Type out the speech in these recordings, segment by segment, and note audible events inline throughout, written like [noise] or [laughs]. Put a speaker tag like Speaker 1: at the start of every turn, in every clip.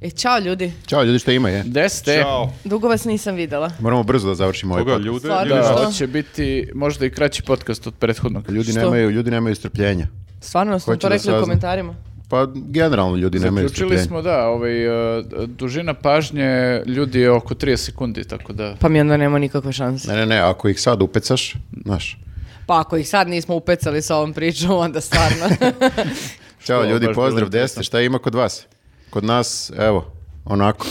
Speaker 1: I E, čao ljudi,
Speaker 2: Ćao ljudi što ima je.
Speaker 3: Gde ste?
Speaker 4: Ćao.
Speaker 1: dugo vas nisam vidjela.
Speaker 2: Moramo brzo da završimo ovaj
Speaker 4: Koga,
Speaker 2: podcast.
Speaker 4: ljude?
Speaker 1: Stvarno.
Speaker 4: ili
Speaker 3: Da,
Speaker 4: šta?
Speaker 1: Što?
Speaker 3: hoće biti možda i kraći podcast od prethodnog.
Speaker 2: Ljudi
Speaker 1: Što?
Speaker 2: nemaju, ljudi nemaju strpljenja.
Speaker 1: Stvarno smo
Speaker 2: Hoću
Speaker 1: to
Speaker 2: da
Speaker 1: rekli u
Speaker 2: saznam.
Speaker 1: komentarima.
Speaker 2: Pa generalno ljudi nemaju
Speaker 3: Zaključili
Speaker 2: strpljenja.
Speaker 3: smo, da, ovaj, e, dužina pažnje ljudi je oko 30 sekundi, tako da...
Speaker 1: Pa mi onda nema nikakve šanse.
Speaker 2: Ne, ne, ne, ako ih sad upecaš, znaš.
Speaker 1: Pa ako ih sad nismo upecali sa ovom pričom, onda stvarno.
Speaker 2: Ćao
Speaker 3: Što,
Speaker 2: ljudi,
Speaker 3: baš bilo
Speaker 2: pozdrav, gde ste,
Speaker 3: interesantno.
Speaker 2: šta ima kod vas? Kod nas, evo, onako.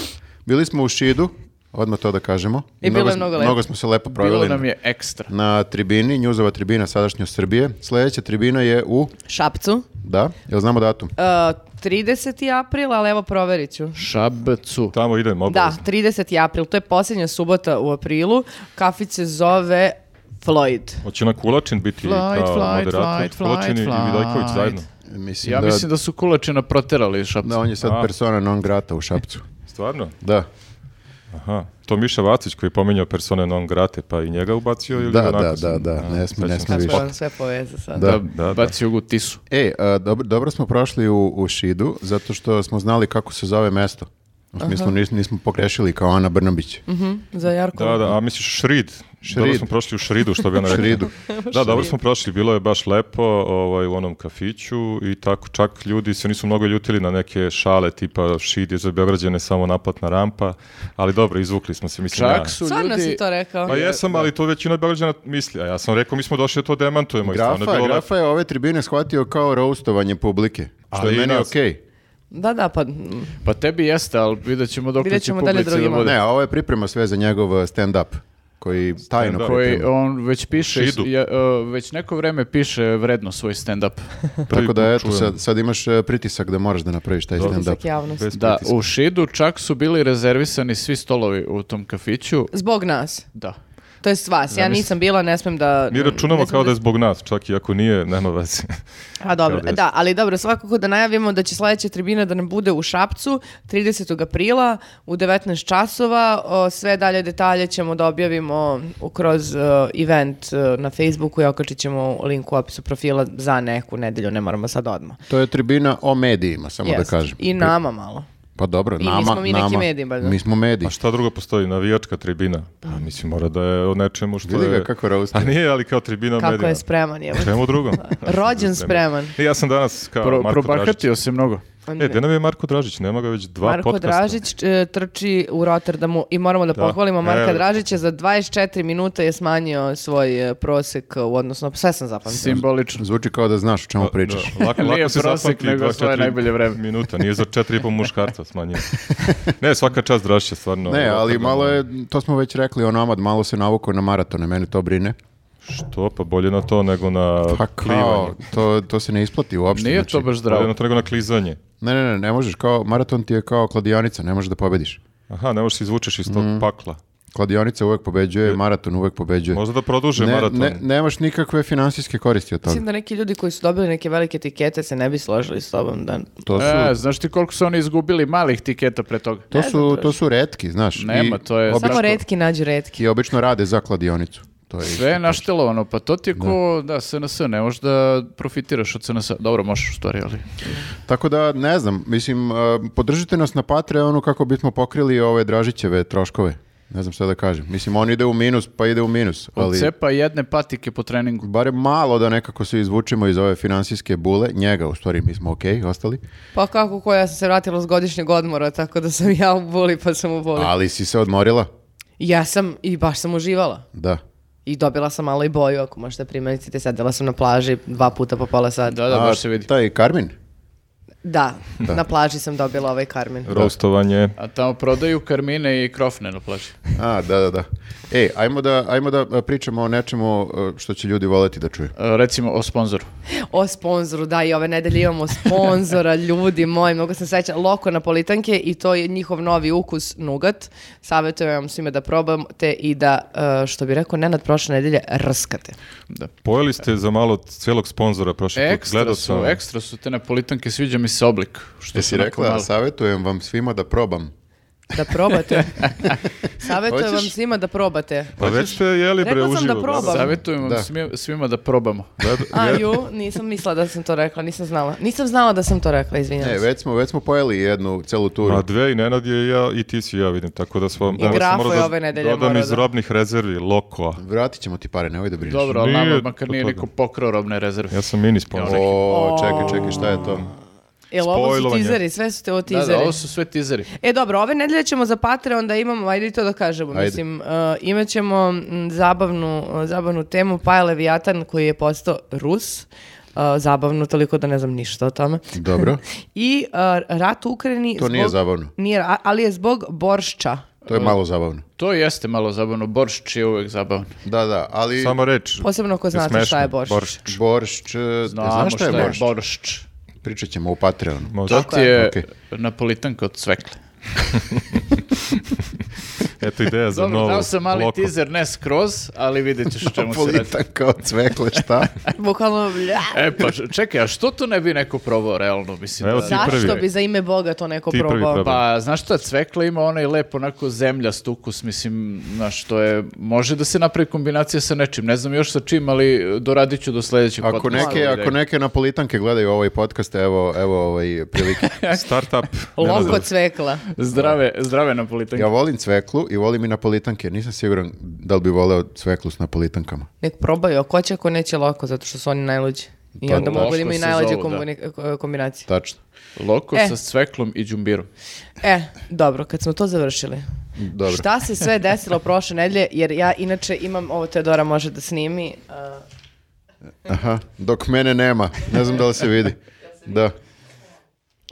Speaker 2: Bili smo u Šidu, odmah to da kažemo.
Speaker 1: I bilo je
Speaker 2: smo-
Speaker 1: mnogo lepo.
Speaker 2: Mnogo smo se lepo
Speaker 3: Bilo
Speaker 2: proveli
Speaker 3: nam je ekstra.
Speaker 2: na tribini, njuzova tribina sadašnja Srbije. Sljedeća tribina je u,
Speaker 1: Šapcu.
Speaker 2: da, jel znamo datum?
Speaker 1: Uh, 30. april, ali evo proverit ću.
Speaker 3: Šabcu.
Speaker 4: Tamo idem
Speaker 1: Da,
Speaker 4: obavezno.
Speaker 1: 30. april, to je posljednja subota u aprilu. Kafić se zove Floyd.
Speaker 4: Hoće na Kulačin biti
Speaker 3: Flight,
Speaker 4: kao
Speaker 3: flight,
Speaker 4: moderator?
Speaker 3: flight,
Speaker 4: Kulačin i
Speaker 3: flight.
Speaker 4: Vidojković zajedno.
Speaker 2: Mislim
Speaker 3: Ja
Speaker 2: da,
Speaker 3: mislim da su kulačina proterali šapcu.
Speaker 2: da on je sad
Speaker 4: A.
Speaker 2: persona non grata u Šapcu.
Speaker 4: Stvarno?
Speaker 2: Da,
Speaker 4: Aha. To Miša Vacić koji je pominjao persone non grate, pa i njega ubacio ili
Speaker 2: Da,
Speaker 4: onako
Speaker 2: da,
Speaker 4: sam-
Speaker 2: da, da,
Speaker 4: A,
Speaker 2: ne smije, ne
Speaker 4: sećam se.
Speaker 2: smije više.
Speaker 1: Kako vam sve poveze sad.
Speaker 2: Da.
Speaker 3: da,
Speaker 4: da.
Speaker 3: baci ugu tisu.
Speaker 2: E, a, dobro, dobro smo prošli u, u Šidu, zato što smo znali kako se zove mesto. U smislu nis, nismo pogrešili kao Ana Brnabić.
Speaker 1: Mhm. Za Jarko.
Speaker 4: Da, da, a misliš Šrid. Dobro
Speaker 2: Šrid.
Speaker 4: smo prošli u Šridu, što bi ona rekla.
Speaker 2: Šridu.
Speaker 4: Da, dobro smo prošli, bilo je baš lepo ovaj, u onom kafiću i tako čak ljudi se nisu mnogo ljutili na neke šale tipa Šid je za Beograđane samo naplatna rampa, ali dobro, izvukli smo se, mislim ja.
Speaker 3: Čak su
Speaker 1: Stvarno
Speaker 3: ljudi...
Speaker 1: si to rekao.
Speaker 4: Pa jesam, ali to većina Beograđana misli, a ja sam rekao mi smo došli da to demantujemo i stvarno je
Speaker 2: Grafa,
Speaker 4: bilo lepo.
Speaker 2: grafa je ove tribine shvatio kao roustovanje publike, što
Speaker 4: Ali i
Speaker 2: je meni
Speaker 4: nas.
Speaker 2: okej.
Speaker 1: Da, da, pa mm,
Speaker 3: Pa tebi jeste, ali vidjet ćemo dok
Speaker 1: Vidjet
Speaker 3: će
Speaker 1: ćemo da li je
Speaker 3: publici da
Speaker 1: drugima.
Speaker 3: bude.
Speaker 2: Ne, a ovo je priprema sve za njegov uh, stand-up, koji tajno
Speaker 4: Stand-up.
Speaker 3: koji
Speaker 2: priprema.
Speaker 3: on već piše,
Speaker 4: Šidu.
Speaker 3: ja, e, već neko vreme piše vredno svoj stand-up.
Speaker 4: Prvi
Speaker 2: Tako da,
Speaker 4: put
Speaker 2: eto,
Speaker 4: čujem.
Speaker 2: sad, sad imaš uh, pritisak da moraš da napraviš taj
Speaker 4: Dobro.
Speaker 1: utisak
Speaker 2: stand-up.
Speaker 1: javnosti.
Speaker 4: Bez
Speaker 3: Da,
Speaker 4: pritiska.
Speaker 3: u Šidu čak su bili rezervisani svi stolovi u tom kafiću.
Speaker 1: Zbog nas.
Speaker 3: Da.
Speaker 1: To je s vas. Ja nisam bila, ne smem da...
Speaker 4: Mi računamo
Speaker 1: ne smem
Speaker 4: kao da je zbog nas, čak i ako nije, nema veze.
Speaker 1: A dobro,
Speaker 4: Kao da je-
Speaker 1: da, ali dobro, svakako da najavimo da će sledeća tribina da nam bude u Šapcu 30. aprila u 19 časova. O, Sve dalje detalje ćemo da objavimo u- kroz e, event e, na Facebooku i okačit ćemo link u opisu profila za neku nedelju, ne moramo sad odmah.
Speaker 2: To je tribina o medijima, samo da
Speaker 1: Jest.
Speaker 2: kažem.
Speaker 1: I nama malo.
Speaker 2: Pa dobro,
Speaker 1: I mi
Speaker 2: nama,
Speaker 1: smo mi neki
Speaker 2: nama.
Speaker 1: mediji, valjda.
Speaker 2: Mi smo mediji.
Speaker 4: A šta drugo postoji, navijačka tribina? Pa mislim, mora da je o nečemu što
Speaker 2: Vidi ga
Speaker 4: je...
Speaker 2: kako rosti.
Speaker 4: A nije, ali kao tribina
Speaker 1: Kako
Speaker 4: medija.
Speaker 1: je spreman, je.
Speaker 4: Čemu drugom?
Speaker 1: [laughs] Rođen spreman.
Speaker 4: E, Ja sam danas kao
Speaker 3: Pro,
Speaker 4: Marko Dražić.
Speaker 3: probahatio se
Speaker 2: Pa
Speaker 3: mnogo.
Speaker 4: E, gde nam je Marko Dražić? Nema ga već [laughs] dva
Speaker 1: Marko
Speaker 4: podcasta.
Speaker 1: Dražić e, trči u Rotterdamu i moramo da,
Speaker 4: Da.
Speaker 1: pohvalimo Marka
Speaker 4: E.
Speaker 1: Dražića za 24 minuta je smanjio svoj e, prosek e, u odnosno sve sam zapamtila.
Speaker 3: Simbolično.
Speaker 2: Zvuči kao da znaš o čemu
Speaker 4: Pa, Da,
Speaker 2: pričaš.
Speaker 4: lako,
Speaker 3: Nije
Speaker 4: lako se
Speaker 3: prosek,
Speaker 4: zapamti
Speaker 3: nego
Speaker 4: dva,
Speaker 3: svoje
Speaker 4: četiri
Speaker 3: najbolje vreme.
Speaker 4: Minuta, nije za četiri i po muškarca
Speaker 3: [laughs]
Speaker 4: smanjio. Ne, svaka čast Dražića, stvarno.
Speaker 2: Ne, ali malo je, to smo već rekli o nomad, malo se navukao na maratone, mene to brine.
Speaker 4: Što, pa bolje na to nego na
Speaker 2: Pa
Speaker 4: plivanje.
Speaker 2: kao, to, to se ne isplati uopšte.
Speaker 3: Nije
Speaker 2: znači,
Speaker 3: to baš
Speaker 4: Bolje na
Speaker 3: zdravo.
Speaker 4: to nego na klizanje.
Speaker 2: Ne, ne, ne, ne možeš, kao, maraton ti je kao kladionica, ne možeš da pobediš.
Speaker 4: Aha, ne možeš se izvučeš iz tog
Speaker 2: Mm.
Speaker 4: pakla.
Speaker 2: Kladionica uvek pobeđuje, maraton uvek pobeđuje.
Speaker 4: Možda da produže
Speaker 2: ne,
Speaker 4: maraton.
Speaker 2: ne, nemaš nikakve finansijske koristi od toga.
Speaker 1: Mislim da neki ljudi koji su dobili neke velike etikete se ne bi složili s tobom da...
Speaker 2: To su,
Speaker 3: E, znaš ti koliko su oni izgubili malih tiketa pre toga? E,
Speaker 2: to
Speaker 1: ne znam
Speaker 2: su,
Speaker 1: baš.
Speaker 2: to su retki, znaš.
Speaker 3: Nema,
Speaker 2: i
Speaker 3: to je-
Speaker 2: obično-
Speaker 1: Samo redki nađu redki.
Speaker 2: I obično rade za kladionicu. To je
Speaker 3: Sve je naštelovano, pa to ti je ko, da, SNS, ne možeš da profitiraš od SNS. Dobro, možeš u stvari, ali...
Speaker 2: Tako da, ne znam, mislim, e, podržite nas na Patreonu kako bismo pokrili ove Dražićeve troškove. Ne znam šta da kažem. Mislim, on ide u minus, pa ide u minus.
Speaker 3: Od
Speaker 2: Ali
Speaker 3: cepa jedne patike po treningu.
Speaker 2: barem malo da nekako se izvučemo iz ove finansijske bule. Njega, u stvari, mi smo okej, ostali.
Speaker 1: Pa kako ko, ja sam se vratila s godišnjeg odmora, tako da sam ja u boli pa sam u boli.
Speaker 2: Ali si se odmorila?
Speaker 1: Ja sam i baš sam uživala.
Speaker 2: Da.
Speaker 1: I dobila sam malo i boju, ako možete primetiti, sedela sam na plaži dva puta po pola sata.
Speaker 3: Da, da,
Speaker 2: A,
Speaker 3: baš se vidi.
Speaker 2: Taj Karmin?
Speaker 1: Da, na plaži sam dobila ovaj karmin.
Speaker 4: Rostovanje.
Speaker 3: A tamo prodaju karmine i krofne na plaži. E,
Speaker 2: A, da, da, da. Ej, ajmo da, ajmo da e, pričamo o nečemu e, što će ljudi voleti da čuju.
Speaker 3: E, Recimo o sponzoru.
Speaker 1: O sponzoru, da, i ove nedelje imamo sponzora, ljudi moji, mnogo sam seća, Loko Napolitanke i to je njihov novi ukus nugat. Savjetujem vam svima da probate i da, e, što bi rekao Nenad prošle nedelje, rskate.
Speaker 3: Da.
Speaker 4: Pojeli ste za malo cijelog sponzora prošli put.
Speaker 3: Ekstra
Speaker 4: Gledao
Speaker 3: su,
Speaker 4: sam.
Speaker 3: ekstra su te napolitanke, sviđa mi se oblik. Što
Speaker 2: Jesi
Speaker 3: su onako
Speaker 2: rekla,
Speaker 3: male.
Speaker 2: savjetujem vam svima da probam.
Speaker 1: Da probate. Savjetujem vam svima da probate.
Speaker 4: Pa već ste jeli bre,
Speaker 1: Rekla sam da
Speaker 4: uživo.
Speaker 1: probam.
Speaker 3: Savjetujem vam
Speaker 2: Da.
Speaker 3: Pa svima, svima da probamo.
Speaker 1: A ju, nisam mislila da sam to rekla, nisam znala. Nisam znala da sam to rekla, izvinjam
Speaker 2: Ne,
Speaker 1: se.
Speaker 2: E, već smo, već smo pojeli jednu celu turu.
Speaker 4: Ma dve i Nenad je i ja i ti si i ja vidim, tako da smo... danas sam
Speaker 1: Grafo
Speaker 4: morao
Speaker 1: je
Speaker 4: da
Speaker 1: ove nedelje
Speaker 4: Dodam
Speaker 1: morao
Speaker 4: iz
Speaker 1: da-
Speaker 4: robnih rezervi, lokoa.
Speaker 2: Vratit ćemo ti pare, nemoj da brineš.
Speaker 3: Dobro, ali
Speaker 4: Nije
Speaker 3: nama makar
Speaker 4: to
Speaker 3: nije
Speaker 4: to
Speaker 3: niko
Speaker 4: da.
Speaker 3: pokrao robne rezerve.
Speaker 4: Ja sam mini sponsor.
Speaker 2: O, čekaj, čekaj, šta je to?
Speaker 1: Jel ovo su
Speaker 4: Spojlovanje.
Speaker 1: tizeri, sve su te ovo
Speaker 3: da,
Speaker 1: tizeri.
Speaker 3: da, ovo su sve tizeri.
Speaker 1: E dobro, ove nedelje ćemo za Patreon da imamo, ajde i to da kažemo,
Speaker 2: Ajde.
Speaker 1: mislim, uh, imat ćemo mm, zabavnu, uh, zabavnu temu, pa je Leviatan koji je postao Rus, uh, zabavno toliko da ne znam ništa o tome.
Speaker 2: Dobro,
Speaker 1: I uh, rat u Ukrajini...
Speaker 2: To nije zabavno.
Speaker 1: Nije, a- ali je zbog boršča.
Speaker 2: [laughs] to je malo zabavno.
Speaker 3: To jeste malo zabavno. Boršč je uvek zabavan.
Speaker 2: Da, da, ali
Speaker 4: Samo reč.
Speaker 1: Posebno ako
Speaker 4: je
Speaker 1: znate
Speaker 4: smešno.
Speaker 1: šta je boršč.
Speaker 2: boršč, e, znaš šta je boršč?
Speaker 3: boršč?
Speaker 2: Pričat ćemo u Patreonu.
Speaker 4: Može.
Speaker 3: To ti je
Speaker 2: Okej.
Speaker 3: napolitanka od cvekle.
Speaker 4: Eto ideja za
Speaker 3: Dobro,
Speaker 4: novo.
Speaker 3: dao sam mali
Speaker 4: loko.
Speaker 3: tizer, ne skroz, ali vidjet ćeš o čemu se radi.
Speaker 2: Politan kao cvekle, šta?
Speaker 1: Bukvalno, blja.
Speaker 3: E pa č- čekaj, a što to ne bi neko probao realno, mislim
Speaker 4: Evo
Speaker 3: da...
Speaker 4: ti prvi.
Speaker 1: Zašto bi za ime Boga to neko
Speaker 4: Ti prvi
Speaker 1: probao?
Speaker 4: probaj.
Speaker 3: Pa, znaš šta, cvekla ima onaj lep onako zemljast ukus, mislim, znaš, to je, može da se napravi kombinacija sa nečim, ne znam još sa čim, ali e, doradit ću do sledećeg
Speaker 2: Ako
Speaker 3: podcasta.
Speaker 2: neke, ako neke napolitanke gledaju ovaj podcast, evo, evo ovaj prilike.
Speaker 4: Startup.
Speaker 1: Pa, Loko cvekla.
Speaker 3: Zdrave, zdrave napolitanke.
Speaker 2: Ja volim cveklu i volim i napolitanke. Nisam siguran da li bi voleo cveklu s napolitankama.
Speaker 1: Nek probaju, a ko će ako neće loko, zato što su oni najluđi. I
Speaker 2: Pa,
Speaker 1: onda mogu da
Speaker 3: loško
Speaker 1: imaju
Speaker 3: se
Speaker 1: najluđe
Speaker 3: zovu, da.
Speaker 1: kombini- ko- kombinacije.
Speaker 2: Tačno.
Speaker 3: Loko
Speaker 1: E.
Speaker 3: sa cveklom i džumbirom.
Speaker 1: E, dobro, kad smo to završili.
Speaker 2: Dobro.
Speaker 1: Šta se sve desilo prošle nedelje, jer ja inače imam, ovo Teodora može da snimi, uh,
Speaker 2: Aha, dok mene nema. Ne znam da li se vidi. Da.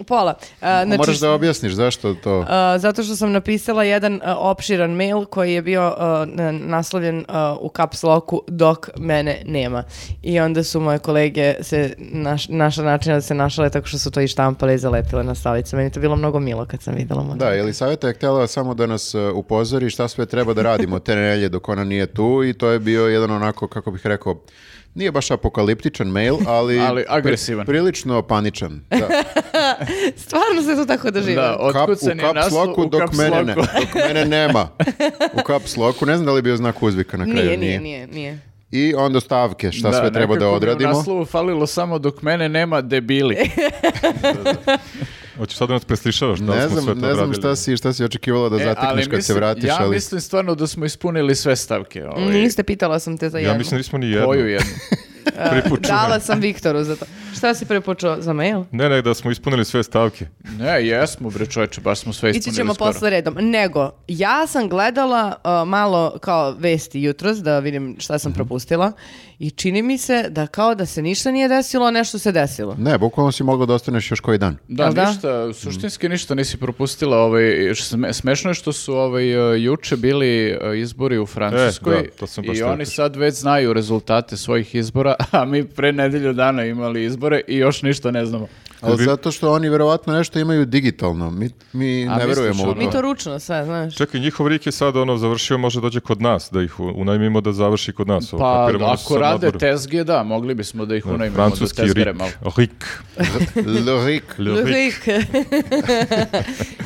Speaker 1: pola. Uh, znači,
Speaker 2: Moraš da objasniš zašto to...
Speaker 1: Uh, zato što sam napisala jedan uh, opširan mail koji je bio uh, n- naslovljen uh, u caps locku dok mene nema. I onda su moje kolege se naš, našla načina da se našale tako što su to i štampale i zalepile na stavice. Meni je to bilo mnogo milo kad sam videla. moram
Speaker 2: Da, Elisaveta je htjela samo da nas e, upozori šta sve treba da radimo te nelje dok ona nije tu i to je bio jedan onako, kako bih rekao, nije baš apokaliptičan mail, ali...
Speaker 3: [laughs] Ali agresivan.
Speaker 2: pri- prilično paničan. Da.
Speaker 1: Stvarno se to tako doživio.
Speaker 3: Da, otkucan
Speaker 2: u
Speaker 3: je
Speaker 2: caps
Speaker 3: naslov
Speaker 2: locku
Speaker 3: u
Speaker 2: dok
Speaker 3: kaps
Speaker 2: mene ne,
Speaker 3: loku.
Speaker 2: dok mene nema. U caps locku, ne znam da li je bio znak uzvika na kraju.
Speaker 1: nije, nije, nije, nije.
Speaker 2: I onda stavke, šta sve treba da
Speaker 3: nekako mi U
Speaker 2: odradimo.
Speaker 3: naslovu falilo samo dok mene nema debili.
Speaker 1: E,
Speaker 4: Hoćeš sad da nas preslišavaš da li
Speaker 2: Ne
Speaker 4: smo sve
Speaker 2: znam,
Speaker 4: to
Speaker 2: ne znam šta
Speaker 4: odradili?
Speaker 2: si, šta si očekivala da
Speaker 3: E,
Speaker 2: zatekneš
Speaker 3: ali
Speaker 2: kad se
Speaker 3: mislim-
Speaker 2: vratiš,
Speaker 3: Ja
Speaker 2: ali
Speaker 3: mislim stvarno da smo ispunili sve stavke. Ovaj,
Speaker 1: Niste, pitala sam te za jednu.
Speaker 4: Ja mislim da nismo ni jednu.
Speaker 3: Koju jednu?
Speaker 4: Pripučeno.
Speaker 1: Dala sam Viktoru za to. Šta si prepočeo za mail?
Speaker 4: Ne, ne, da smo ispunili sve stavke.
Speaker 3: Ne, jesmo bre čoveče, baš smo sve
Speaker 1: Ići
Speaker 3: ispunili
Speaker 1: ćemo
Speaker 3: skoro.
Speaker 1: posle redom. Nego, ja sam gledala uh, malo kao vesti jutros da vidim šta
Speaker 3: Mhm.
Speaker 1: sam propustila i čini mi se da kao da se ništa nije desilo, a nešto se desilo.
Speaker 2: ne, bukvalno si mogla da ostaneš još koji dan.
Speaker 3: Da,
Speaker 1: Jel da?
Speaker 3: ništa, suštinski ništa nisi propustila. Ovaj, š- sme- smešno je što su ovaj, e, juče bili e, izbori u Francuskoj
Speaker 4: E, da, to sam baš
Speaker 3: i
Speaker 4: teo
Speaker 3: oni
Speaker 4: kažem.
Speaker 3: sad već znaju rezultate svojih izbora, [laughs] a mi pre nedelju dana imali izbore i još ništa ne znamo.
Speaker 2: Ali
Speaker 4: bi-
Speaker 2: zato što oni verovatno nešto imaju digitalno. Mi, mi
Speaker 3: A
Speaker 2: ne
Speaker 3: misliš
Speaker 2: verujemo u
Speaker 3: ono?
Speaker 1: Mi
Speaker 2: to. [laughs]
Speaker 1: to ručno sve, znaš.
Speaker 4: Čekaj, njihov rik je sad ono završio, može dođe kod nas, da ih u- unajmimo da završi kod nas. Ovo,
Speaker 3: Pa
Speaker 4: kapiramo, oni su
Speaker 3: ako
Speaker 4: sad na
Speaker 3: rade
Speaker 4: odmoru.
Speaker 3: tezge, da, mogli bismo da ih
Speaker 4: Da,
Speaker 3: unajmimo da
Speaker 4: Francuski
Speaker 3: tezgere
Speaker 4: rik.
Speaker 3: malo.
Speaker 4: Rik.
Speaker 2: Lorik.
Speaker 4: Le rik.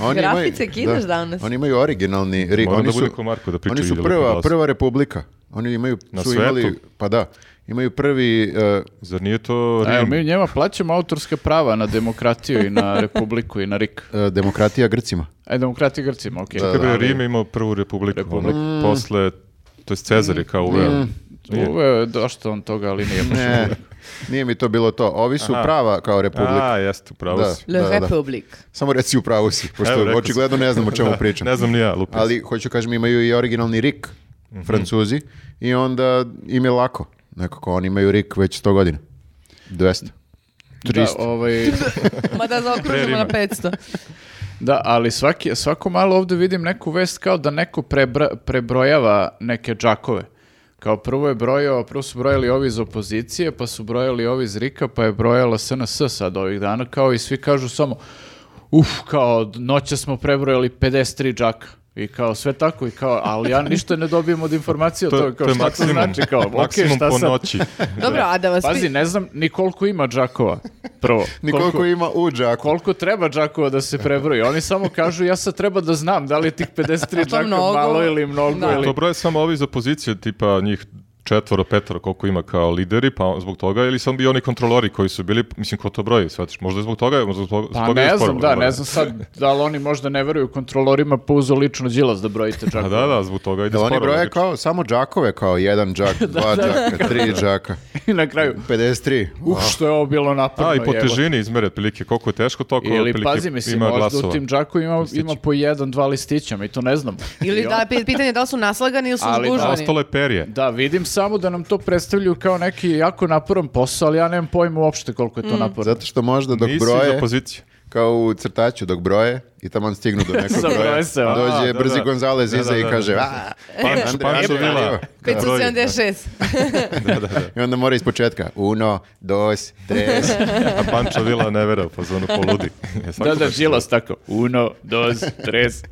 Speaker 2: Oni
Speaker 1: Grafice kidaš danas.
Speaker 2: Oni imaju originalni rik.
Speaker 4: Moram
Speaker 2: Oni
Speaker 4: da
Speaker 2: su,
Speaker 4: bude ko Marko da priča
Speaker 2: oni
Speaker 4: i
Speaker 2: su
Speaker 4: da
Speaker 2: prva,
Speaker 4: lepo glasa.
Speaker 2: prva republika. Oni imaju,
Speaker 4: Na
Speaker 2: su imali,
Speaker 4: svetu?
Speaker 2: pa da, imaju prvi, e,
Speaker 4: Zar Pa nije to
Speaker 3: A, evo,
Speaker 4: Rim?
Speaker 3: mi njema plaćamo autorske prava na demokratiju i na
Speaker 4: [laughs]
Speaker 3: republiku i na rik.
Speaker 2: e, demokratija Grcima.
Speaker 3: E, demokrati Grcima, okej.
Speaker 4: Čekaj, bre,
Speaker 3: Ali-
Speaker 4: Rim je imao prvu republiku. ono, Posle, to je Cezar je kao uveo.
Speaker 2: Mm.
Speaker 4: Nije.
Speaker 3: Uveo je došto on toga, ali nije baš.
Speaker 2: Ne, nije mi to bilo to. Ovi su prava kao republika.
Speaker 4: A, jeste, pravo
Speaker 2: Da.
Speaker 4: si.
Speaker 1: Le
Speaker 2: da, da.
Speaker 1: Republic.
Speaker 2: Samo reci u pravu si,
Speaker 4: Evo,
Speaker 2: pošto
Speaker 4: rekao
Speaker 2: očigledno ne znam o
Speaker 4: [laughs]
Speaker 2: čemu pričam.
Speaker 4: Ne znam ni ja, lupio
Speaker 2: Ali hoću kažem imaju i originalni rik,
Speaker 4: Mhm.
Speaker 2: Francuzi, i onda im je lako. Nekako oni imaju rik već 100 godina. 200. 300.
Speaker 3: Da, ovaj,
Speaker 1: Ma da zaokružimo
Speaker 4: Prerima.
Speaker 1: na 500.
Speaker 3: da, ali svaki, svako malo ovdje vidim neku vest kao da neko prebra- prebrojava neke džakove. Kao prvo je brojao, prvo su brojali ovi iz opozicije, pa su brojali ovi iz Rika, pa je brojala SNS sad ovih dana, kao i svi kažu samo, uf, kao noća smo prebrojali 53 džaka. I kao sve tako i kao, ali ja ništa ne dobijem od informacije o
Speaker 4: To,
Speaker 3: toga,
Speaker 4: je- to
Speaker 3: kao
Speaker 4: je
Speaker 3: šta to
Speaker 4: maksimum,
Speaker 3: znači, kao, okej,
Speaker 4: maksimum
Speaker 3: šta
Speaker 4: po
Speaker 3: sad? [laughs]
Speaker 4: noći.
Speaker 1: Dobro, a da vas...
Speaker 3: Pazi,
Speaker 1: pi-
Speaker 3: ne znam ni koliko ima džakova,
Speaker 4: [laughs]
Speaker 3: prvo.
Speaker 2: Ni koliko ima u džaku.
Speaker 3: koliko treba džakova da se prebroji. Oni samo kažu, ja sad treba da znam da
Speaker 1: [laughs]
Speaker 3: li je tih 53 džaka
Speaker 1: Pa mnogo?
Speaker 3: malo ili mnogo.
Speaker 1: Da.
Speaker 3: Ili...
Speaker 4: To broje samo ovi iz opozicije, tipa njih četvoro, petoro, koliko ima kao lideri, pa zbog toga, ili samo bi oni kontrolori koji su bili, mislim, ko to broji, shvatiš, možda je zbog toga, možda zbog, zbog
Speaker 3: Pa
Speaker 4: toga je
Speaker 3: ne
Speaker 4: sporo
Speaker 3: znam, da,
Speaker 4: broje.
Speaker 3: ne znam sad da li oni možda ne veruju kontrolorima pa uzo lično džilas da brojite
Speaker 4: A
Speaker 3: džakova.
Speaker 4: Pa da, da, zbog toga ide
Speaker 2: Jel oni
Speaker 4: sporo,
Speaker 2: broje
Speaker 4: logično.
Speaker 2: kao samo džakove, kao jedan džak, dva džaka, tri džaka,
Speaker 3: [laughs] I na kraju,
Speaker 2: 53.
Speaker 3: uf, što je ovo bilo naporno.
Speaker 4: A, i po
Speaker 3: Pa jebote.
Speaker 4: težini izmere, otprilike, koliko je teško, toliko
Speaker 3: Ili
Speaker 4: otprilike
Speaker 3: pazi, mislim,
Speaker 4: ima
Speaker 3: možda u
Speaker 4: glasova.
Speaker 3: tim džaku ima, ima
Speaker 4: Listići.
Speaker 3: po jedan, dva listića, mi to ne znamo.
Speaker 1: [laughs] Ili
Speaker 3: I
Speaker 1: da, pi- pitanje je da li su naslagani ili su
Speaker 3: Ali da,
Speaker 4: A
Speaker 1: zgužvani.
Speaker 4: ostalo je perje.
Speaker 3: Da, vidim samo da nam to predstavljuju kao neki jako naporan posao, ali ja nemam pojma uopšte koliko
Speaker 1: Mm.
Speaker 3: je to naporno.
Speaker 2: Zato što možda dok
Speaker 4: Nisi iz
Speaker 2: broje,
Speaker 4: opozicije.
Speaker 2: kao u crtaću, dok broje i tamo on stignu do nekog
Speaker 3: Zabroje
Speaker 2: broja,
Speaker 3: se, a,
Speaker 2: dođe
Speaker 4: da,
Speaker 2: brzi
Speaker 4: da.
Speaker 2: Gonzalez
Speaker 4: Da, da,
Speaker 2: iza i
Speaker 4: da,
Speaker 2: kaže,
Speaker 4: da.
Speaker 2: "A,
Speaker 4: Panč,
Speaker 2: Andrej,
Speaker 4: Pančo
Speaker 2: Andrej,
Speaker 4: Vila. Da, broji, da.
Speaker 1: 576.
Speaker 4: Da, da, da.
Speaker 2: I onda mora iz početka. Uno, dos, tres.
Speaker 4: A Pančo Vila ne vera, pa zvonu
Speaker 3: [laughs]
Speaker 4: poludi.
Speaker 3: Da, da, džilas tako. Uno, dos, tres.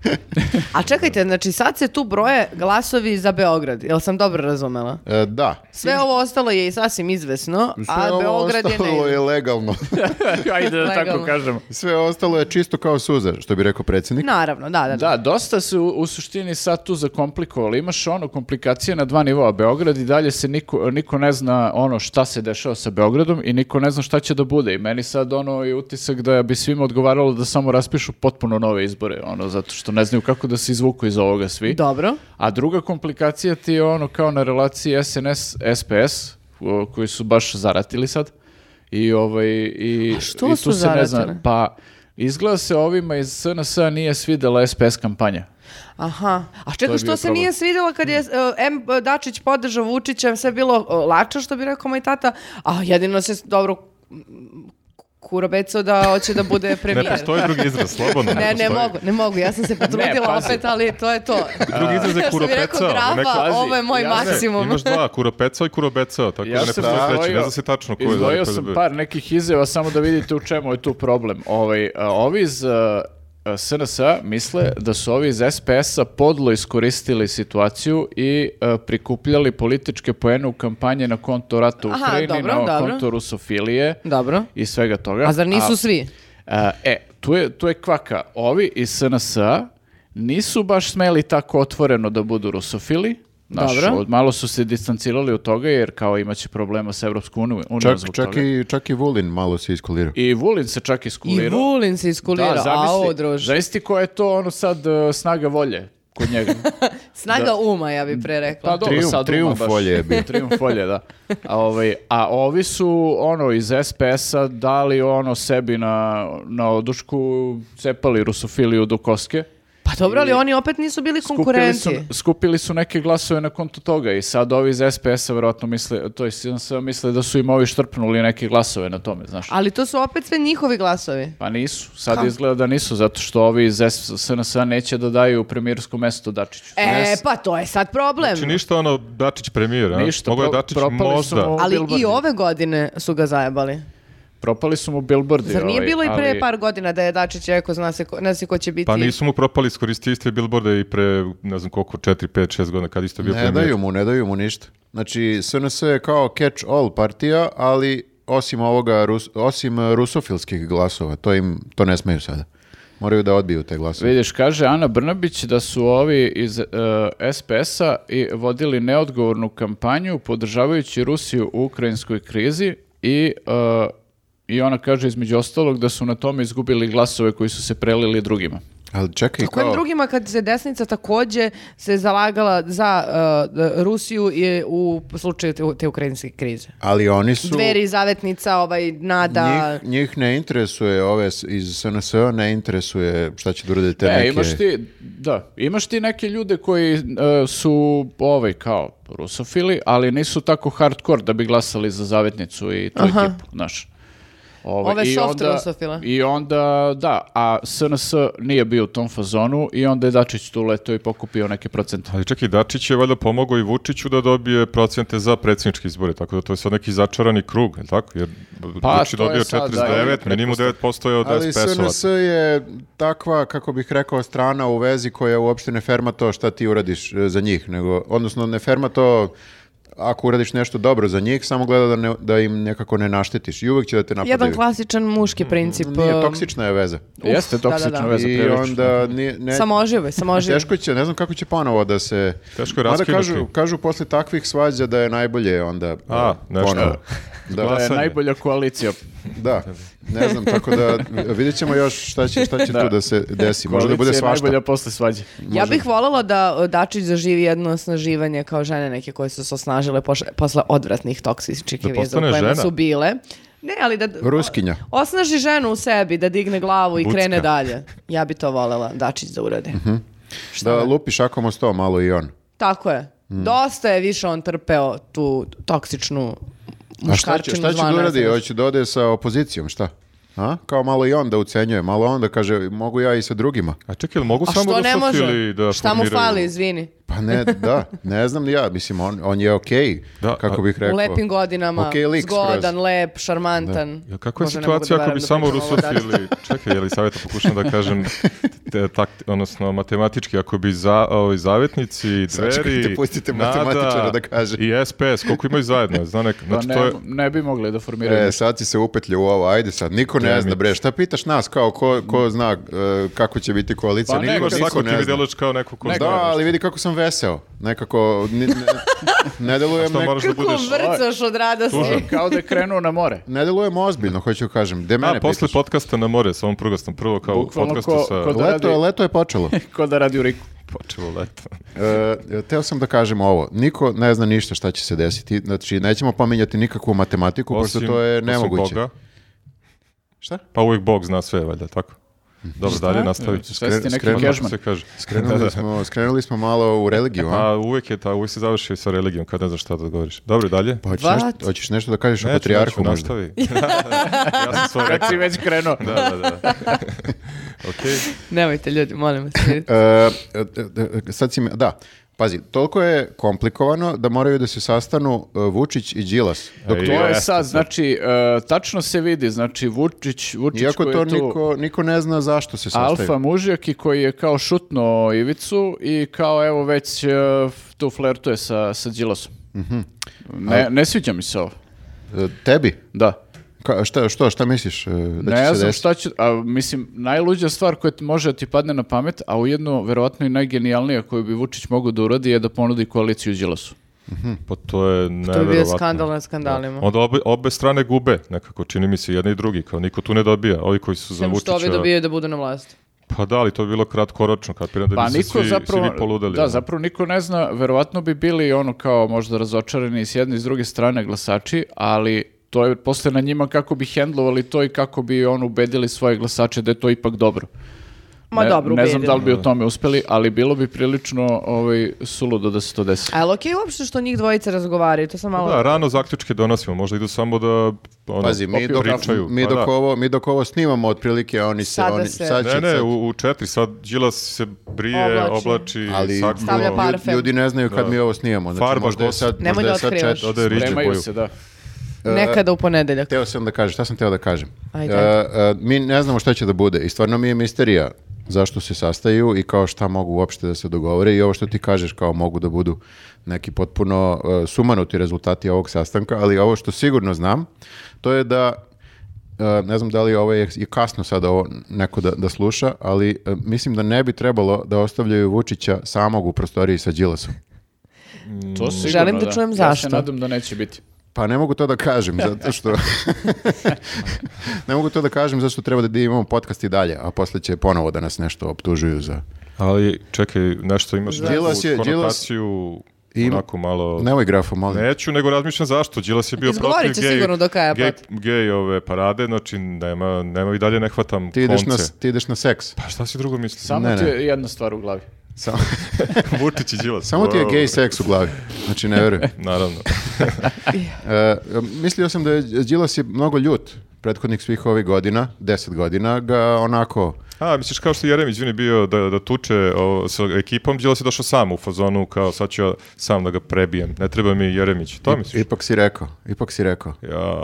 Speaker 1: A čekajte, znači sad se tu broje glasovi za Beograd. Jel sam dobro razumela?
Speaker 2: E, da.
Speaker 1: Sve ovo ostalo je i sasvim izvesno,
Speaker 2: Sve
Speaker 1: a
Speaker 2: ovo
Speaker 1: Beograd je
Speaker 2: ostalo
Speaker 1: ne...
Speaker 2: je
Speaker 1: [laughs]
Speaker 2: legalno.
Speaker 3: [laughs] Ajde da tako
Speaker 1: Legalno.
Speaker 3: kažemo.
Speaker 2: Sve ostalo je čisto kao suza, što bi rekao predsjednik.
Speaker 1: Naravno, da, da, da.
Speaker 3: Da, dosta se u, u suštini sad tu zakomplikovali. Imaš ono komplikacije na dva nivoa. Beograd i dalje se niko, niko ne zna ono šta se dešava sa Beogradom i niko ne zna šta će da bude. I meni sad ono je utisak da bi svima odgovaralo da samo raspišu potpuno nove izbore, ono, zato što ne znaju kako da se izvuku iz ovoga svi.
Speaker 1: Dobro.
Speaker 3: A druga komplikacija ti je ono kao na relaciji SNS-SPS, koji su baš zaratili sad. I, ovaj, i,
Speaker 1: A što
Speaker 3: i tu
Speaker 1: su
Speaker 3: se ne zna,
Speaker 1: zaratili?
Speaker 3: pa izgleda se ovima iz SNS-a nije svidela SPS kampanja.
Speaker 1: Aha. A
Speaker 3: je
Speaker 1: čekaj, što
Speaker 3: bio
Speaker 1: se
Speaker 3: problem.
Speaker 1: nije svidjelo kad je e, M. Dačić podržao Vučića, sve je bilo e, lača, što bi rekao moj tata, a jedino se dobro mm, kurobecao da hoće da bude
Speaker 4: Ne
Speaker 1: premijer.
Speaker 4: postoji drugi izraz, slobodno.
Speaker 1: Ne, ne
Speaker 4: postoji.
Speaker 1: mogu, ne mogu, ja sam se potrudila
Speaker 3: pazi.
Speaker 1: opet, ali to je to.
Speaker 4: Drugi
Speaker 1: [laughs]
Speaker 4: izraz je
Speaker 1: Što bi rekao
Speaker 4: kuropecao,
Speaker 1: Grafa,
Speaker 4: neko-
Speaker 3: Pazi,
Speaker 1: ovo je moj
Speaker 3: ja ne,
Speaker 1: maksimum.
Speaker 4: Imaš dva, kuropecao i kurobecao, tako da ne
Speaker 3: sam
Speaker 4: postoji treći, ne
Speaker 3: izdvojio-
Speaker 4: zna se tačno ko je da
Speaker 3: Izdvojio
Speaker 4: koji
Speaker 3: sam
Speaker 4: da bi-
Speaker 3: par nekih izjava samo da vidite u čemu je tu problem. Ovaj, a, ovi iz e, a, a, SNS-a misle da su ovi iz SPS-a podlo iskoristili situaciju i a, prikupljali političke poene u kampanje na konto rata u
Speaker 1: Aha,
Speaker 3: Ukrajini,
Speaker 1: dobro,
Speaker 3: na
Speaker 1: dobro.
Speaker 3: konto rusofilije
Speaker 1: Dobro.
Speaker 3: i svega toga.
Speaker 1: A zar nisu svi?
Speaker 3: A, e, tu je, tu je kvaka. Ovi iz SNS-a nisu baš smeli tako otvoreno da budu rusofili. Znaš,
Speaker 1: Dobro.
Speaker 3: od- malo su se distancirali od toga jer kao imaće problema sa Evropskom unijom
Speaker 2: Čak,
Speaker 3: zbog
Speaker 2: čak,
Speaker 3: toga.
Speaker 2: i, čak i Vulin malo se iskolirao.
Speaker 3: I Vulin se čak
Speaker 1: I
Speaker 3: iskulirao.
Speaker 1: Vulin se iskulirao,
Speaker 3: Da,
Speaker 1: a
Speaker 3: zamisli,
Speaker 1: ovo druže.
Speaker 3: zamisli koja je to ono sad e, snaga volje kod
Speaker 1: [laughs]
Speaker 3: njega.
Speaker 1: Snaga uma, ja bi pre rekla.
Speaker 3: Pa dobro,
Speaker 2: Trijumf-
Speaker 3: sad uma
Speaker 2: trijumf
Speaker 3: baš.
Speaker 2: volje je
Speaker 3: [laughs]
Speaker 2: bio.
Speaker 3: Trijumf volje, da. A, ovaj, a ovi su ono iz SPS-a dali ono sebi na, na odušku, cepali rusofiliju do koske.
Speaker 1: Pa dobro, ali oni opet nisu bili
Speaker 3: Skupili su,
Speaker 1: konkurenti.
Speaker 3: skupili su neke glasove na konto toga i sad ovi iz SPS-a verovatno misle, to je sve misle da su im ovi štrpnuli neke glasove na tome, znaš.
Speaker 1: Ali to su opet sve njihovi glasovi.
Speaker 3: Pa nisu. Sad izgleda da nisu, zato što ovi iz S- SNS-a neće da daju premijersko mesto Dačiću.
Speaker 1: E,
Speaker 3: Yes.
Speaker 1: pa to je sad problem.
Speaker 4: Znači ništa ono Dačić premijer, a?
Speaker 3: Ništa,
Speaker 4: Mogu je
Speaker 3: pro-
Speaker 4: Dačić
Speaker 3: propali su
Speaker 4: možda. pa
Speaker 3: mu-
Speaker 1: ali
Speaker 3: Bilbordi.
Speaker 1: i ove godine su ga zajebali.
Speaker 3: Propali su mu billboardi.
Speaker 1: Zar nije
Speaker 3: ovaj,
Speaker 1: bilo i pre
Speaker 3: ali-
Speaker 1: par godina da je Dačić rekao, zna se ko, ne zna se ko će biti...
Speaker 4: Pa nisu mu propali, iskoristili ste bilborde i pre, ne znam koliko, 4, 5, 6 godina, kad isto je bio
Speaker 2: Ne
Speaker 4: premijer.
Speaker 2: daju mu, ne daju mu ništa. Znači, SNS je kao catch-all partija, ali osim ovoga, Rus- osim e, rusofilskih glasova, to im, to ne smeju sada. Moraju da odbiju te glasove.
Speaker 3: Vidiš, kaže Ana Brnabić da su ovi iz e, SPS-a i vodili neodgovornu kampanju podržavajući Rusiju u ukrajinskoj krizi i, e, i ona kaže između ostalog da su na tome izgubili glasove koji su se prelili drugima.
Speaker 2: Ali čekaj,
Speaker 1: Kojim
Speaker 2: kao,
Speaker 1: drugima kad se desnica takođe se zalagala za uh, da- Rusiju i u slučaju te, te ukrajinske krize.
Speaker 2: ali oni su...
Speaker 1: Dveri, zavetnica, ovaj, nada...
Speaker 2: Njih, njih ne interesuje, ove s- iz SNS -a ne interesuje šta će da urade te
Speaker 3: E,
Speaker 2: neke...
Speaker 3: imaš ti, da, imaš ti neke ljude koji e, su ovaj kao rusofili, ali nisu tako hardkor da bi glasali za zavetnicu i tu ekipu, znaš. Ovaj,
Speaker 1: Ove
Speaker 3: i
Speaker 1: soft
Speaker 3: onda-
Speaker 1: rusofile.
Speaker 3: I onda, da, a SNS nije bio u tom fazonu i onda je Dačić tu letao i pokupio neke procente.
Speaker 4: Ali čekaj, Dačić je valjda pomogao i Vučiću da dobije procente za predsjedničke izbore, tako da to je sad neki začarani krug, je li tako? Jer
Speaker 3: Pa,
Speaker 4: Vučić
Speaker 3: to je
Speaker 4: dobio
Speaker 3: sad, da,
Speaker 4: 49,
Speaker 3: je
Speaker 4: minimum 9% je od
Speaker 2: Ali SNS
Speaker 4: SPS-ova.
Speaker 2: je takva, kako bih rekao, strana u vezi koja uopšte ne ferma to šta ti uradiš e, za njih, nego, odnosno ne ferma to ako uradiš nešto dobro za njih, samo gleda da, ne- da im nekako ne naštetiš i uvek će da te napadaju.
Speaker 1: Jedan klasičan muški princip.
Speaker 2: Nije,
Speaker 1: um,
Speaker 2: toksična je veza.
Speaker 3: Jeste
Speaker 1: da, da,
Speaker 3: toksična
Speaker 1: da.
Speaker 3: veza
Speaker 2: I
Speaker 3: prilično.
Speaker 2: onda nije, ne,
Speaker 1: Samožive, samožive.
Speaker 2: Teško će, ne znam kako će ponovo da se...
Speaker 4: Teško je
Speaker 2: Mada
Speaker 4: raskinuti.
Speaker 2: kažu, kažu posle takvih svađa da je najbolje onda
Speaker 4: A,
Speaker 2: e,
Speaker 4: nešto. [laughs]
Speaker 2: ponovo.
Speaker 3: Da
Speaker 2: Da,
Speaker 3: je
Speaker 4: Glasanje.
Speaker 3: najbolja koalicija.
Speaker 2: da, ne znam, tako da vidjet ćemo još šta će, šta će tu da se desi. Možda da bude
Speaker 3: Koalicija je
Speaker 2: svašta.
Speaker 3: najbolja posle svađe.
Speaker 1: Ja bih voljela da e, Dačić zaživi jedno osnaživanje kao žene neke koje su se osnažile poš- posle odvratnih toksičnih
Speaker 4: Da
Speaker 1: veza u
Speaker 4: postane
Speaker 1: kojima
Speaker 4: žena?
Speaker 1: su bile. Ne, ali da...
Speaker 2: Ruskinja.
Speaker 1: Osnaži ženu u sebi, da digne glavu i
Speaker 4: Bucka. Mhm.
Speaker 1: krene dalje. Ja bi to voljela Dačić da uradi.
Speaker 2: Da lupi šakom o sto malo i on.
Speaker 1: Tako je.
Speaker 4: Mhm.
Speaker 1: Dosta je više on trpeo tu toksičnu
Speaker 2: A šta će,
Speaker 1: muškarčinu
Speaker 2: šta će da
Speaker 1: zvana
Speaker 2: uradi?
Speaker 1: SNS.
Speaker 2: Hoće da ode sa opozicijom, šta? A? Kao malo i on da ucenjuje, malo on da kaže mogu ja i sa drugima.
Speaker 4: A čekaj, jel mogu
Speaker 1: A
Speaker 4: samo
Speaker 1: što ne može?
Speaker 4: rusofili da
Speaker 1: šta mu
Speaker 4: formiraju-
Speaker 1: fali, izvini?
Speaker 2: Pa ne, da, ne znam ni ja, mislim on, on je okej,
Speaker 4: Da,
Speaker 2: kako
Speaker 4: a-
Speaker 2: bih rekao.
Speaker 1: U lepim godinama,
Speaker 2: Okej lik
Speaker 1: zgodan,
Speaker 2: skroz.
Speaker 1: lep, šarmantan.
Speaker 4: Ja, kakva je
Speaker 1: Možda ne mogu da
Speaker 4: situacija ako
Speaker 1: verujem
Speaker 4: bi
Speaker 1: da
Speaker 4: samo
Speaker 1: pričam ovo o Dačiću.
Speaker 4: rusofili,
Speaker 1: [laughs]
Speaker 4: čekaj, je li savjeta pokušam da kažem, te, tak, odnosno matematički, ako bi za, ovi, zavetnici,
Speaker 2: Sad
Speaker 4: dveri,
Speaker 2: čekajte, pustite
Speaker 4: Nada
Speaker 2: matematičara da kaže.
Speaker 4: i SPS, koliko imaju zajedno, zna neka,
Speaker 3: Pa
Speaker 4: znači
Speaker 3: ne,
Speaker 4: to je,
Speaker 3: ne bi mogli da formiraju.
Speaker 2: E, sad si se upetlju u ovo, ajde sad, niko ne
Speaker 4: Damn
Speaker 2: zna,
Speaker 4: it.
Speaker 2: bre, šta pitaš nas, kao ko, ko zna e, kako će biti koalicija,
Speaker 3: Pa
Speaker 2: niko,
Speaker 3: nego,
Speaker 4: Imaš
Speaker 2: niko
Speaker 4: svako ti
Speaker 2: ne
Speaker 4: mi
Speaker 2: zna.
Speaker 4: djeluješ kao neko ko
Speaker 2: Da,
Speaker 4: zna nešto.
Speaker 2: ali vidi kako sam veseo, nekako, ni-
Speaker 4: [laughs]
Speaker 2: ne, ne delujem,
Speaker 4: Što
Speaker 2: nek-
Speaker 4: moraš da
Speaker 1: Kako
Speaker 4: budeš...
Speaker 3: ovaj.
Speaker 1: vrcaš od radosti.
Speaker 4: Tužan.
Speaker 3: Kao da je krenuo na more. [laughs]
Speaker 2: ne delujem ozbiljno, hoću kažem, gde
Speaker 4: Da,
Speaker 2: mene
Speaker 4: posle
Speaker 2: pitaš?
Speaker 4: podcasta na more sa ovom prugostom, prvo kao u
Speaker 3: Bukvalno
Speaker 4: podcastu
Speaker 3: ko-
Speaker 4: sa...
Speaker 3: ko da-
Speaker 2: Leto,
Speaker 3: radi-
Speaker 2: leto je
Speaker 4: [laughs]
Speaker 2: počelo.
Speaker 3: Ko da radi u Riku.
Speaker 4: Počelo leto.
Speaker 2: E, teo sam da kažem ovo, niko ne zna ništa šta će se desiti, znači nećemo pominjati nikakvu matematiku,
Speaker 4: Osim-
Speaker 2: pošto to je
Speaker 4: osim
Speaker 2: nemoguće.
Speaker 4: Boga.
Speaker 2: Šta?
Speaker 4: Pa uvijek Bog zna sve, valjda, tako?
Speaker 2: Mhm.
Speaker 4: Dobro, dalje nastavit ću.
Speaker 3: Sve ste neki
Speaker 2: skrenuo
Speaker 4: Kako
Speaker 3: kežman.
Speaker 4: se kaže? [laughs] Da,
Speaker 2: Skrenuli
Speaker 4: da.
Speaker 2: smo, skrenuli smo malo u religiju, a?
Speaker 4: A uvijek je ta, uvijek se završi sa religijom, kad ne znaš šta da odgovoriš. Dobro, dalje.
Speaker 2: Pa hoćeš
Speaker 1: What?
Speaker 2: nešto, hoćeš nešto da kažeš o
Speaker 4: Neću,
Speaker 2: patrijarhu
Speaker 4: neću,
Speaker 2: možda? [laughs]
Speaker 4: nastavi. Da, da. ja sam svoj
Speaker 3: Kad
Speaker 4: rekao.
Speaker 3: si već krenuo.
Speaker 4: Da, da, da. Okej.
Speaker 1: Nemojte ljudi, molim
Speaker 3: [laughs]
Speaker 1: vas. vidite.
Speaker 2: E, e, e, sad si me- da, pazi, toliko je komplikovano da moraju da se sastanu e, Vučić i Đilas. Dok to-
Speaker 4: Ej,
Speaker 3: To je
Speaker 4: Jeste,
Speaker 3: sad, znači, e, tačno se vidi, znači, Vučić, Vučić
Speaker 2: iako
Speaker 3: koji
Speaker 2: to
Speaker 3: je tu
Speaker 2: niko, niko ne zna zašto se sastaju.
Speaker 3: alfa mužjaki koji je kao šutno Ivicu i kao evo već e, f- tu flertuje sa, sa Đilasom.
Speaker 2: Mhm.
Speaker 3: Ne, ne sviđa mi se ovo.
Speaker 2: E, Tebi?
Speaker 3: Da.
Speaker 2: Ka, šta, što, šta misliš e, da će
Speaker 3: ne
Speaker 2: se
Speaker 3: znam
Speaker 2: desiti?
Speaker 3: šta će, a mislim, najluđa stvar koja ti može da ti padne na pamet, a ujedno verovatno i najgenijalnija koju bi Vučić mogao da uradi je da ponudi koaliciju Đilasu.
Speaker 4: Pa to je nevjerovatno.
Speaker 1: To je bio skandal na skandalima.
Speaker 4: Onda obe, obe strane gube, nekako, čini mi se, jedni i drugi, kao niko tu ne dobija, ovi koji su za
Speaker 1: Sem što
Speaker 4: Vučića.
Speaker 1: ovi dobijaju da budu na vlasti.
Speaker 4: Pa da, ali to bi bilo kratkoročno, kapiram da
Speaker 3: Pa
Speaker 4: bi se
Speaker 3: niko
Speaker 4: svi,
Speaker 3: zapravo,
Speaker 4: svi bi poludeli.
Speaker 3: da,
Speaker 4: ono.
Speaker 3: zapravo niko ne zna, verovatno bi bili ono kao možda razočarani i s jedne i s druge strane glasači, ali to je posle na njima kako bi hendlovali to i kako bi on ubedili svoje glasače da je to ipak dobro.
Speaker 1: Ma
Speaker 3: ne,
Speaker 1: dobro,
Speaker 3: ne znam
Speaker 1: ubedili.
Speaker 3: da li bi u tome uspeli, ali bilo bi prilično ovaj, suludo da se to desi.
Speaker 1: A je li okej uopšte što njih dvojica razgovaraju? To sam malo...
Speaker 4: Da, rano zaključke donosimo, možda idu samo da ono,
Speaker 2: Pazi, mi dok,
Speaker 4: pričaju.
Speaker 2: mi,
Speaker 4: Pa
Speaker 2: dok
Speaker 4: da.
Speaker 2: ovo, mi dok ovo snimamo otprilike, a oni se...
Speaker 1: Sada
Speaker 2: Oni,
Speaker 1: se-
Speaker 2: sad će-
Speaker 4: Ne, ne,
Speaker 2: Znači, sad-
Speaker 4: u, u četiri, sad Đilas se brije,
Speaker 1: Oblači.
Speaker 4: oblači,
Speaker 2: ali
Speaker 4: sakrilo.
Speaker 1: Stavlja par-
Speaker 2: ljudi,
Speaker 1: parfem.
Speaker 2: ljudi ne znaju kad
Speaker 4: Da.
Speaker 2: mi ovo snimamo. Znači,
Speaker 4: Farba
Speaker 2: možda je
Speaker 4: gos.
Speaker 2: sad,
Speaker 1: Nemoj
Speaker 2: možda je
Speaker 1: da
Speaker 2: sad
Speaker 1: otkrivaš.
Speaker 2: čet-
Speaker 4: Ode riđe
Speaker 3: Spremaju
Speaker 4: boju.
Speaker 3: se, da. e,
Speaker 1: Nekada u ponedeljak.
Speaker 2: Teo sam da kažem, šta sam teo da kažem?
Speaker 1: Ajde,
Speaker 2: E, e, mi ne znamo šta će da bude i stvarno mi je misterija zašto se sastaju i kao šta mogu uopšte da se dogovore i ovo što ti kažeš kao mogu da budu neki potpuno e, sumanuti rezultati ovog sastanka, ali ovo što sigurno znam, to je da e, ne znam da li ovo je, je kasno sada ovo neko da, da sluša, ali e, mislim da ne bi trebalo da ostavljaju Vučića samog u prostoriji sa Đilasom.
Speaker 4: Mm.
Speaker 3: To sigurno,
Speaker 1: Želim da čujem zašto.
Speaker 3: Ja se nadam da neće biti.
Speaker 2: Pa ne mogu to da kažem, zato
Speaker 4: [laughs]
Speaker 2: što... ne mogu to da kažem, zato što treba da imamo podcast i dalje, a posle će ponovo da nas nešto optužuju za...
Speaker 4: Ali čekaj, nešto imaš
Speaker 2: Đilas
Speaker 4: neku
Speaker 2: je- Đilas-
Speaker 4: konotaciju,
Speaker 2: Ima-
Speaker 4: onako malo...
Speaker 2: Nemoj grafo, molim.
Speaker 4: Neću, nego razmišljam zašto. Đilas je bio
Speaker 1: Izgovorit
Speaker 4: protiv
Speaker 1: će
Speaker 4: gej,
Speaker 1: sigurno do kraja, pa-
Speaker 4: gej,
Speaker 1: Pat.
Speaker 4: gej ove parade, znači nema, nema i dalje ne hvatam
Speaker 2: Ti ideš, na,
Speaker 4: konce.
Speaker 2: ti ideš na seks.
Speaker 4: Pa šta si drugo misliš?
Speaker 3: Samo
Speaker 2: Ne,
Speaker 3: ti
Speaker 2: ne.
Speaker 3: je jedna stvar u glavi.
Speaker 2: Samo,
Speaker 4: [laughs] Vučić i Đilas.
Speaker 2: samo ti je
Speaker 4: Wow.
Speaker 2: gej seks u glavi. Znači,
Speaker 4: [laughs]
Speaker 2: ne verujem.
Speaker 4: Naravno.
Speaker 2: E, mislio sam da je Đilas je mnogo ljut prethodnih svih ovih godina, deset godina, ga onako...
Speaker 4: A, misliš kao što je Jeremić vini bio da, da tuče o, sa ekipom, Đilas je došao sam u fazonu kao sad ću ja sam da ga prebijem, ne treba mi Jeremić, to misliš?
Speaker 2: Ipak si rekao, ipak si rekao.
Speaker 4: Ja,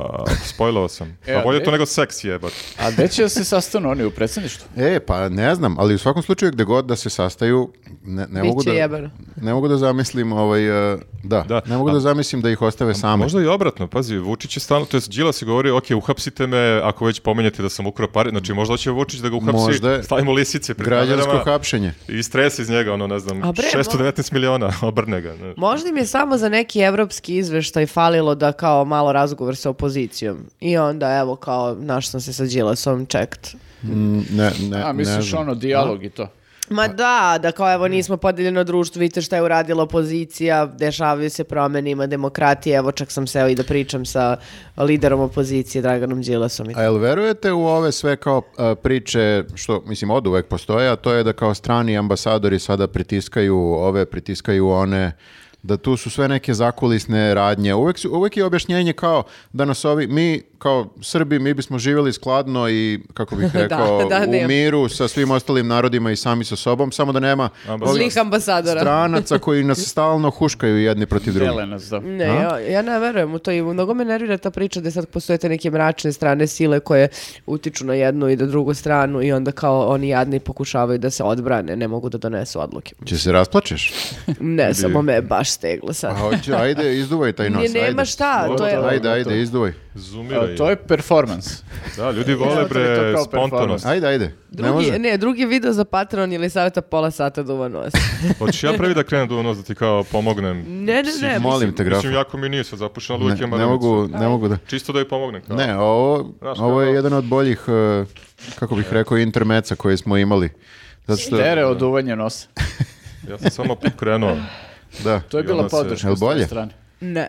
Speaker 4: spojlovao
Speaker 2: [laughs]
Speaker 4: sam.
Speaker 3: E,
Speaker 4: A bolje
Speaker 3: e.
Speaker 4: to nego seks jebat.
Speaker 3: A gde će da se sastanu oni u
Speaker 4: [laughs]
Speaker 3: predsjedništvu?
Speaker 2: E, pa ne znam, ali u svakom slučaju gde god da se sastaju, ne, ne
Speaker 1: Bit
Speaker 2: mogu
Speaker 1: će
Speaker 2: da...
Speaker 1: jebeno.
Speaker 2: Ne mogu da zamislim, ovaj, e, da,
Speaker 4: Da,
Speaker 2: ne mogu
Speaker 4: a-
Speaker 2: da zamislim da ih ostave same.
Speaker 4: Možda i obratno, pazi, Vučić je stalno, to jest Đilas je govorio, ok, uhapsite me ako već pomenjate da sam ukrao pare, znači možda će Vučić da ga uhapsi,
Speaker 2: Možda je.
Speaker 4: stavimo lisice pred
Speaker 2: Građansko
Speaker 4: kamerama
Speaker 2: hapšenje.
Speaker 4: i stres iz njega, ono, ne znam,
Speaker 1: A bre,
Speaker 4: 619 miliona, [laughs] obrne ga. ne.
Speaker 1: Možda im je samo za neki evropski izveštaj falilo da kao malo razgovor sa opozicijom. I onda evo kao naš sam se sa Đilasom čekt.
Speaker 2: Mm, Ne, ne,
Speaker 3: A
Speaker 2: ne
Speaker 3: misliš
Speaker 2: znam.
Speaker 3: ono, dijalog i to.
Speaker 1: Ma da, da kao evo nismo podeljeno društvo, vidite šta je uradila opozicija, dešavaju se promene, ima demokratije, evo čak sam seo i da pričam sa liderom opozicije Draganom Đilasom. i
Speaker 2: A jel verujete u ove sve kao e, priče, što mislim od uvek postoje, a to je da kao strani ambasadori sada pritiskaju ove, pritiskaju one, da tu su sve neke zakulisne radnje. Uvek, su- uvek je objašnjenje kao da nas ovi, mi kao Srbi, mi bismo živjeli skladno i,
Speaker 1: [laughs]
Speaker 2: kako bih rekao,
Speaker 1: da,
Speaker 2: u
Speaker 1: nema.
Speaker 2: miru sa svim ostalim narodima i sami sa sobom, samo da nema
Speaker 4: Ambasador.
Speaker 1: Zlih ambasadora.
Speaker 2: stranaca koji
Speaker 1: [laughs]
Speaker 2: nas stalno huškaju jedni protiv drugih.
Speaker 3: Dele nas, da.
Speaker 1: Ne, ja, ja ne verujem u to i mnogo me nervira ta priča da sad postoje te neke mračne strane sile koje utiču na jednu i na drugu stranu i onda kao oni jadni pokušavaju da se odbrane, ne mogu da donesu
Speaker 2: [laughs]
Speaker 1: odluke.
Speaker 2: Če se rasplačeš?
Speaker 1: Ne, samo me je baš steglo sad.
Speaker 2: A hoće, ajde, izduvaj taj nos.
Speaker 1: Ne, nema
Speaker 2: ajde.
Speaker 1: šta, to je...
Speaker 3: Dobro,
Speaker 2: Ajde,
Speaker 3: dobro,
Speaker 2: ajde,
Speaker 3: to.
Speaker 2: izduvaj.
Speaker 4: Zoomiraj.
Speaker 3: A, to je performans.
Speaker 4: Da, ljudi vole
Speaker 3: Zato mi je to
Speaker 4: bre
Speaker 3: kao
Speaker 4: spontanost.
Speaker 3: performans.
Speaker 2: Ajde, ajde. ne može.
Speaker 1: Drugi, ne, drugi video za Patreon ili savjeta pola sata duva
Speaker 2: [laughs]
Speaker 1: nos.
Speaker 4: Hoćeš ja prvi da krenem do nos da ti kao pomognem?
Speaker 1: Ne, ne, ne.
Speaker 2: Molim te, grafa.
Speaker 4: Mislim, jako mi nije sad zapušeno, ali uvijek
Speaker 2: Ne,
Speaker 4: imam
Speaker 2: ne
Speaker 4: ranicu.
Speaker 2: mogu, ne mogu da...
Speaker 4: Čisto da joj pomognem. Kao.
Speaker 2: Ne, ovo,
Speaker 4: Znaš
Speaker 2: ovo je
Speaker 4: kako-
Speaker 2: jedan od boljih, e, kako bih rekao, intermeca koje smo imali. Zato što,
Speaker 3: Tere od uvanja nosa.
Speaker 4: Ja sam samo
Speaker 1: [laughs]
Speaker 4: pokrenuo.
Speaker 2: da,
Speaker 3: To je
Speaker 4: I
Speaker 3: bila
Speaker 4: onda se-
Speaker 2: Jel
Speaker 3: podrška s
Speaker 2: bolje?
Speaker 3: tvoje strane.
Speaker 1: Ne,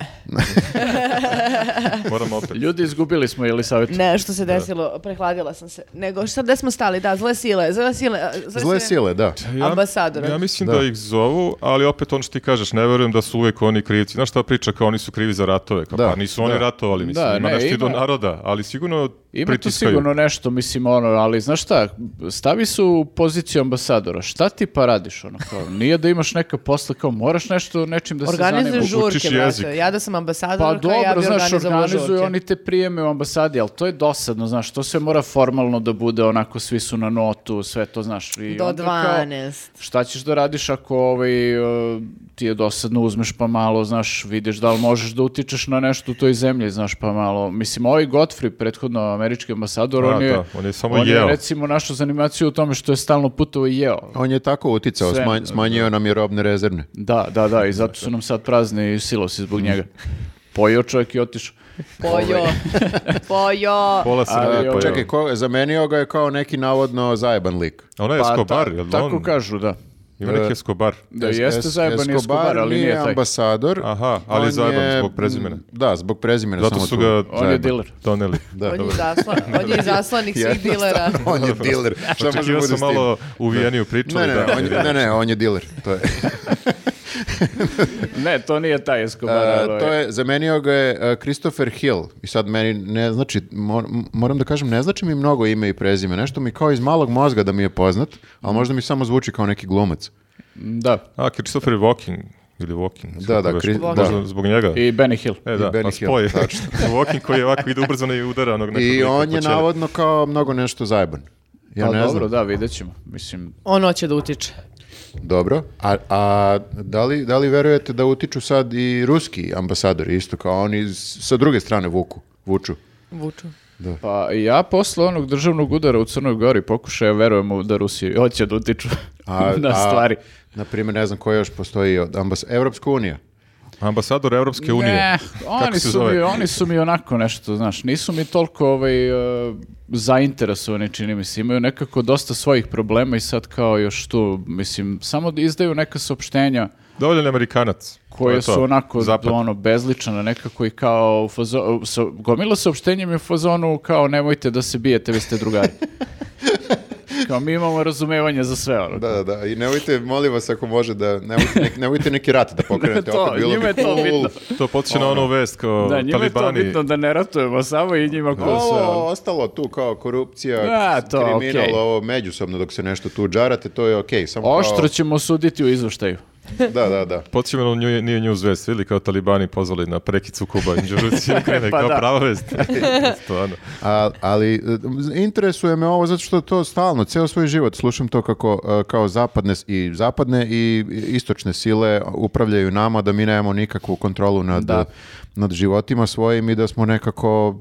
Speaker 4: Moram opet.
Speaker 3: Ljudi, izgubili smo Jelisavetu.
Speaker 1: ne, što se desilo, prehladila sam se. Nego, šta, gde smo stali? Da, zle sile, zle sile. a, Zle,
Speaker 2: Zle sile, da.
Speaker 1: ambasadora.
Speaker 4: Ja mislim
Speaker 2: Da.
Speaker 4: da. ih zovu, ali opet ono što ti kažeš, ne verujem da su uvek oni krivci. Znaš šta priča, kao oni su krivi za ratove. Kao,
Speaker 2: Da.
Speaker 4: pa nisu oni
Speaker 2: Da.
Speaker 4: ratovali, mislim.
Speaker 3: Da,
Speaker 4: ima
Speaker 3: ne,
Speaker 4: nešto i do
Speaker 3: ima-
Speaker 4: naroda, ali sigurno
Speaker 3: Ima tu
Speaker 4: pritiskaju.
Speaker 3: sigurno nešto, mislim, ono, ali znaš šta, stavi se u poziciju ambasadora, šta ti pa radiš, ono, kao, nije da imaš neka posla, kao, moraš nešto, nečim da se
Speaker 1: Organizuj
Speaker 3: zanimaš.
Speaker 1: žurke,
Speaker 4: Učiš jezik.
Speaker 1: brate. Ja da sam
Speaker 3: Pa
Speaker 1: ambasador, ja
Speaker 3: dobro,
Speaker 1: bi
Speaker 3: znaš,
Speaker 1: organizovala
Speaker 3: organizuju
Speaker 1: žurke.
Speaker 3: oni te prijeme u ambasadi, ali to je dosadno, znaš, to sve mora formalno da bude, onako, svi su na notu, sve to, znaš. I
Speaker 1: Do
Speaker 3: onda kao,
Speaker 1: 12.
Speaker 3: šta ćeš da radiš ako ovaj, e, ti je dosadno, uzmeš pa malo, znaš, vidiš da li možeš da utičeš na nešto u toj zemlji, znaš, pa malo. Mislim, ovaj Godfrey, prethodno američki ambasador,
Speaker 4: A,
Speaker 3: on, je,
Speaker 4: da, on je samo
Speaker 3: on
Speaker 4: jeo.
Speaker 3: recimo našu zanimaciju u tome što je stalno putovo i jeo.
Speaker 2: On je tako uticao,
Speaker 3: Sve,
Speaker 2: smanj- smanjio nam je robne rezervne.
Speaker 3: Da, da, da, i zato su nam sad prazni silosi zbog njega. Pojeo čovjek i otišao.
Speaker 1: Pojo. Pojo.
Speaker 4: Pola se
Speaker 3: Ali,
Speaker 4: ne,
Speaker 3: ovo-
Speaker 4: pa
Speaker 2: E, Čekaj, ko, zamenio ga je kao neki navodno zajeban lik.
Speaker 4: Ona Ono je
Speaker 3: Pa,
Speaker 4: Escobar,
Speaker 3: ta-
Speaker 4: jel da
Speaker 3: Tako
Speaker 4: on?
Speaker 3: kažu, da.
Speaker 4: Ima neki
Speaker 2: E,
Speaker 4: Escobar.
Speaker 3: Da
Speaker 2: Es-
Speaker 3: jeste
Speaker 2: Es-
Speaker 3: zajeban Escobar, ali nije taj.
Speaker 2: ambasador.
Speaker 4: Aha, ali
Speaker 2: On
Speaker 4: je zajeban zbog prezimena.
Speaker 2: Da, zbog prezimena.
Speaker 4: Zato
Speaker 2: samo
Speaker 4: su
Speaker 2: tu.
Speaker 4: ga
Speaker 3: On je diler.
Speaker 4: doneli.
Speaker 2: Da,
Speaker 1: on, je
Speaker 2: dobro.
Speaker 1: zaslan,
Speaker 2: [laughs]
Speaker 1: on je zaslanik svih dilera.
Speaker 2: Jednostavno, on je diler. Šta može
Speaker 4: [laughs] Očekivao
Speaker 2: bude
Speaker 4: sam
Speaker 2: s tim?
Speaker 4: malo uvijeniju priču.
Speaker 2: Ne,
Speaker 4: ali
Speaker 2: ne,
Speaker 4: da,
Speaker 2: on je, ne, ne, on je diler. To
Speaker 3: [laughs]
Speaker 2: je.
Speaker 3: Ne, to nije taj Escobar.
Speaker 2: E,
Speaker 3: ali ovaj-
Speaker 2: to je, zamenio ga je e, Christopher Hill i sad meni ne znači, mor- m- moram da kažem, ne znači mi mnogo ime i prezime, nešto mi kao iz malog mozga da mi je poznat, ali možda mi samo zvuči kao neki glumac.
Speaker 3: Pa Da,
Speaker 4: [laughs] A, Christopher Walking. Ili Walking.
Speaker 2: Da, da, Chris-
Speaker 4: Možda
Speaker 2: da.
Speaker 4: zbog njega.
Speaker 3: i Benny Hill.
Speaker 4: E, da,
Speaker 2: Benny
Speaker 4: pa
Speaker 2: Hill,
Speaker 4: spoje.
Speaker 2: tačno.
Speaker 4: [laughs] Walking koji ovako ide ubrzano i udara onog nekog
Speaker 2: I
Speaker 4: lika
Speaker 2: on je
Speaker 4: po čelu.
Speaker 2: navodno kao mnogo nešto zajeban. Ja
Speaker 3: pa
Speaker 2: ne
Speaker 3: dobro,
Speaker 2: znam.
Speaker 3: da, vidjet ćemo. Mislim,
Speaker 1: On hoće da utiče.
Speaker 2: Dobro. A, a da, li, da li verujete da utiču sad i ruski ambasadori isto kao oni s- sa druge strane vuku, vuču?
Speaker 1: Vuču.
Speaker 3: pa ja posle onog državnog udara u Crnoj Gori pokušaja verujem u- da Rusi hoće da utiču
Speaker 2: A,
Speaker 3: [laughs] na
Speaker 2: a,
Speaker 3: stvari.
Speaker 2: Na primjer, ne znam koja još postoji od ambas... Evropska unija.
Speaker 4: Ambasador Evropske unije.
Speaker 3: Ne,
Speaker 4: Kako
Speaker 3: oni
Speaker 4: se
Speaker 3: su,
Speaker 4: zove?
Speaker 3: mi, oni su mi onako nešto, znaš, nisu mi toliko ovaj, e, zainteresovani, čini mi se, imaju nekako dosta svojih problema i sad kao još tu, mislim, samo da izdaju neka saopštenja
Speaker 4: Dovoljan je Amerikanac. To
Speaker 3: koje
Speaker 4: je to.
Speaker 3: su onako
Speaker 4: Zapad.
Speaker 3: ono bezličana nekako i kao u fazo, sa,
Speaker 4: [laughs]
Speaker 3: gomila saopštenjem je u fazonu kao nemojte da se bijete, vi ste drugari. Kao mi imamo razumevanje za sve ono.
Speaker 2: Da, da, da. I nemojte, molim vas, ako može, da nemojte, nek- nemojte neki rat
Speaker 3: [laughs]
Speaker 2: da pokrenete.
Speaker 3: To,
Speaker 2: opet, bilo
Speaker 3: njima
Speaker 2: bi
Speaker 3: je to
Speaker 2: cool.
Speaker 3: bitno.
Speaker 4: To podsjeća na onu vest kao
Speaker 3: Ono- Da, njima je to
Speaker 4: talibani.
Speaker 3: bitno da ne ratujemo samo i njima ko se...
Speaker 2: Ovo ono. ostalo tu kao korupcija,
Speaker 3: Da, to,
Speaker 2: kriminal,
Speaker 3: okej.
Speaker 2: ovo međusobno dok se nešto tu džarate, to je okej. samo kao-
Speaker 3: Oštro ćemo suditi u izvoštaju.
Speaker 2: Da, da, da.
Speaker 4: Podsjeća me na nju, nije news vest, ili kao talibani pozvali na prekid sukoba Inđuruci
Speaker 3: [laughs]
Speaker 4: i Ukrajine,
Speaker 3: Pa
Speaker 4: kao
Speaker 3: da.
Speaker 4: prava
Speaker 3: [laughs]
Speaker 4: vest. Stvarno.
Speaker 2: A- ali e, interesuje me ovo zato što to stalno, ceo svoj život slušam to kako e, kao zapadne s- i zapadne i istočne sile upravljaju nama da mi nemamo nikakvu kontrolu nad,
Speaker 3: Da.
Speaker 2: nad životima svojim i da smo nekako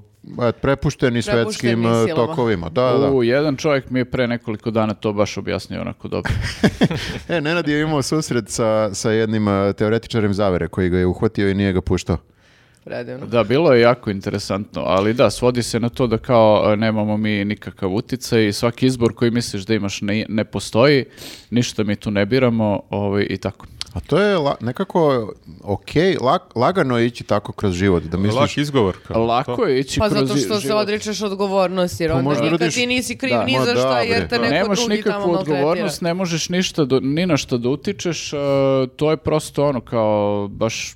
Speaker 2: e, prepušteni, svetskim e,
Speaker 1: silama.
Speaker 2: tokovima. Da, Pa da.
Speaker 3: U, jedan čovjek mi je pre nekoliko dana to baš objasnio onako dobro.
Speaker 2: E, Nenad je imao susret sa, sa jednim e, teoretičarem zavere koji ga je uhvatio i nije ga puštao.
Speaker 1: Predivno.
Speaker 3: Da, bilo je jako interesantno, ali da, svodi se na to da kao e, nemamo mi nikakav uticaj i svaki izbor koji misliš da imaš ne, ne postoji, ništa mi tu ne biramo ovaj, i tako.
Speaker 2: A to je la- nekako ok, lagano je ići tako kroz život. Da misliš,
Speaker 4: Lak izgovor. Kao,
Speaker 3: Lako je ići
Speaker 1: Pa
Speaker 3: znači, kroz
Speaker 1: zato što se
Speaker 3: život.
Speaker 1: odričeš odgovornosti, jer
Speaker 2: Pa
Speaker 1: onda
Speaker 2: možda
Speaker 1: nikad
Speaker 2: rodiš-
Speaker 1: ti nisi kriv
Speaker 3: Da.
Speaker 1: ni
Speaker 2: Ma
Speaker 1: za šta,
Speaker 2: da,
Speaker 1: jer
Speaker 2: bre.
Speaker 1: te neko
Speaker 3: Nemaš
Speaker 1: drugi tamo
Speaker 3: nikakvu
Speaker 1: maltretira.
Speaker 3: odgovornost, ne možeš ništa, do, ni na šta da utičeš, e, to je prosto ono kao baš e,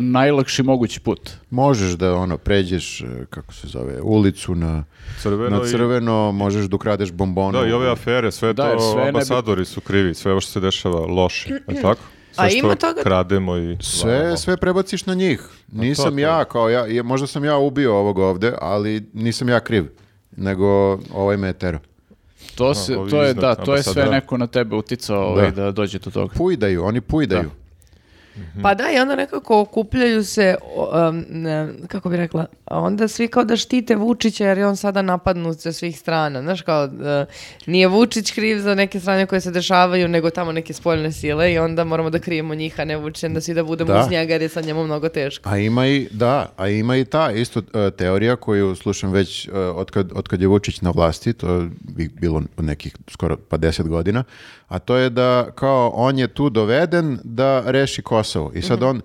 Speaker 3: najlakši mogući put.
Speaker 2: Možeš da ono pređeš e, kako se zove ulicu na
Speaker 4: Crveno
Speaker 2: na
Speaker 4: i-
Speaker 2: crveno, možeš da ukradeš bombonu.
Speaker 4: Da, i ove afere, sve
Speaker 3: Da, jer
Speaker 4: to
Speaker 3: sve ne bi-
Speaker 4: ambasadori su krivi, sve ovo što se dešava loše, je
Speaker 3: [clears throat]
Speaker 4: li tako? Sve
Speaker 1: A ima
Speaker 4: što
Speaker 1: toga-
Speaker 4: krademo i...
Speaker 2: sve, sve prebaciš na njih. Nisam
Speaker 4: Pa to.
Speaker 2: ja kao ja, je- možda sam ja ubio ovog ovde, ali nisam ja kriv, nego ovaj meter.
Speaker 3: To, se,
Speaker 4: ovi
Speaker 3: to je,
Speaker 4: iznad
Speaker 3: da, to je sve
Speaker 4: ambasadora.
Speaker 3: neko na tebe uticao ovaj, da. dođe do toga.
Speaker 2: Pujdaju, oni pujdaju. Mhm.
Speaker 1: Pa da, i onda nekako okupljaju se, o, um, ne, kako bi rekla, a onda svi kao da štite Vučića jer je on sada napadnut sa svih strana. Znaš kao, e, nije Vučić kriv za neke strane koje se dešavaju, nego tamo neke spoljne sile i onda moramo da krijemo njih, a ne Vučića, da svi da budemo
Speaker 2: Da.
Speaker 1: uz njega jer je sad njemu mnogo teško.
Speaker 2: A ima i, da, a ima i ta isto e, teorija koju slušam već e, otkad, otkad je Vučić na vlasti, to bi bilo nekih skoro pa 10 godina, a to je da kao on je tu doveden da reši Kosovo i
Speaker 3: Mhm.
Speaker 2: sad on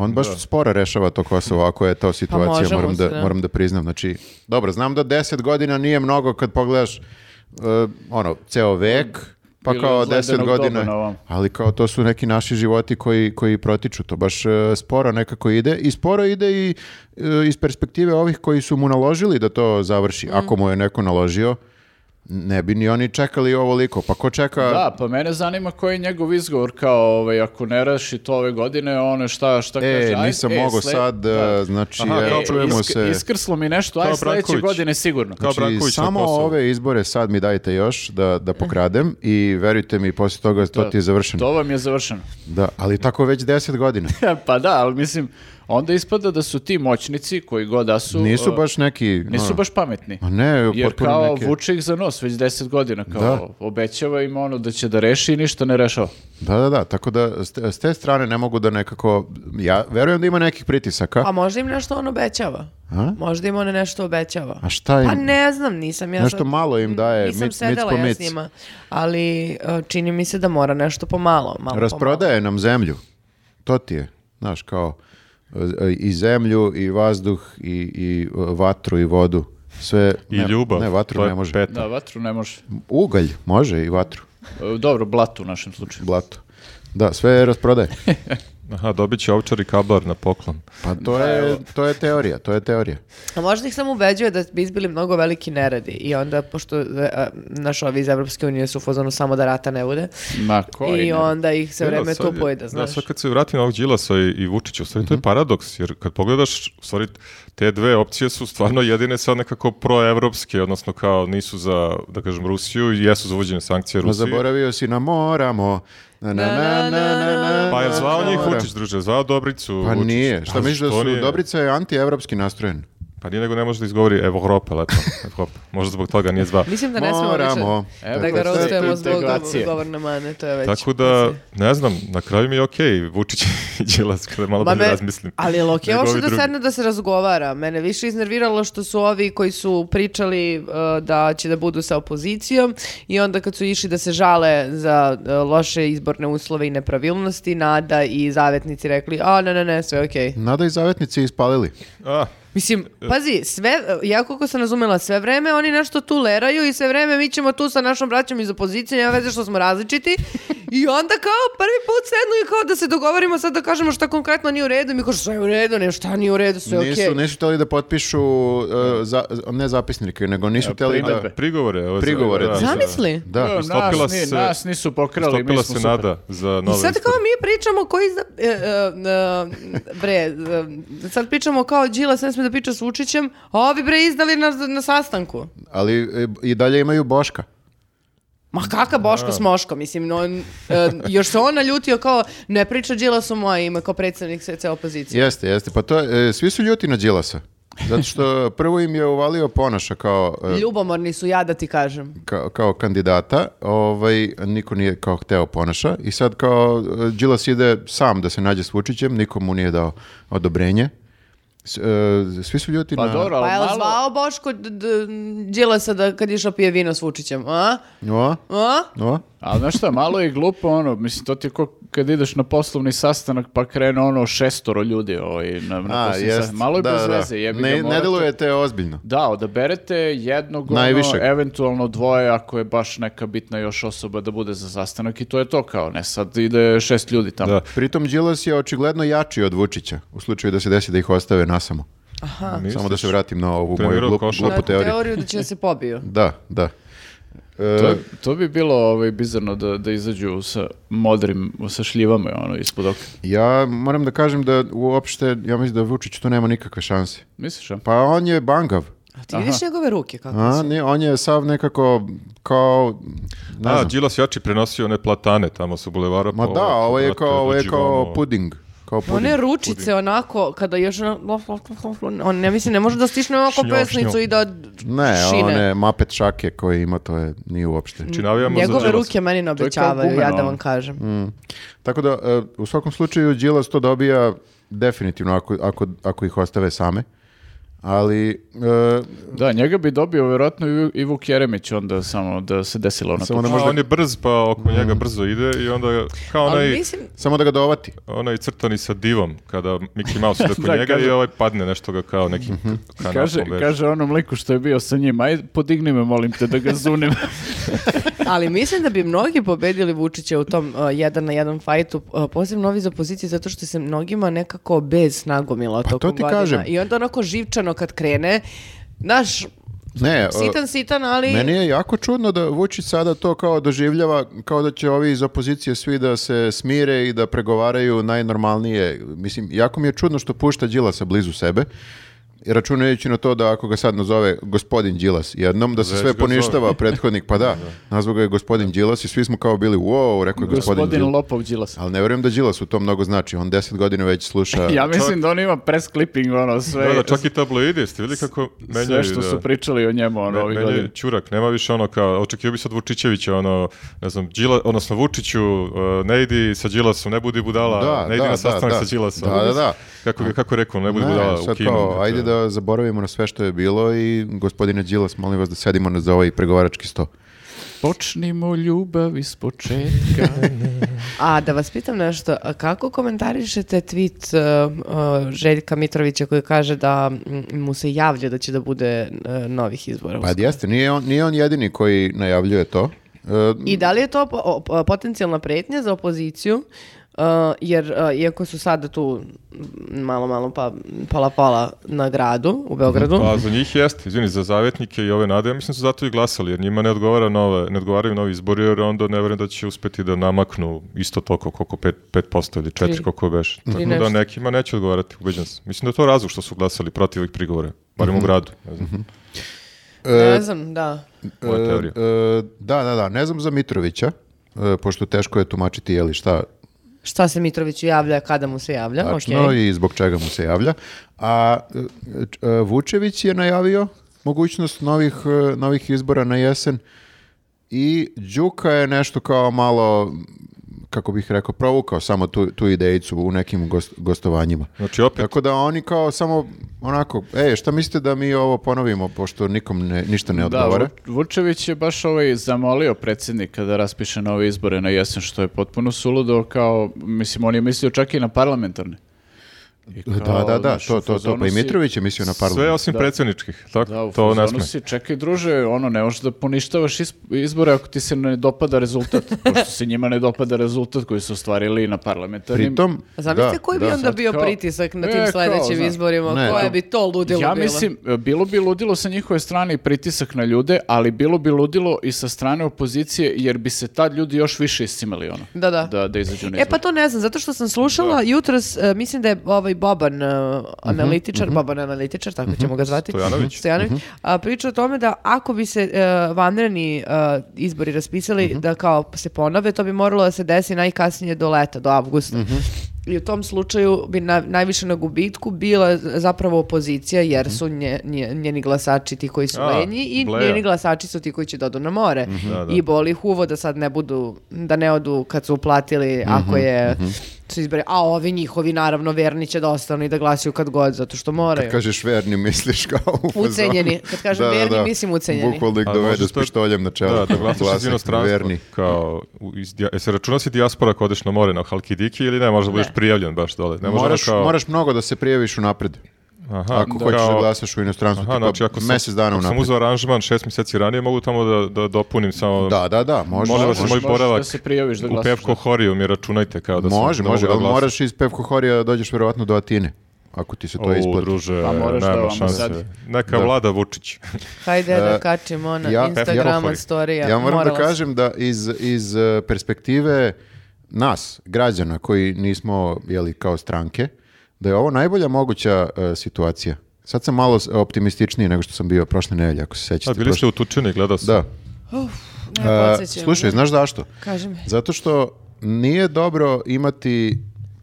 Speaker 2: On baš sporo rešava to Kosovo, ako je
Speaker 3: Pa
Speaker 2: to situacija,
Speaker 1: može mu
Speaker 2: moram,
Speaker 1: se,
Speaker 2: da,
Speaker 1: da.
Speaker 2: moram da priznam. Znači, dobro, znam da 10 godina nije mnogo kad pogledaš e, ono, ceo vek, pa
Speaker 3: Ili
Speaker 2: kao
Speaker 3: od
Speaker 2: 10
Speaker 3: ledenog doba
Speaker 2: godina.
Speaker 3: na ovamo.
Speaker 2: Ali kao to su neki naši životi koji, koji protiču, to baš e, sporo nekako ide i sporo ide i e, iz perspektive ovih koji su mu naložili da to završi. Ako mu je neko naložio, ne bi ni oni čekali ovoliko. Pa ko čeka...
Speaker 3: Da, pa mene zanima koji je njegov izgovor kao ovaj, ako ne raši to ove godine, ono šta, šta kaže.
Speaker 2: E,
Speaker 3: aj,
Speaker 2: nisam
Speaker 3: e,
Speaker 2: mogao
Speaker 3: sled-
Speaker 2: sad, e,
Speaker 3: da.
Speaker 2: znači,
Speaker 4: Aha,
Speaker 2: e,
Speaker 4: kao
Speaker 3: E,
Speaker 2: čujemo
Speaker 3: isk-
Speaker 2: se...
Speaker 3: Iskrslo mi nešto, aj
Speaker 4: Kao
Speaker 3: sledeće
Speaker 4: Branković.
Speaker 3: godine sigurno.
Speaker 4: Kao
Speaker 2: Znači,
Speaker 4: Branković na
Speaker 2: samo
Speaker 4: Kosovu.
Speaker 2: ove izbore sad mi dajte još da, da pokradem i verujte mi, poslije toga to, ti je završeno.
Speaker 3: To vam je završeno. [laughs]
Speaker 2: Da, ali tako već 10 godina.
Speaker 3: pa da, ali mislim, onda ispada da su ti moćnici, koji god da su,
Speaker 2: Nisu
Speaker 3: e,
Speaker 2: baš neki...
Speaker 3: nisu
Speaker 2: ono,
Speaker 3: baš pametni.
Speaker 2: Ma ne,
Speaker 3: Jer
Speaker 2: potpuno
Speaker 3: kao
Speaker 2: neke-
Speaker 3: vuče ih za nos već 10 godina, kao
Speaker 2: Da.
Speaker 3: obećava im ono da će da reši i ništa ne rešava.
Speaker 2: Da, da, da, tako da s te, s te strane ne mogu da nekako, ja verujem da ima nekih pritisaka,
Speaker 4: Pa,
Speaker 1: A Pa možda im nešto on obećava.
Speaker 2: A?
Speaker 1: Možda im on nešto obećava.
Speaker 2: a šta im,
Speaker 1: Pa ne znam, nisam ja
Speaker 2: nešto
Speaker 1: sad-
Speaker 2: malo im daje,
Speaker 1: Nisam
Speaker 2: mic, mic
Speaker 1: sedela
Speaker 2: po
Speaker 1: ja
Speaker 2: mic.
Speaker 1: s njima, ali e, čini mi se da mora nešto pomalo.
Speaker 4: pa,
Speaker 1: malo
Speaker 2: Rasprodaje nam zemlju, to ti je, znaš, kao e, i zemlju, i vazduh, i, i e, vatru, i vodu, sve...
Speaker 4: I
Speaker 2: ne,
Speaker 4: ljubav.
Speaker 2: Ne, vatru
Speaker 4: to je
Speaker 2: ne može.
Speaker 4: peta.
Speaker 3: Da, vatru ne može.
Speaker 2: Ugalj može i vatru,
Speaker 3: E, Dobro, blatu u našem slučaju.
Speaker 2: blato. Da, sve je
Speaker 4: [laughs]
Speaker 2: rasprodaje.
Speaker 4: Aha, dobit će ovčar i kablar na poklon.
Speaker 2: Pa to, je, to je teorija, to je teorija.
Speaker 1: A možda ih samo ubeđuje da bi izbili mnogo veliki neredi i onda, pošto e, e, naš ovi iz Evropske unije su u fazonu samo da rata ne bude,
Speaker 3: Ma koji?
Speaker 1: i
Speaker 3: ne?
Speaker 1: onda ih se vreme
Speaker 4: sad
Speaker 1: tu
Speaker 4: je-
Speaker 1: pojeda, znaš.
Speaker 4: Da, sad kad se vratim na ovog Đilasa i, i Vučića, u stvari
Speaker 2: Mhm.
Speaker 4: to je paradoks, jer kad pogledaš, u stvari te dve opcije su stvarno jedine sad nekako proevropske, odnosno kao nisu za, da kažem, Rusiju i jesu za uvođenje sankcija
Speaker 2: Ma
Speaker 4: Rusiji.
Speaker 2: zaboravio si na moramo. Na, na, na, na, na, na,
Speaker 4: Pa je zvao
Speaker 2: na,
Speaker 4: njih
Speaker 2: mora.
Speaker 4: Vučić, druže, zvao Dobricu.
Speaker 2: Pa
Speaker 4: Vučić.
Speaker 2: nije, šta
Speaker 4: Pa
Speaker 2: misliš da
Speaker 4: što
Speaker 2: su
Speaker 4: nije?
Speaker 2: Dobrica je antievropski nastrojen?
Speaker 4: Pa nije nego ne može da izgovori Evropa,
Speaker 2: [laughs]
Speaker 4: lepo. Evropa. Možda zbog toga nije zvao.
Speaker 1: Mislim da ne smemo više
Speaker 3: Evo,
Speaker 1: da ga
Speaker 3: to je
Speaker 1: rostujemo zbog
Speaker 3: integracije.
Speaker 1: govorne mane, to je već...
Speaker 4: Tako da, ne znam, na kraju mi je okej, Vučić i [laughs] Đilas, kada malo
Speaker 1: Ma
Speaker 4: bolje
Speaker 1: me-
Speaker 4: razmislim.
Speaker 1: Ali Loki,
Speaker 4: [laughs] Nego
Speaker 1: ovo što
Speaker 4: ovi
Speaker 1: da
Speaker 4: drugi.
Speaker 1: sedne da se razgovara. Mene više iznerviralo što su ovi koji su pričali uh, da će da budu sa opozicijom i onda kad su išli da se žale za uh, loše izborne uslove i nepravilnosti, Nada i zavetnici rekli, a ne, ne, ne, sve je okej.
Speaker 2: Nada i zavetnici ispalili.
Speaker 4: A,
Speaker 1: Mislim, pazi, sve, ja koliko sam razumela, sve vreme oni nešto tu leraju i sve vreme mi ćemo tu sa našom braćom iz opozicije, nema veze što smo različiti. I onda kao prvi put sednu i kao da se dogovorimo sad da kažemo šta konkretno nije u redu. I mi kao šta je u redu, ne, šta nije u redu, sve okej.
Speaker 2: Nisu, nisu hteli da potpišu, e, za, ne zapisnike, nego nisu hteli da...
Speaker 3: primedbe.
Speaker 4: Prigovore. Ovo, za-
Speaker 2: Prigovore,
Speaker 4: da,
Speaker 2: da.
Speaker 4: za-
Speaker 1: Zamisli.
Speaker 2: Da,
Speaker 3: Evo,
Speaker 4: istopila
Speaker 3: nas, ni-
Speaker 4: se-
Speaker 3: nas nisu pokrali, mi
Speaker 4: Stopila
Speaker 3: smo
Speaker 4: se
Speaker 3: super.
Speaker 4: nada za
Speaker 1: I
Speaker 4: nove
Speaker 1: sad kao
Speaker 2: Pa,
Speaker 4: izbore.
Speaker 1: mi pričamo koji za... e, e, e, bre, e, sad pričamo kao Đilas ne sme da priča s Vučićem, a ovi bre izdali na, na sastanku.
Speaker 2: ali e, i dalje imaju Boška.
Speaker 1: Ma kaka Boško s Moško, mislim, no, n- e, još se on naljutio kao, ne priča Đilas u moje ime kao predstavnik sve ceo opozicije.
Speaker 2: Jeste, jeste. Pa to, je- e, svi su ljuti na Đilasa. Zato
Speaker 3: [laughs]
Speaker 2: što prvo im je uvalio ponaša kao, e,
Speaker 1: Ljubomorni su, ja da ti kažem.
Speaker 2: ka- kao kandidata, ovaj, niko nije kao hteo ponaša i sad kao e, Đilas ide sam da se nađe s Vučićem, niko mu nije dao odobrenje. S- e, svi su ljuti
Speaker 3: Pa
Speaker 2: na...
Speaker 3: dobro,
Speaker 1: Pa
Speaker 3: ali
Speaker 1: je li
Speaker 3: malo...
Speaker 1: zvao Boško d- d- Đilasa da kad je išao pije vino s Vučićem, a?
Speaker 2: O,
Speaker 1: A?
Speaker 2: o.
Speaker 3: Ali znaš šta, malo je glupo ono, mislim, to ti je ko kad ideš na poslovni sastanak pa krene ono šestoro ljudi ovaj, na, na
Speaker 2: A,
Speaker 3: poslovni
Speaker 2: jest.
Speaker 3: sastanak. Malo je
Speaker 2: Da,
Speaker 3: bez
Speaker 2: da.
Speaker 3: veze, jebi ga,
Speaker 2: Ne, ne
Speaker 3: morate-
Speaker 2: delujete ozbiljno.
Speaker 3: Da, odaberete jednog, ono,
Speaker 2: Najvišeg.
Speaker 3: eventualno dvoje, ako je baš neka bitna još osoba da bude za sastanak i to je to kao, ne, sad ide šest ljudi tamo.
Speaker 4: Da.
Speaker 2: Pritom Đilas je očigledno jači od Vučića, u slučaju da se desi da ih ostave nasamo.
Speaker 1: pa,
Speaker 2: Samo da se vratim na ovu moju
Speaker 4: Trenirao
Speaker 2: glup,
Speaker 4: košarku.
Speaker 2: glupu
Speaker 1: Na
Speaker 2: teoriju.
Speaker 1: teoriju da će da se
Speaker 3: [laughs]
Speaker 1: pobiju.
Speaker 2: Da, da. E,
Speaker 3: To, to bi bilo ovaj, bizarno da, da izađu sa modrim, sa šljivama ono, ispod oka.
Speaker 2: Ja moram da kažem da uopšte, ja mislim da Vučić tu nema nikakve šanse.
Speaker 3: Misliš, a?
Speaker 2: Pa on je bangav.
Speaker 1: A ti vidiš njegove ruke kako
Speaker 2: A, ne, on je sav nekako kao, ne
Speaker 4: A,
Speaker 2: znam.
Speaker 4: Đilas jači prenosio one platane tamo su bulevara.
Speaker 2: Ma
Speaker 4: pa
Speaker 2: da, ovo je kao, ovo je kao
Speaker 4: odlučivamo.
Speaker 2: puding. Kao puding.
Speaker 1: One ručice onako, kada još... ono- lof, lof, lof, lof, lof, On, ne mislim, ne može da stišne ovako
Speaker 4: Šnjo,
Speaker 1: pesnicu
Speaker 4: šnjo.
Speaker 1: i da
Speaker 2: Ne,
Speaker 1: šine.
Speaker 2: one mapet šake koje ima, to je nije uopšte.
Speaker 4: Činavijamo Znači, za
Speaker 1: Njegove
Speaker 4: Đilasa.
Speaker 1: ruke meni ne
Speaker 3: je kao
Speaker 1: obećavaju, ja
Speaker 3: gumen,
Speaker 1: da
Speaker 3: ono.
Speaker 1: vam kažem.
Speaker 2: Tako da, e, u svakom slučaju, Đilas to dobija definitivno ako, ako, ako ih ostave same. Ali, e,
Speaker 3: Da, njega bi dobio vjerojatno i Vu- i Vuk Jeremić onda samo da se desilo ono ona
Speaker 2: Samo
Speaker 3: tu.
Speaker 2: ne
Speaker 4: A,
Speaker 2: možda-
Speaker 4: Ono on je brz, pa oko njega
Speaker 2: Mm.
Speaker 4: brzo ide i onda kao
Speaker 1: Ali
Speaker 4: onaj,
Speaker 1: mislim,
Speaker 2: samo da ga dovati.
Speaker 4: onaj crtani sa divom, kada Mickey Mouse
Speaker 2: [laughs]
Speaker 4: ide
Speaker 3: Da,
Speaker 4: kod njega
Speaker 3: kaže-
Speaker 4: i ovaj padne nešto ga kao nekim
Speaker 2: Mhm.
Speaker 4: k- kanapom.
Speaker 3: Kaže,
Speaker 4: veže.
Speaker 3: kaže onom liku što je bio sa njim, aj podigni me molim te da ga
Speaker 4: [laughs]
Speaker 3: zunim.
Speaker 1: ali mislim da bi mnogi pobedili Vučića u tom uh, jedan na jedan fajtu, uh, posebno ovi iz opozicije, zato što se mnogima nekako bez nagomila
Speaker 2: Pa to
Speaker 1: tokom
Speaker 2: ti
Speaker 1: godina.
Speaker 2: kažem.
Speaker 1: I onda onako živčano kad krene, znaš,
Speaker 2: Ne, e,
Speaker 1: sitan, sitan, ali...
Speaker 2: Meni je jako čudno da Vučić sada to kao doživljava, kao da će ovi iz opozicije svi da se smire i da pregovaraju najnormalnije. Mislim, jako mi je čudno što pušta Đilasa blizu sebe, računajući na to da ako ga sad nazove gospodin Đilas jednom, da se
Speaker 4: Već
Speaker 2: sve
Speaker 4: ga zove.
Speaker 2: poništava prethodnik,
Speaker 4: [laughs]
Speaker 2: pa da, nazvao ga je gospodin Đilas i svi smo kao bili, wow, rekao je gospodin,
Speaker 3: Gospodin
Speaker 2: Đilas.
Speaker 3: Lopov Đilas.
Speaker 2: Ali ne vjerujem da Đilas u tom mnogo znači, on deset godina već
Speaker 4: [laughs]
Speaker 2: sluša...
Speaker 3: Ja mislim da on ima press clipping, ono, sve,
Speaker 4: Da, da, čak i tabloidi, ste vidjeli kako menjaju.
Speaker 3: sve što
Speaker 4: da.
Speaker 3: su pričali o njemu, ono,
Speaker 4: Me-
Speaker 3: ovih
Speaker 4: menjaju
Speaker 3: godina.
Speaker 4: Ćurak, nema više ono kao, očekio bi sad Vučićevića, ono, ne znam, Đila, odnosno Vučiću, e, ne idi sa Đilasom, ne budi budala,
Speaker 2: Da,
Speaker 4: ne idi
Speaker 2: da,
Speaker 4: na
Speaker 2: da,
Speaker 4: sastanak
Speaker 2: da.
Speaker 4: sa Đilasom.
Speaker 2: Da, da, da.
Speaker 4: Kako, ga- kako je rekao, ne budi
Speaker 2: Ne,
Speaker 4: budala u
Speaker 2: sad
Speaker 4: kinu.
Speaker 2: kao,
Speaker 4: eto.
Speaker 2: ajde da zaboravimo na sve što je bilo i gospodine Đilas, molim vas da sedimo na za ovaj pregovarački sto.
Speaker 3: Počnimo ljubav
Speaker 2: [laughs]
Speaker 3: iz početka.
Speaker 1: A da vas pitam nešto, a kako komentarišete tweet uh, uh, Željka Mitrovića koji kaže da mm, mu se javlja da će da bude uh, novih izbora?
Speaker 2: Pa jeste, nije on, nije on jedini koji najavljuje to. E,
Speaker 1: I da li je to po- o- o- potencijalna pretnja za opoziciju? Uh, jer uh, iako su sada tu malo malo pa pola pola na gradu u Beogradu
Speaker 4: Pa za njih jeste, izvini, za savjetnike i ove nade, ja mislim su zato i glasali, jer njima ne, odgovara nove, ne odgovaraju novi izbori, jer onda ne vjerujem da će uspeti da namaknu isto toliko, koliko 5%, 5% ili 4,
Speaker 1: Tri.
Speaker 4: koliko beš. Tako da
Speaker 1: nešto.
Speaker 4: nekima neće odgovarati, ubeđen sam. Mislim da je to razlog što su glasali protiv ovih prigovora, barem
Speaker 2: Mhm.
Speaker 4: u gradu, ne znam,
Speaker 1: ne znam da
Speaker 4: moja
Speaker 2: e,
Speaker 4: teorija.
Speaker 2: e, da, da, da, ne znam za Mitrovića, e, pošto teško je tumačiti je li šta
Speaker 1: šta se Mitroviću javlja kada mu se javlja
Speaker 2: tačno
Speaker 1: okej.
Speaker 2: Pa, i zbog čega mu se javlja. A e, č- e, Vučević je najavio mogućnost novih, e, novih izbora na jesen i Đuka je nešto kao malo kako bih rekao, provukao samo tu, tu idejicu u nekim gost- gostovanjima.
Speaker 4: Znači opet,
Speaker 2: Tako da oni kao samo onako, e, šta mislite da mi ovo ponovimo, pošto nikom ne, ništa ne
Speaker 3: Da,
Speaker 2: odgovara?
Speaker 3: Vu- Vučević je baš ovaj zamolio predsjednika da raspiše nove izbore na jesen, što je potpuno suludo, kao, mislim, on je mislio čak i na parlamentarne. I
Speaker 2: da, da, da,
Speaker 3: znaš, u
Speaker 2: to, to, to.
Speaker 3: fazonu
Speaker 2: Pa i
Speaker 3: si-
Speaker 2: Mitrović je mislio na parlament.
Speaker 4: Sve osim
Speaker 3: Da.
Speaker 4: predsjedničkih, tako?
Speaker 3: Da, u
Speaker 4: to ne
Speaker 3: fazonu si,
Speaker 4: sme.
Speaker 3: čekaj druže, ono, ne možeš da poništavaš is- izbore ako ti se ne dopada rezultat, pošto se njima ne dopada rezultat koji su ostvarili na parlamentarnim.
Speaker 2: Pritom,
Speaker 1: A Zamislite
Speaker 2: da,
Speaker 1: koji bi
Speaker 2: da.
Speaker 1: onda bio
Speaker 3: kao-
Speaker 1: pritisak na
Speaker 3: E,
Speaker 1: tim
Speaker 3: kao,
Speaker 1: sljedećim
Speaker 3: znaš.
Speaker 1: izborima,
Speaker 2: Ne,
Speaker 1: koje
Speaker 2: to-
Speaker 1: bi to ludilo
Speaker 3: ja
Speaker 1: bilo.
Speaker 3: mislim, e, bilo bi ludilo sa njihove strane i pritisak na ljude, ali bilo bi ludilo i sa strane opozicije, jer bi se tad ljudi još više iscimali, ono.
Speaker 1: Da, da.
Speaker 3: Da, da izađu na
Speaker 1: E pa
Speaker 3: izbore.
Speaker 1: to ne znam, zato što sam slušala jutros, e, mislim da je ovaj Boban e, analitičar, Boban analitičar, tako ćemo ga zvati.
Speaker 4: Mhm, Stojanović. Mhm.
Speaker 1: Stojanović. a, priča o tome da ako bi se e, vanredni e, izbori raspisali
Speaker 4: Mhm.
Speaker 1: da kao se ponove, to bi moralo da se desi najkasnije do leta, do avgusta.
Speaker 4: Mhm.
Speaker 1: I u tom slučaju bi na- najviše na gubitku bila zapravo opozicija jer su nje- nje- njeni glasači ti koji su
Speaker 4: Mhm. A,
Speaker 1: lenji i
Speaker 4: bleja.
Speaker 1: njeni glasači su ti koji će da odu na more.
Speaker 4: Da, da.
Speaker 1: I boli ih uvo da sad ne budu, da ne odu kad su uplatili
Speaker 2: Mhm,
Speaker 1: ako je su izbori. A ovi njihovi naravno verni će da ostanu i da glasuju kad god zato što moraju.
Speaker 2: Kad kažeš verni, misliš kao u fazonu.
Speaker 1: Ucenjeni. Kad kažem verni, mislim ucenjeni.
Speaker 2: Bukvalno ih
Speaker 4: A
Speaker 2: dovedu
Speaker 4: možeš
Speaker 2: s
Speaker 4: to-
Speaker 2: pištoljem na čelu.
Speaker 4: Da, da glasaš iz
Speaker 2: Glasak,
Speaker 4: inostranstva.
Speaker 2: Verni.
Speaker 4: Kao, u- iz, dija- e, se računa si dijaspora ako odeš na more na Halkidiki ili ne, možda budeš
Speaker 1: Ne.
Speaker 4: prijavljen baš dole. Ne može
Speaker 2: Moraš,
Speaker 4: ono kao,
Speaker 2: moraš mnogo da se prijaviš unapred.
Speaker 4: aha,
Speaker 2: Ako hoćeš da glasaš u inostranstvu,
Speaker 4: Aha,
Speaker 2: tipa
Speaker 4: znači ako sam,
Speaker 2: mesec dana
Speaker 4: ako sam
Speaker 2: unapred.
Speaker 4: uzeo aranžman šest mjeseci ranije, mogu tamo da, da dopunim samo...
Speaker 2: Da, da, da, može.
Speaker 4: Može da
Speaker 2: može.
Speaker 4: se moj
Speaker 3: možeš
Speaker 4: boravak
Speaker 3: da se prijaviš da
Speaker 4: u
Speaker 3: glasaš,
Speaker 4: Pevko
Speaker 3: da.
Speaker 4: Horiju mi računajte kao da sam...
Speaker 2: Može,
Speaker 4: da
Speaker 2: može,
Speaker 4: mogu da
Speaker 2: ali
Speaker 4: glasam.
Speaker 2: moraš iz Pevko Horija da dođeš verovatno do Atine, ako ti se to
Speaker 4: O,
Speaker 2: isplati.
Speaker 4: druže,
Speaker 3: Pa moraš da
Speaker 4: nema
Speaker 3: vam
Speaker 4: šanse.
Speaker 3: sad-
Speaker 4: Neka vlada Vučić.
Speaker 1: Hajde da
Speaker 2: E,
Speaker 1: kačimo na
Speaker 2: ja-
Speaker 1: Instagrama
Speaker 4: ja-
Speaker 1: storija.
Speaker 2: Ja moram
Speaker 1: Morala
Speaker 2: da
Speaker 1: sam.
Speaker 2: kažem da iz, iz eh, perspektive nas, građana, koji nismo, jeli, kao stranke, da je ovo najbolja moguća eh, situacija. Sad sam malo s- optimističniji nego što sam bio prošle nedelje, ako se sećate.
Speaker 4: A bili ste
Speaker 2: prošle-
Speaker 4: utučeni, gledao sam.
Speaker 2: Da.
Speaker 1: Ne,
Speaker 2: Eh,
Speaker 1: podsjećaj me.
Speaker 2: slušaj, znaš zašto?
Speaker 1: Kaži mi.
Speaker 2: Zato što nije dobro imati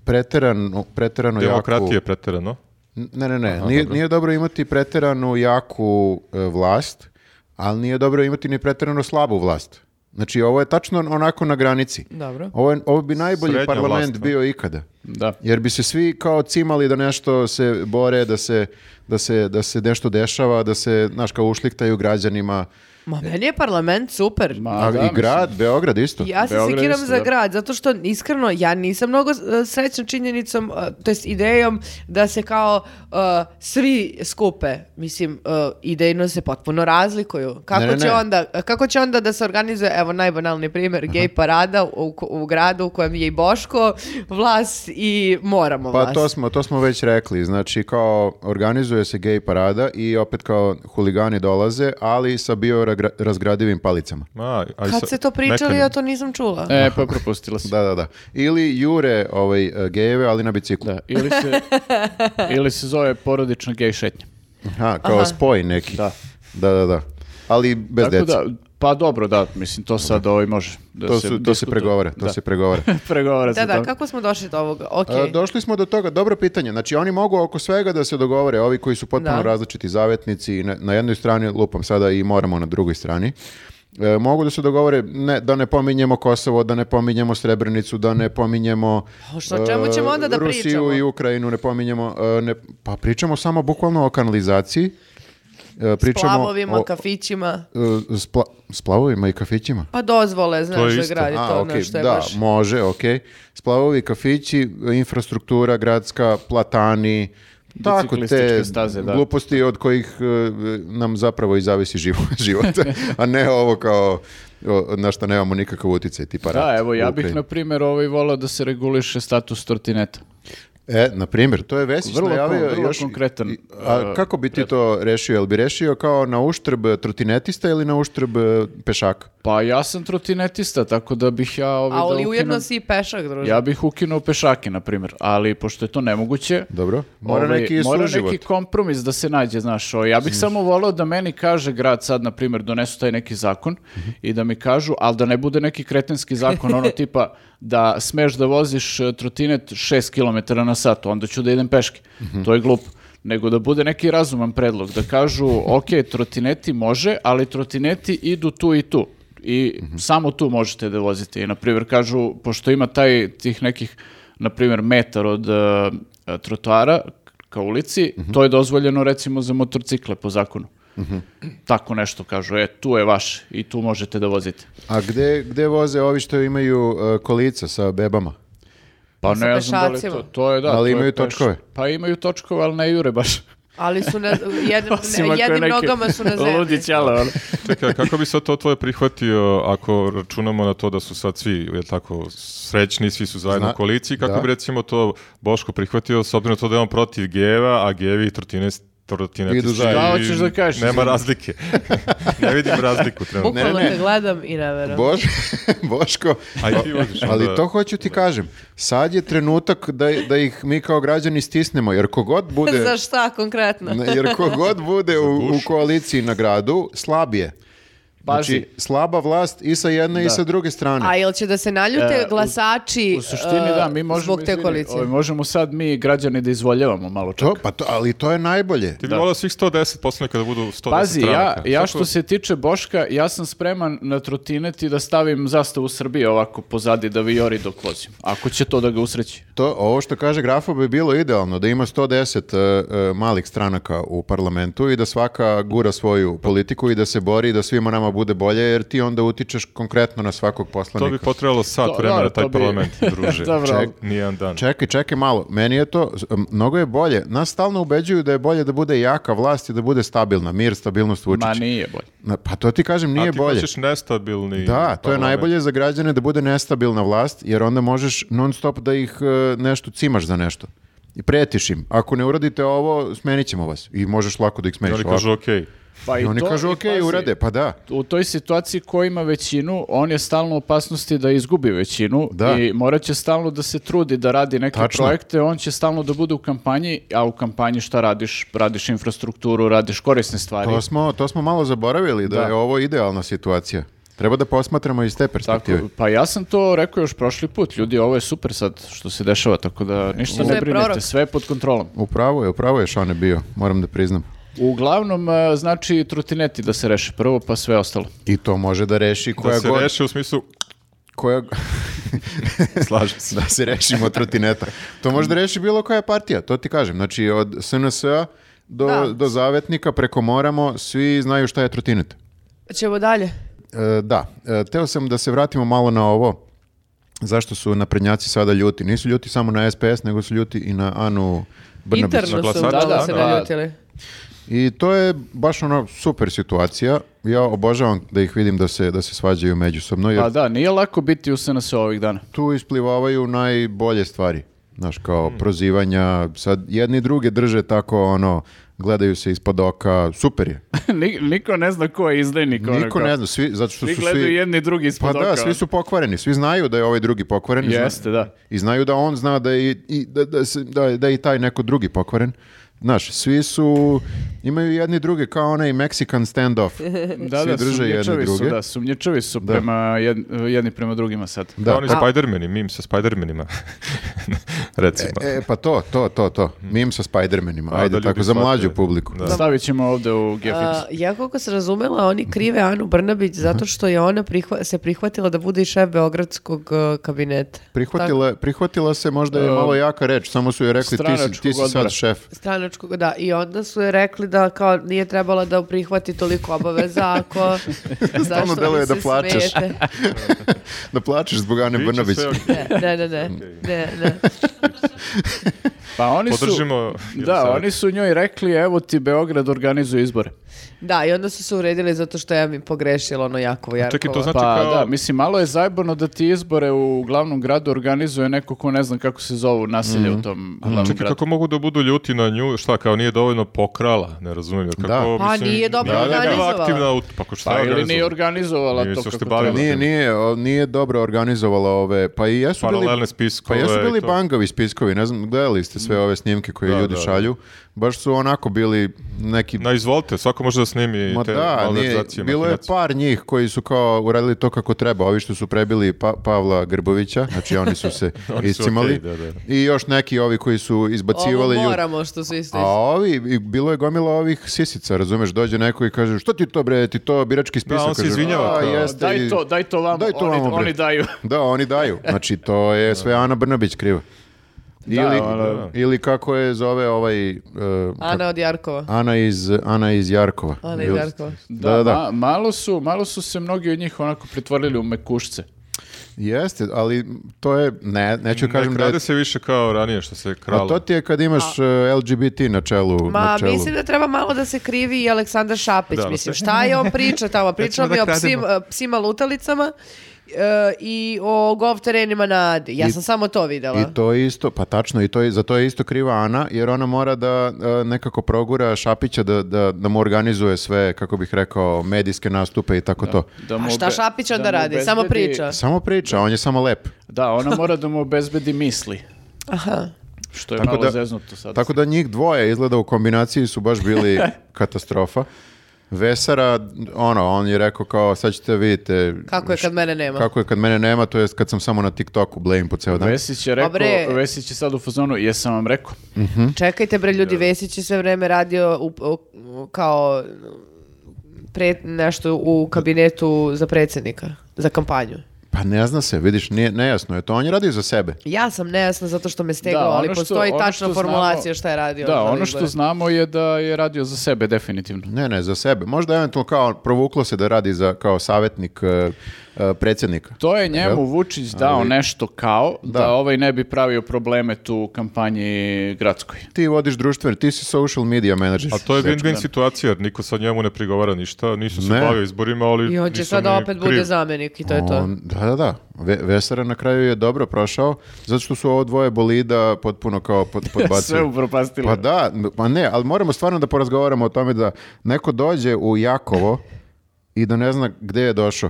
Speaker 2: preterano, preterano jaku...
Speaker 4: Demokratije pretjerano.
Speaker 2: Ne, ne, ne. nije, nije dobro imati preteranu jaku e, vlast, ali nije dobro imati ni preterano slabu vlast. Znači, ovo je tačno onako na granici.
Speaker 1: Dobro.
Speaker 2: Ovo, je- ovo bi najbolji
Speaker 4: Srednja
Speaker 2: parlament
Speaker 4: vlast, da.
Speaker 2: bio ikada.
Speaker 3: Da.
Speaker 2: Jer bi se svi kao cimali da nešto se bore, da se, da se, da se nešto dešava, da se, znaš, kao ušliktaju građanima.
Speaker 1: Ma meni je parlament super.
Speaker 3: Ma,
Speaker 2: A,
Speaker 3: da,
Speaker 2: I
Speaker 3: mislim.
Speaker 2: grad, Beograd isto.
Speaker 1: Ja se
Speaker 3: Beograd
Speaker 1: sekiram
Speaker 3: isto,
Speaker 1: za
Speaker 3: da.
Speaker 1: grad, zato što iskreno ja nisam mnogo e, srećna činjenicom, e, to jest idejom da se kao e, svi skupe, mislim, e, idejno se potpuno razlikuju. Kako,
Speaker 2: Ne, ne,
Speaker 1: će
Speaker 2: ne.
Speaker 1: Onda, kako će onda da se organizuje, evo najbanalni primjer, gej parada u, ko- u gradu u kojem je i Boško, vlas i moramo
Speaker 2: Pa
Speaker 1: vlas.
Speaker 2: to smo, to smo već rekli, znači kao organizuje se gej parada i opet kao huligani dolaze, ali sa biorazgradivim palicama.
Speaker 4: Ma, a i sa-
Speaker 1: Kad se to pričali,
Speaker 4: mekanim.
Speaker 1: ja to nisam čula.
Speaker 3: E, pa propustila si.
Speaker 2: Da, da, da. Ili jure ovaj, e, gejeve, ali na biciklu.
Speaker 3: Da, ili
Speaker 1: [laughs]
Speaker 3: se, ili se zove porodična gej šetnja.
Speaker 2: Aha, kao spoj neki. Da. Da, da, Ali bez
Speaker 3: Tako
Speaker 2: dece.
Speaker 3: da, pa dobro, da, mislim, to sad ovaj može. Da
Speaker 2: to, su, to se
Speaker 3: diskutuje.
Speaker 2: pregovara, to
Speaker 3: Da.
Speaker 2: se pregovara.
Speaker 3: [laughs] pregovara
Speaker 1: Da,
Speaker 3: se
Speaker 1: da,
Speaker 3: to.
Speaker 1: kako smo došli do ovoga? Ok.
Speaker 2: E, Došli smo do toga, dobro pitanje. Znači oni mogu oko svega da se dogovore, ovi koji su potpuno
Speaker 1: Da.
Speaker 2: različiti zavetnici i na, na jednoj strani lupam sada i moramo na drugoj strani. E, mogu da se dogovore ne, da ne pominjemo Kosovo, da ne pominjemo Srebrenicu, da ne pominjemo e,
Speaker 1: O, što- o čemu ćemo onda da
Speaker 2: Rusiju
Speaker 1: pričamo?
Speaker 2: i Ukrajinu, ne pominjemo e, ne, pa pričamo samo bukvalno o kanalizaciji. E, pričamo
Speaker 1: S plavovima,
Speaker 2: o,
Speaker 1: kafićima.
Speaker 2: e, spla- splavovima i kafićima.
Speaker 1: Pa dozvole, znaš, za
Speaker 4: isto.
Speaker 1: grad je to
Speaker 2: A,
Speaker 1: ono
Speaker 2: okej,
Speaker 1: što je
Speaker 2: da,
Speaker 1: baš...
Speaker 2: može, okej. Splavovi, kafići, infrastruktura gradska, platani, tako te
Speaker 3: Biciklističke staze, da.
Speaker 2: gluposti od kojih e, nam zapravo i zavisi živo- [laughs] život, a ne ovo kao o, na što nemamo nikakav utjecaj, tipa
Speaker 3: Da,
Speaker 2: rat
Speaker 3: evo, ja
Speaker 2: u
Speaker 3: bih,
Speaker 2: Ukrajini.
Speaker 3: na primjer, ovaj volao da se reguliše status tortineta.
Speaker 2: E, na primjer, to je Vesić
Speaker 3: Vrlo kon-
Speaker 2: najavio
Speaker 3: vrlo
Speaker 2: još...
Speaker 3: konkretan,
Speaker 2: i- A
Speaker 3: e,
Speaker 2: kako bi ti to rešio? Jel bi rešio kao na uštrb trotinetista ili na uštrb e, pešaka?
Speaker 3: Pa ja sam trotinetista, tako da bih ja... Ovaj, da
Speaker 1: Ali
Speaker 3: ukinem-
Speaker 1: ujedno si i pešak, druže.
Speaker 3: Ja bih ukinuo pešake, na primjer, ali pošto je to nemoguće...
Speaker 2: Dobro. Mora
Speaker 3: ovaj,
Speaker 2: neki
Speaker 3: mora
Speaker 2: suživot.
Speaker 3: neki kompromis da se nađe, znaš, ovaj, ja bih samo voleo da meni kaže grad sad, na primjer, donesu taj neki zakon i da mi kažu, ali da ne bude neki kretenski zakon, ono tipa da smeš da voziš e, trotinet 6 km na sat, onda ću da idem peške. To je glupo. Nego da bude neki razuman predlog, da kažu, ok, trotineti može, ali trotineti idu tu i tu i samo tu možete da vozite. I, na primjer, kažu, pošto ima taj, tih nekih, na primjer, metar od e, trotoara ka ulici, to je dozvoljeno, recimo, za motorcikle po zakonu. Tako nešto kažu, e, tu je vaš i tu možete da vozite.
Speaker 2: A gde, gde voze ovi što imaju e, kolica sa uh, bebama?
Speaker 3: Pa
Speaker 1: sa
Speaker 3: ne ja znam da li je
Speaker 1: pešacima.
Speaker 3: to, to je da.
Speaker 2: Ali
Speaker 3: to je
Speaker 2: imaju
Speaker 3: peš-
Speaker 2: točkove.
Speaker 3: Pa imaju točkove, ali ne jure
Speaker 1: [laughs]
Speaker 3: baš.
Speaker 1: Ali su na, jedn,
Speaker 3: [laughs] Osim ako je
Speaker 1: jednim
Speaker 3: neki
Speaker 1: nogama su na zemlji.
Speaker 3: [laughs] Ludi ćale, ono.
Speaker 4: Čekaj, a kako bi sad to tvoje prihvatio ako računamo na to da su sad svi je tako srećni, svi su zajedno
Speaker 2: Zna-
Speaker 4: u koaliciji, kako
Speaker 2: da.
Speaker 4: bi recimo to Boško prihvatio s obzirom na to da je on protiv geva, a gevi i trotine trotineti
Speaker 2: Idu
Speaker 4: svi-
Speaker 2: zajedno.
Speaker 3: Šta hoćeš da kažeš?
Speaker 4: Nema razlike. [laughs] ne vidim razliku trenutno.
Speaker 1: Bukvalno
Speaker 2: ne.
Speaker 1: te gledam i ne verujem.
Speaker 2: Bož, [laughs] Boško,
Speaker 4: A i ti voziš,
Speaker 2: ali
Speaker 4: onda-
Speaker 2: to hoću ti kažem. Sad je trenutak da, da ih mi kao građani stisnemo, jer
Speaker 1: [laughs]
Speaker 2: kogod bude...
Speaker 1: Za šta konkretno?
Speaker 2: Ne, Jer kogod bude u, u koaliciji na gradu, slabije.
Speaker 3: Pazi.
Speaker 2: Znači, slaba vlast i sa jedne i sa druge strane.
Speaker 1: A jel će da se naljute
Speaker 3: E, u-
Speaker 1: glasači
Speaker 3: U suštini da, mi
Speaker 1: e,
Speaker 3: možemo,
Speaker 1: zbog te
Speaker 3: izvini,
Speaker 1: koalicije?
Speaker 3: ovaj, možemo sad mi građani da izvoljevamo malo čak.
Speaker 2: To, pa to, ali to je najbolje.
Speaker 4: Ti bi volao svih 110 poslanika da budu 110
Speaker 3: Pazi, ja,
Speaker 4: stranaka.
Speaker 3: ja
Speaker 4: Kako-
Speaker 3: što se tiče Boška, ja sam spreman na trotineti da stavim zastavu Srbije ovako pozadi da vijori dok vozim. Ako će to da ga usreći.
Speaker 2: To, ovo što kaže Grafo bi bilo idealno, da ima 110 e, e, malih stranaka u parlamentu i da svaka gura svoju politiku i da se bori i da svima nama bude bolje, jer ti onda utičeš konkretno na svakog
Speaker 4: To
Speaker 2: poslanika.
Speaker 4: bi potrebalo sat
Speaker 3: To-
Speaker 4: vremena
Speaker 3: dobro, to
Speaker 4: taj
Speaker 3: bi- [laughs]
Speaker 4: parlament, druže.
Speaker 3: Dobro, ali-
Speaker 4: Ček, nijedan dan.
Speaker 2: Čekaj, čekaj malo, meni je to, s- m, mnogo je bolje, nas stalno ubeđuju da je bolje da bude jaka vlast i da bude stabilna, mir, stabilnost, Vučić.
Speaker 3: Ma nije bolje.
Speaker 2: Na- Pa to ti kažem, nije
Speaker 4: a ti
Speaker 2: bolje.
Speaker 4: hoćeš nestabilni
Speaker 2: Da, to je
Speaker 4: parlament.
Speaker 2: najbolje za građane da bude nestabilna vlast, jer onda možeš non stop da ih e, nešto cimaš za nešto. I pretiš im. Ako ne uradite ovo, smenit ćemo vas. I možeš lako da ih
Speaker 4: I
Speaker 2: smeniš.
Speaker 4: Oni kažu
Speaker 2: ovako.
Speaker 4: okej.
Speaker 3: Pa
Speaker 2: I oni
Speaker 3: to-
Speaker 2: kažu,
Speaker 3: i
Speaker 2: ok,
Speaker 3: pazi,
Speaker 2: urade, pa da.
Speaker 3: U toj situaciji ko ima većinu, on je stalno u opasnosti da izgubi većinu
Speaker 2: Da.
Speaker 3: i morat će stalno da se trudi da radi neke
Speaker 2: Tačno.
Speaker 3: projekte, on će stalno da bude u kampanji, a u kampanji šta radiš? Radiš infrastrukturu, radiš korisne stvari.
Speaker 2: To smo, to smo malo zaboravili, da,
Speaker 3: Da.
Speaker 2: je ovo idealna situacija. Treba da posmatramo iz te
Speaker 3: Tako,
Speaker 2: perspektive.
Speaker 3: pa ja sam to rekao još prošli put, ljudi, ovo je super sad što se dešava, tako da ništa
Speaker 1: Sve
Speaker 3: ne
Speaker 1: je
Speaker 3: brinite,
Speaker 1: prorok.
Speaker 3: sve je pod kontrolom.
Speaker 2: Upravo je, upravo je Šone bio, moram da priznam.
Speaker 3: Uglavnom, e, znači, trotineti da se reše prvo, pa sve ostalo.
Speaker 2: I to može da reši koja
Speaker 4: Da se
Speaker 2: god...
Speaker 4: reše u smislu,
Speaker 2: Koja... [laughs]
Speaker 4: slažem se.
Speaker 2: da se rešimo trotineta. To može da reši bilo koja partija, to ti kažem. Znači, od SNS-a do,
Speaker 1: Da.
Speaker 2: do zavetnika preko moramo, svi znaju šta je trotinet.
Speaker 1: Ćemo dalje.
Speaker 2: E, da, e, teo sam da se vratimo malo na ovo. Zašto su naprednjaci sada ljuti? Nisu ljuti samo na SPS, nego su ljuti i na Anu Brnabić. Dakle,
Speaker 1: Interno su
Speaker 4: glasača,
Speaker 1: malo
Speaker 3: da,
Speaker 1: se
Speaker 3: da.
Speaker 1: naljutili.
Speaker 2: I to je baš ono super situacija. Ja obožavam da ih vidim da se, da se svađaju međusobno, jer
Speaker 3: Pa da, nije lako biti u SNS ovih dana. [laughs]
Speaker 2: tu isplivavaju najbolje stvari. Znaš, kao
Speaker 3: Hmm.
Speaker 2: prozivanja, sad jedni druge drže tako, ono, gledaju se ispod oka, super je.
Speaker 3: Ni- Niko ne zna ko je izdajnik. ono
Speaker 2: Niko
Speaker 3: [laughs] kao.
Speaker 2: ne zna, svi, zato što
Speaker 3: Svi
Speaker 2: su
Speaker 3: gledaju
Speaker 2: svi...
Speaker 3: jedni drugi ispod
Speaker 2: Pa da,
Speaker 3: oka,
Speaker 2: svi
Speaker 3: ono.
Speaker 2: su pokvareni, svi znaju da je ovaj drugi pokvaren. zna-
Speaker 3: Jeste, da.
Speaker 2: I znaju da on zna da je i, i da, da, se- da, je- da je i taj neko drugi pokvaren. Znaš, svi su, imaju jedni druge kao onaj Mexican standoff.
Speaker 3: [laughs] Da,
Speaker 2: Svi
Speaker 3: da,
Speaker 2: drže jedni
Speaker 3: sumnjičavi su,
Speaker 2: druge.
Speaker 3: da, sumnjičavi su prema jed- jedni prema drugima sad.
Speaker 4: Da,
Speaker 2: Da.
Speaker 4: oni Spidermani, mim sa Spidermanima. [laughs] Recimo.
Speaker 2: E, pa to, to, to, to.
Speaker 3: Hmm.
Speaker 2: Mim sa Spidermanima,
Speaker 4: A, da
Speaker 2: ajde,
Speaker 4: ljudi
Speaker 2: tako za mlađu
Speaker 4: shvate.
Speaker 2: publiku.
Speaker 4: Da.
Speaker 3: Stavit ćemo ovde u
Speaker 1: A,
Speaker 3: Gefiks.
Speaker 1: E, ja koliko sam razumela, oni krive Anu Brnabić zato što je ona prihva- se prihvatila da bude i šef Beogradskog e, kabineta.
Speaker 2: Prihvatila, prihvatila se, možda je malo jaka reč, samo su joj rekli ti si, ti si
Speaker 3: stranačkog odbora."
Speaker 2: sad šef.
Speaker 1: Stranačkog, da. I onda su je rekli da kao nije trebala da prihvati toliko obaveza
Speaker 2: [laughs]
Speaker 1: ako... Zašto
Speaker 2: deluje
Speaker 1: vi se
Speaker 2: da plačeš.
Speaker 1: smijete?
Speaker 2: Da plačeš zbog Ane
Speaker 4: Biće
Speaker 2: Brnabić.
Speaker 4: sve [laughs] okej.
Speaker 1: Ne, ne, ne, ne, ne, ne.
Speaker 3: Pa oni su...
Speaker 4: Podržimo...
Speaker 3: Da, oni su njoj rekli, evo ti Beograd organizuje izbore.
Speaker 1: Da, i onda su se uredili zato što je mi pogrešila ono Jakovo Jarkova.
Speaker 4: Čekaj, to znači
Speaker 3: Pa
Speaker 4: kao...
Speaker 3: da, mislim, malo je zajebano da ti izbore u glavnom gradu organizuje neko ko ne znam kako se zovu naselje u tom glavnom
Speaker 4: Čekaj,
Speaker 3: gradu.
Speaker 4: kako mogu da budu ljuti na nju? Šta, kao nije dovoljno pokrala? Ne razumijem. Jer kako,
Speaker 2: Da.
Speaker 1: Pa, nije dobro
Speaker 4: nije bila
Speaker 1: organizovala.
Speaker 4: aktivna u... Pa, ko šta
Speaker 3: Pa
Speaker 4: je
Speaker 3: ili nije
Speaker 4: organizovala?
Speaker 3: organizovala
Speaker 4: Nije
Speaker 3: to
Speaker 4: se
Speaker 3: kako
Speaker 4: uopšte
Speaker 3: treba.
Speaker 4: bavila.
Speaker 2: Nije, nije, o, nije dobro organizovala ove, pa i jesu
Speaker 4: Paralelne
Speaker 2: bili... Pa
Speaker 4: spiskove.
Speaker 2: jesu bili
Speaker 4: i to.
Speaker 2: bangavi spiskovi, ne znam, gledali ste sve ove snimke koje
Speaker 4: Da,
Speaker 2: ljudi
Speaker 4: da, da.
Speaker 2: šalju. Baš su onako bili neki...
Speaker 4: Na izvolite, svako može da snimi
Speaker 2: Ma
Speaker 4: te
Speaker 2: da, nije,
Speaker 4: malverzacije.
Speaker 2: bilo je
Speaker 4: mahinacije.
Speaker 2: par njih koji su kao uradili to kako treba. Ovi što su prebili Pa- Pavla Grbovića, znači oni su se
Speaker 4: [laughs] Oni su
Speaker 2: iscimali.
Speaker 4: okej, da, da.
Speaker 2: I još neki ovi koji su
Speaker 1: Ovo
Speaker 2: izbacivali ljudi.
Speaker 1: moramo što su isto
Speaker 2: A ovi, i bilo je gomila ovih sisica, razumeš, dođe neko i kaže, što ti to bre, ti to birački spisak.
Speaker 4: on se
Speaker 2: Kaže,
Speaker 4: izvinjava
Speaker 2: "A,
Speaker 4: kao,
Speaker 2: pa jeste,
Speaker 3: Daj
Speaker 2: i-
Speaker 3: to, daj to vamo,
Speaker 2: Daj to
Speaker 3: oni,
Speaker 2: vamo, bre."
Speaker 3: oni daju.
Speaker 2: Da, oni daju. Znači, to je sve Ana Brnabić kriva. Ili,
Speaker 3: ono-
Speaker 2: ili kako je zove ovaj... e,
Speaker 1: Ana od Jarkova.
Speaker 2: Ana iz, Ana iz Jarkova.
Speaker 1: Ana iz
Speaker 2: Ili-
Speaker 1: Jarkova.
Speaker 2: Da, da.
Speaker 3: ma- malo, su, malo su se mnogi od njih onako pretvorili u mekušce.
Speaker 2: Jeste, ali to je, ne, neću pa- kažem
Speaker 4: ne
Speaker 2: da
Speaker 4: krade
Speaker 2: je...
Speaker 4: se više kao ranije što se
Speaker 2: A
Speaker 4: kralo.
Speaker 2: to ti je kad imaš e, LGBT na čelu.
Speaker 1: Ma,
Speaker 2: na čelu.
Speaker 1: mislim da treba malo da se krivi i Aleksandar Šapić,
Speaker 4: Da,
Speaker 1: mislim.
Speaker 4: da se-
Speaker 1: Šta je on priča tamo? Pričao
Speaker 4: ćemo
Speaker 1: mi
Speaker 4: da
Speaker 1: o psim- e,
Speaker 4: krademo.
Speaker 1: psima lutalicama e, i o golf terenima na Adi. Ja
Speaker 2: I-
Speaker 1: sam samo to videla.
Speaker 2: I to je isto, pa tačno, i to je, za to je isto kriva Ana, jer ona mora da e, nekako progura Šapića da, da, da mu organizuje sve, kako bih rekao, medijske nastupe i tako to.
Speaker 3: Da mu
Speaker 1: A šta
Speaker 3: obe-
Speaker 1: Šapić onda
Speaker 3: da mu
Speaker 1: radi? Samo
Speaker 3: obezbedi-
Speaker 1: priča.
Speaker 2: Samo priča, on je samo lep.
Speaker 3: Da, ona mora da mu obezbedi misli.
Speaker 1: Aha.
Speaker 3: Što je
Speaker 2: Tako
Speaker 3: malo
Speaker 2: da-
Speaker 3: zeznuto sad.
Speaker 2: Tako da njih dvoje izgleda u kombinaciji su baš
Speaker 1: [laughs]
Speaker 2: bili katastrofa. Vesara, ono, on je rekao kao, sad ćete vidite
Speaker 1: Kako je kad mene nema?
Speaker 2: kako je kad mene nema, to je kad sam samo na TikToku blame po ceo dan.
Speaker 3: Vesić
Speaker 1: Pa
Speaker 3: je rekao,
Speaker 1: Dobre.
Speaker 3: Vesić je sad u fazonu, jesam vam rekao.
Speaker 2: Hm?
Speaker 1: Čekajte bre ljudi, Vesić je sve vreme radio u, u- kao pre, nešto u kabinetu za predsjednika, za kampanju.
Speaker 2: Pa ne zna se, vidiš, nije, nejasno je to, on je radio za sebe.
Speaker 1: Ja sam nejasna zato što me steglo,
Speaker 3: Da, ono
Speaker 1: ali
Speaker 3: što-
Speaker 1: postoji
Speaker 3: ono
Speaker 1: tačna
Speaker 3: što znamo-
Speaker 1: formulacija šta je radio.
Speaker 3: Da,
Speaker 1: za
Speaker 3: ono
Speaker 1: izbore.
Speaker 3: što znamo je da je radio za sebe, definitivno.
Speaker 2: Ne, ne, za sebe. Možda eventualno kao provuklo se da radi za kao savjetnik e, e, predsjednika.
Speaker 3: To je njemu Vučić dao nešto kao da.
Speaker 2: Da.
Speaker 3: ovaj ne bi pravio probleme tu u kampanji gradskoj.
Speaker 2: Ti vodiš društveni, ti si social media manager. Znači,
Speaker 4: A to je
Speaker 2: Dečko.
Speaker 4: win-win situacija, jer niko sad njemu ne prigovara ništa, nisu se
Speaker 2: Ne.
Speaker 4: bavio izborima, ali
Speaker 1: I on će
Speaker 4: nisam
Speaker 1: sada
Speaker 4: ni
Speaker 1: opet
Speaker 4: kriv.
Speaker 1: bude zamjenik i to je to.
Speaker 2: On- da, da, da. Ve- Vesara na kraju je dobro prošao, zato što su ovo dvoje bolida potpuno kao
Speaker 4: [laughs]
Speaker 2: pod,
Speaker 3: [laughs] Sve
Speaker 2: podbacili.
Speaker 3: upropastili.
Speaker 2: Pa da, pa ne, ali moramo stvarno da porazgovaramo o tome da neko dođe u Jakovo i da ne zna gde je došao.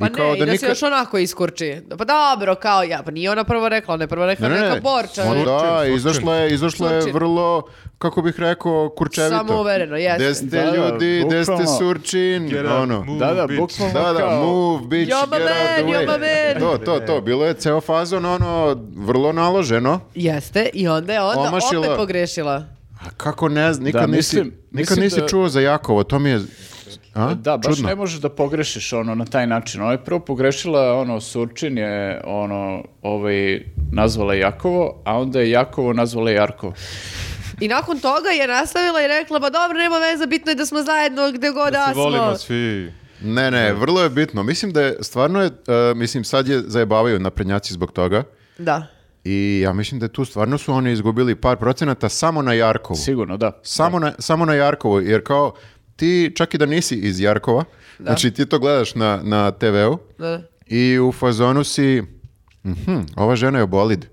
Speaker 1: Pa
Speaker 2: I kao
Speaker 1: ne, i da se
Speaker 2: nikad-
Speaker 1: još onako iskurči. Pa dobro, kao ja, pa nije ona prvo rekla, ona je prvo rekla neka borča.
Speaker 2: Ma
Speaker 1: ali-
Speaker 2: Da,
Speaker 4: Surčin,
Speaker 2: izašla je, izašla je
Speaker 1: Surčin.
Speaker 2: vrlo, kako bih rekao, kurčevito.
Speaker 1: Samouvereno, jeste.
Speaker 2: Gde ste
Speaker 3: Da, da,
Speaker 2: ljudi, gde ste
Speaker 3: bukvalno.
Speaker 2: surčin,
Speaker 4: Get up,
Speaker 2: ono.
Speaker 4: move,
Speaker 3: Da, da,
Speaker 4: bitch.
Speaker 3: bukvalno
Speaker 2: Da, da,
Speaker 3: kao-
Speaker 2: move, bitch,
Speaker 1: Yo, my
Speaker 2: get out the
Speaker 1: man, yo, my man.
Speaker 2: way. To, to, to, bilo je ceo fazon, ono, vrlo naloženo.
Speaker 1: Jeste, i onda je onda
Speaker 2: Omašila.
Speaker 1: opet pogrešila.
Speaker 2: A kako ne znam, nikad
Speaker 3: Da, mislim-
Speaker 2: nisi, nikad
Speaker 3: mislim
Speaker 2: nisi
Speaker 3: da-
Speaker 2: čuo za Jakovo, to mi je, a,
Speaker 3: Da, baš
Speaker 2: čudno.
Speaker 3: ne možeš da pogrešiš ono na taj način. Ona je prvo pogrešila, ono, Surčin je, ono, ovaj, nazvala je Jakovo, a onda je Jakovo nazvala je Jarkovo.
Speaker 1: I nakon toga je nastavila i rekla, pa dobro, nema veze, bitno je da smo zajedno gde god da,
Speaker 4: Da se
Speaker 1: smo.
Speaker 4: volimo svi.
Speaker 2: Ne, ne, vrlo je bitno. Mislim da je, stvarno je, e, mislim, sad je zajebavaju naprednjaci zbog toga.
Speaker 1: Da.
Speaker 2: I ja mislim da je tu stvarno su oni izgubili par procenata samo na Jarkovu.
Speaker 3: Sigurno, da.
Speaker 2: Samo na, samo na Jarkovu, jer kao ti čak i da nisi iz Jarkova, znači ti to gledaš na, na TV-u
Speaker 1: Da, da.
Speaker 2: i u fazonu si, mhm, ova žena je bolid.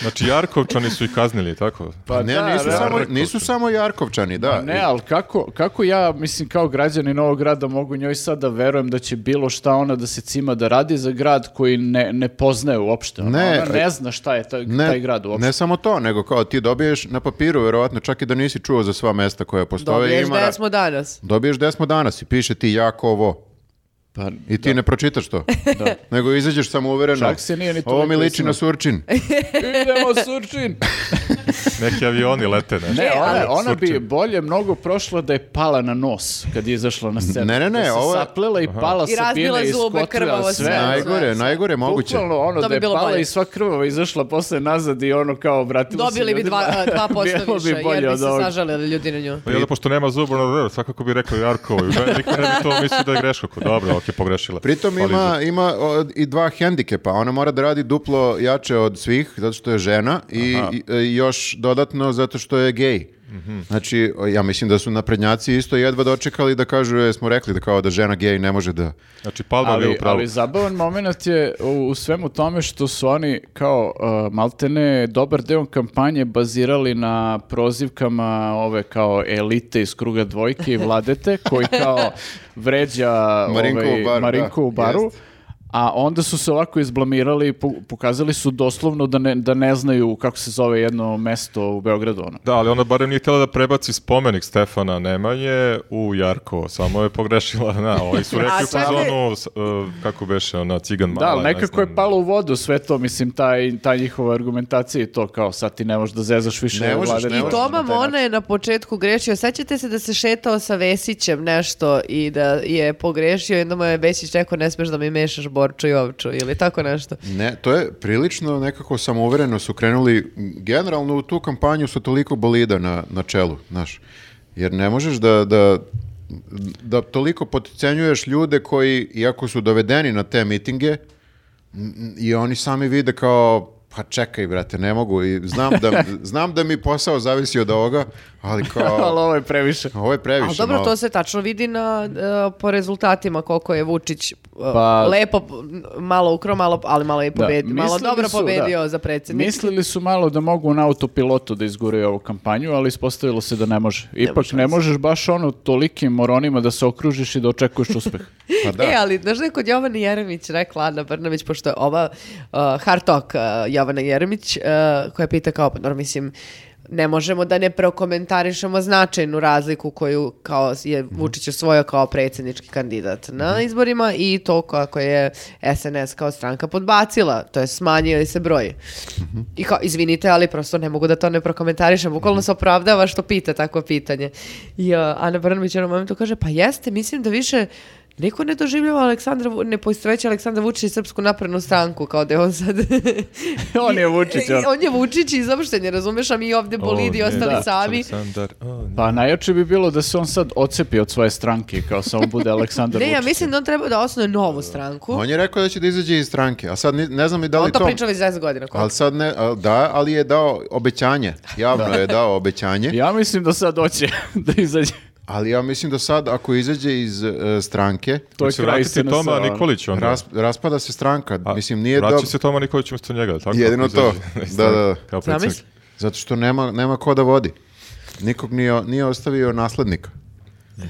Speaker 4: Znači, Jarkovčani su i kaznili, tako?
Speaker 2: Pa ne,
Speaker 3: da,
Speaker 2: nisu,
Speaker 3: realno.
Speaker 2: samo,
Speaker 4: Jarkovčani.
Speaker 2: nisu samo Jarkovčani, da.
Speaker 3: Ne, ali kako, kako ja, mislim, kao građani Novog grada mogu njoj sad da verujem da će bilo šta ona da se cima da radi za grad koji ne, ne poznaje uopšte. Ona,
Speaker 2: Ne,
Speaker 3: ona ne zna šta je taj, taj grad uopšte.
Speaker 2: ne samo to, nego kao ti dobiješ na papiru, verovatno, čak i da nisi čuo za sva mesta koja postoje.
Speaker 1: Dobiješ
Speaker 2: ima
Speaker 1: da
Speaker 2: ra-
Speaker 1: smo danas.
Speaker 2: Dobiješ gde smo danas i piše ti Jakovo.
Speaker 3: Pa,
Speaker 2: I ti ne pročitaš to. Nego izađeš samo uvereno.
Speaker 3: Čak se nije ni
Speaker 2: Ovo mi
Speaker 3: toliko
Speaker 2: liči na
Speaker 3: iskreno.
Speaker 2: Surčin.
Speaker 3: idemo Surčin!
Speaker 4: Neki avioni lete, nešto.
Speaker 2: E,
Speaker 3: Ne, ona, ona bi
Speaker 4: Surčin.
Speaker 3: bolje mnogo prošla da je pala na nos kad je izašla na scenu.
Speaker 2: Ne, ne, ne,
Speaker 3: Da se
Speaker 2: ovo je-
Speaker 3: saplela i pala
Speaker 1: I
Speaker 3: sa
Speaker 1: razbila
Speaker 3: bine i
Speaker 1: zube,
Speaker 3: skotrila
Speaker 1: krvavo sve.
Speaker 3: sve.
Speaker 1: Naj-
Speaker 2: najgore,
Speaker 1: sve.
Speaker 2: najgore moguće.
Speaker 3: Bukvalno ono
Speaker 1: To
Speaker 3: da
Speaker 1: bi
Speaker 3: je
Speaker 1: bilo
Speaker 3: pala
Speaker 1: bolje.
Speaker 3: i sva krvava izašla posle nazad i ono kao obratilo se
Speaker 1: Dobili bi
Speaker 3: ljudima. [laughs]
Speaker 1: dva, dva posto
Speaker 3: Bilo bi
Speaker 1: više,
Speaker 3: bolje
Speaker 1: jer bi
Speaker 3: od
Speaker 1: se
Speaker 3: ovog.
Speaker 1: sažalili ljudi na nju.
Speaker 4: Pa jel da, pošto nema zuba, ono, rr, svakako bi rekao Jarkovo. i ne- Niko ne bi to mislio da je greško. Ko, Dobro, ok, pogrešila.
Speaker 2: Pritom
Speaker 4: Dakle, Ali
Speaker 2: ima, ima o, i dva hendikepa. Ona mora da radi duplo jače od svih, zato što je žena i, i- e, još dodatno zato što je gej. Znači, o, ja mislim da su naprednjaci isto jedva dočekali da kažu, e, smo rekli da kao da žena gej ne može da...
Speaker 4: Znači, Palma je bio
Speaker 3: Ali,
Speaker 4: u pravu.
Speaker 3: ali zabavan moment je u, u svemu tome što su oni kao uh, maltene dobar deo kampanje bazirali na prozivkama ove kao elite iz kruga dvojke i vladete koji kao
Speaker 2: [laughs]
Speaker 3: vređa
Speaker 2: Marinku
Speaker 3: ovaj,
Speaker 2: u baru,
Speaker 3: Marinku
Speaker 2: da,
Speaker 3: u baru.
Speaker 2: jest.
Speaker 3: A onda su se ovako izblamirali i po- pokazali su doslovno da ne, da ne znaju kako se zove jedno mesto u Beogradu. Ono.
Speaker 4: Da, ali ona barem nije htjela da prebaci spomenik Stefana Nemanje u Jarkovo. Samo je pogrešila, na,
Speaker 2: [laughs]
Speaker 4: ovi su rekli
Speaker 1: A
Speaker 4: u
Speaker 1: čekaj-
Speaker 4: fazonu, s- e, kako beše, ona, cigan mala.
Speaker 3: Da, ali
Speaker 4: ne
Speaker 3: nekako
Speaker 4: znam.
Speaker 3: je palo u vodu sve to, mislim, taj, ta njihova argumentacija i to kao sad ti ne možeš da zezaš više
Speaker 2: Ne možeš,
Speaker 3: vlade.
Speaker 2: ne
Speaker 1: I
Speaker 2: možeš
Speaker 1: Toma
Speaker 3: na taj
Speaker 1: Mona je na početku grešio. Sećate se da se šetao sa Vesićem nešto i da je pogrešio i onda mu je Vesić rekao ne smeš da mi mešaš borču i ovču ili tako nešto.
Speaker 2: Ne, to je prilično nekako samouvereno su krenuli generalno u tu kampanju su toliko bolida na, na čelu, znaš. Jer ne možeš da, da da toliko potcenjuješ ljude koji, iako su dovedeni na te mitinge, m, i oni sami vide kao, pa čekaj, brate, ne mogu. I znam,
Speaker 1: [laughs]
Speaker 2: da, znam da mi posao zavisi od ovoga, ali
Speaker 3: Ali
Speaker 2: kao,
Speaker 3: ovo je previše.
Speaker 2: ovo je previše.
Speaker 1: Ali dobro,
Speaker 2: malo.
Speaker 1: to se tačno vidi na, e, po rezultatima koliko je Vučić e,
Speaker 3: Pa-
Speaker 1: lepo, p- malo ukro, malo, ali malo je i
Speaker 3: Da.
Speaker 1: pobedio. Malo
Speaker 3: Mislili
Speaker 1: dobro
Speaker 3: su,
Speaker 1: pobedio
Speaker 3: da.
Speaker 1: za predsjednika.
Speaker 3: Mislili su malo da mogu na autopilotu da izguraju ovu kampanju, ali ispostavilo se da ne može. Ipak ne možeš baš ono tolikim moronima da se okružiš i da očekuješ
Speaker 1: [laughs]
Speaker 3: uspeh.
Speaker 2: Pa da.
Speaker 1: E, ali znaš da je kod Jovana Jeremić rekla Ana Brnavić, pošto je ova uh, hard talk uh, Jovana Jeremić, uh, koja pita kao, pa dobro, mislim, ne možemo da ne prokomentarišemo značajnu razliku koju kao je
Speaker 2: Mhm.
Speaker 1: Vučić osvojio kao predsjednički kandidat na izborima i to kako je SNS kao stranka podbacila, to je smanjio je se broj.
Speaker 2: Mhm.
Speaker 1: I kao, izvinite, ali prosto ne mogu da to ne prokomentarišem. Bukvalno
Speaker 2: Mhm.
Speaker 1: se opravdava što pita takvo pitanje. I uh, Ana Brnabić u jednom momentu kaže, pa jeste, mislim da više niko ne doživljava Aleksandra, Vu- ne poistoveća Aleksandra Vučića i Srpsku naprednu stranku, kao da je on sad...
Speaker 3: On je Vučić, ono.
Speaker 1: [laughs] on je Vučić i zaopšte ne razumeš, a mi ovdje bolidi
Speaker 4: O, ne,
Speaker 1: ostali
Speaker 4: da.
Speaker 1: sami.
Speaker 4: Aleksandar, o, ne.
Speaker 3: Pa najjače bi bilo da se on sad odcepi od svoje stranke, kao samo bude Aleksandar
Speaker 1: Ne, ja
Speaker 3: Vučić.
Speaker 1: mislim da on treba da osnuje novu stranku. On,
Speaker 2: On je rekao da će da izađe iz stranke, a sad ni- ne znam i da li
Speaker 1: to
Speaker 2: to...
Speaker 1: priča već 10 godina. koliko?
Speaker 2: Ali sad ne, al- da, ali je dao obećanje, javno je dao obećanje.
Speaker 3: Ja mislim da sad hoće [laughs] da izađe.
Speaker 2: Ali ja mislim da sad ako izađe iz e, stranke,
Speaker 3: To je
Speaker 4: Hoće
Speaker 3: kraj
Speaker 4: vratiti
Speaker 3: SNS-a,
Speaker 4: Toma
Speaker 3: ono.
Speaker 4: Nikolić onda.
Speaker 2: ras- raspada se stranka.
Speaker 4: A,
Speaker 2: mislim nije
Speaker 4: Pa, vraća
Speaker 2: dobro.
Speaker 4: se Toma Nikolić umjesto njega, jel tako?
Speaker 2: Jedino
Speaker 4: Ako izađe
Speaker 2: to.
Speaker 4: iz
Speaker 2: Da, da,
Speaker 4: stranke
Speaker 2: da.
Speaker 4: Kao
Speaker 1: Zamisli.
Speaker 4: predsjednik.
Speaker 2: Zato što nema nema ko da vodi. Nikog nije nije ostavio naslednika.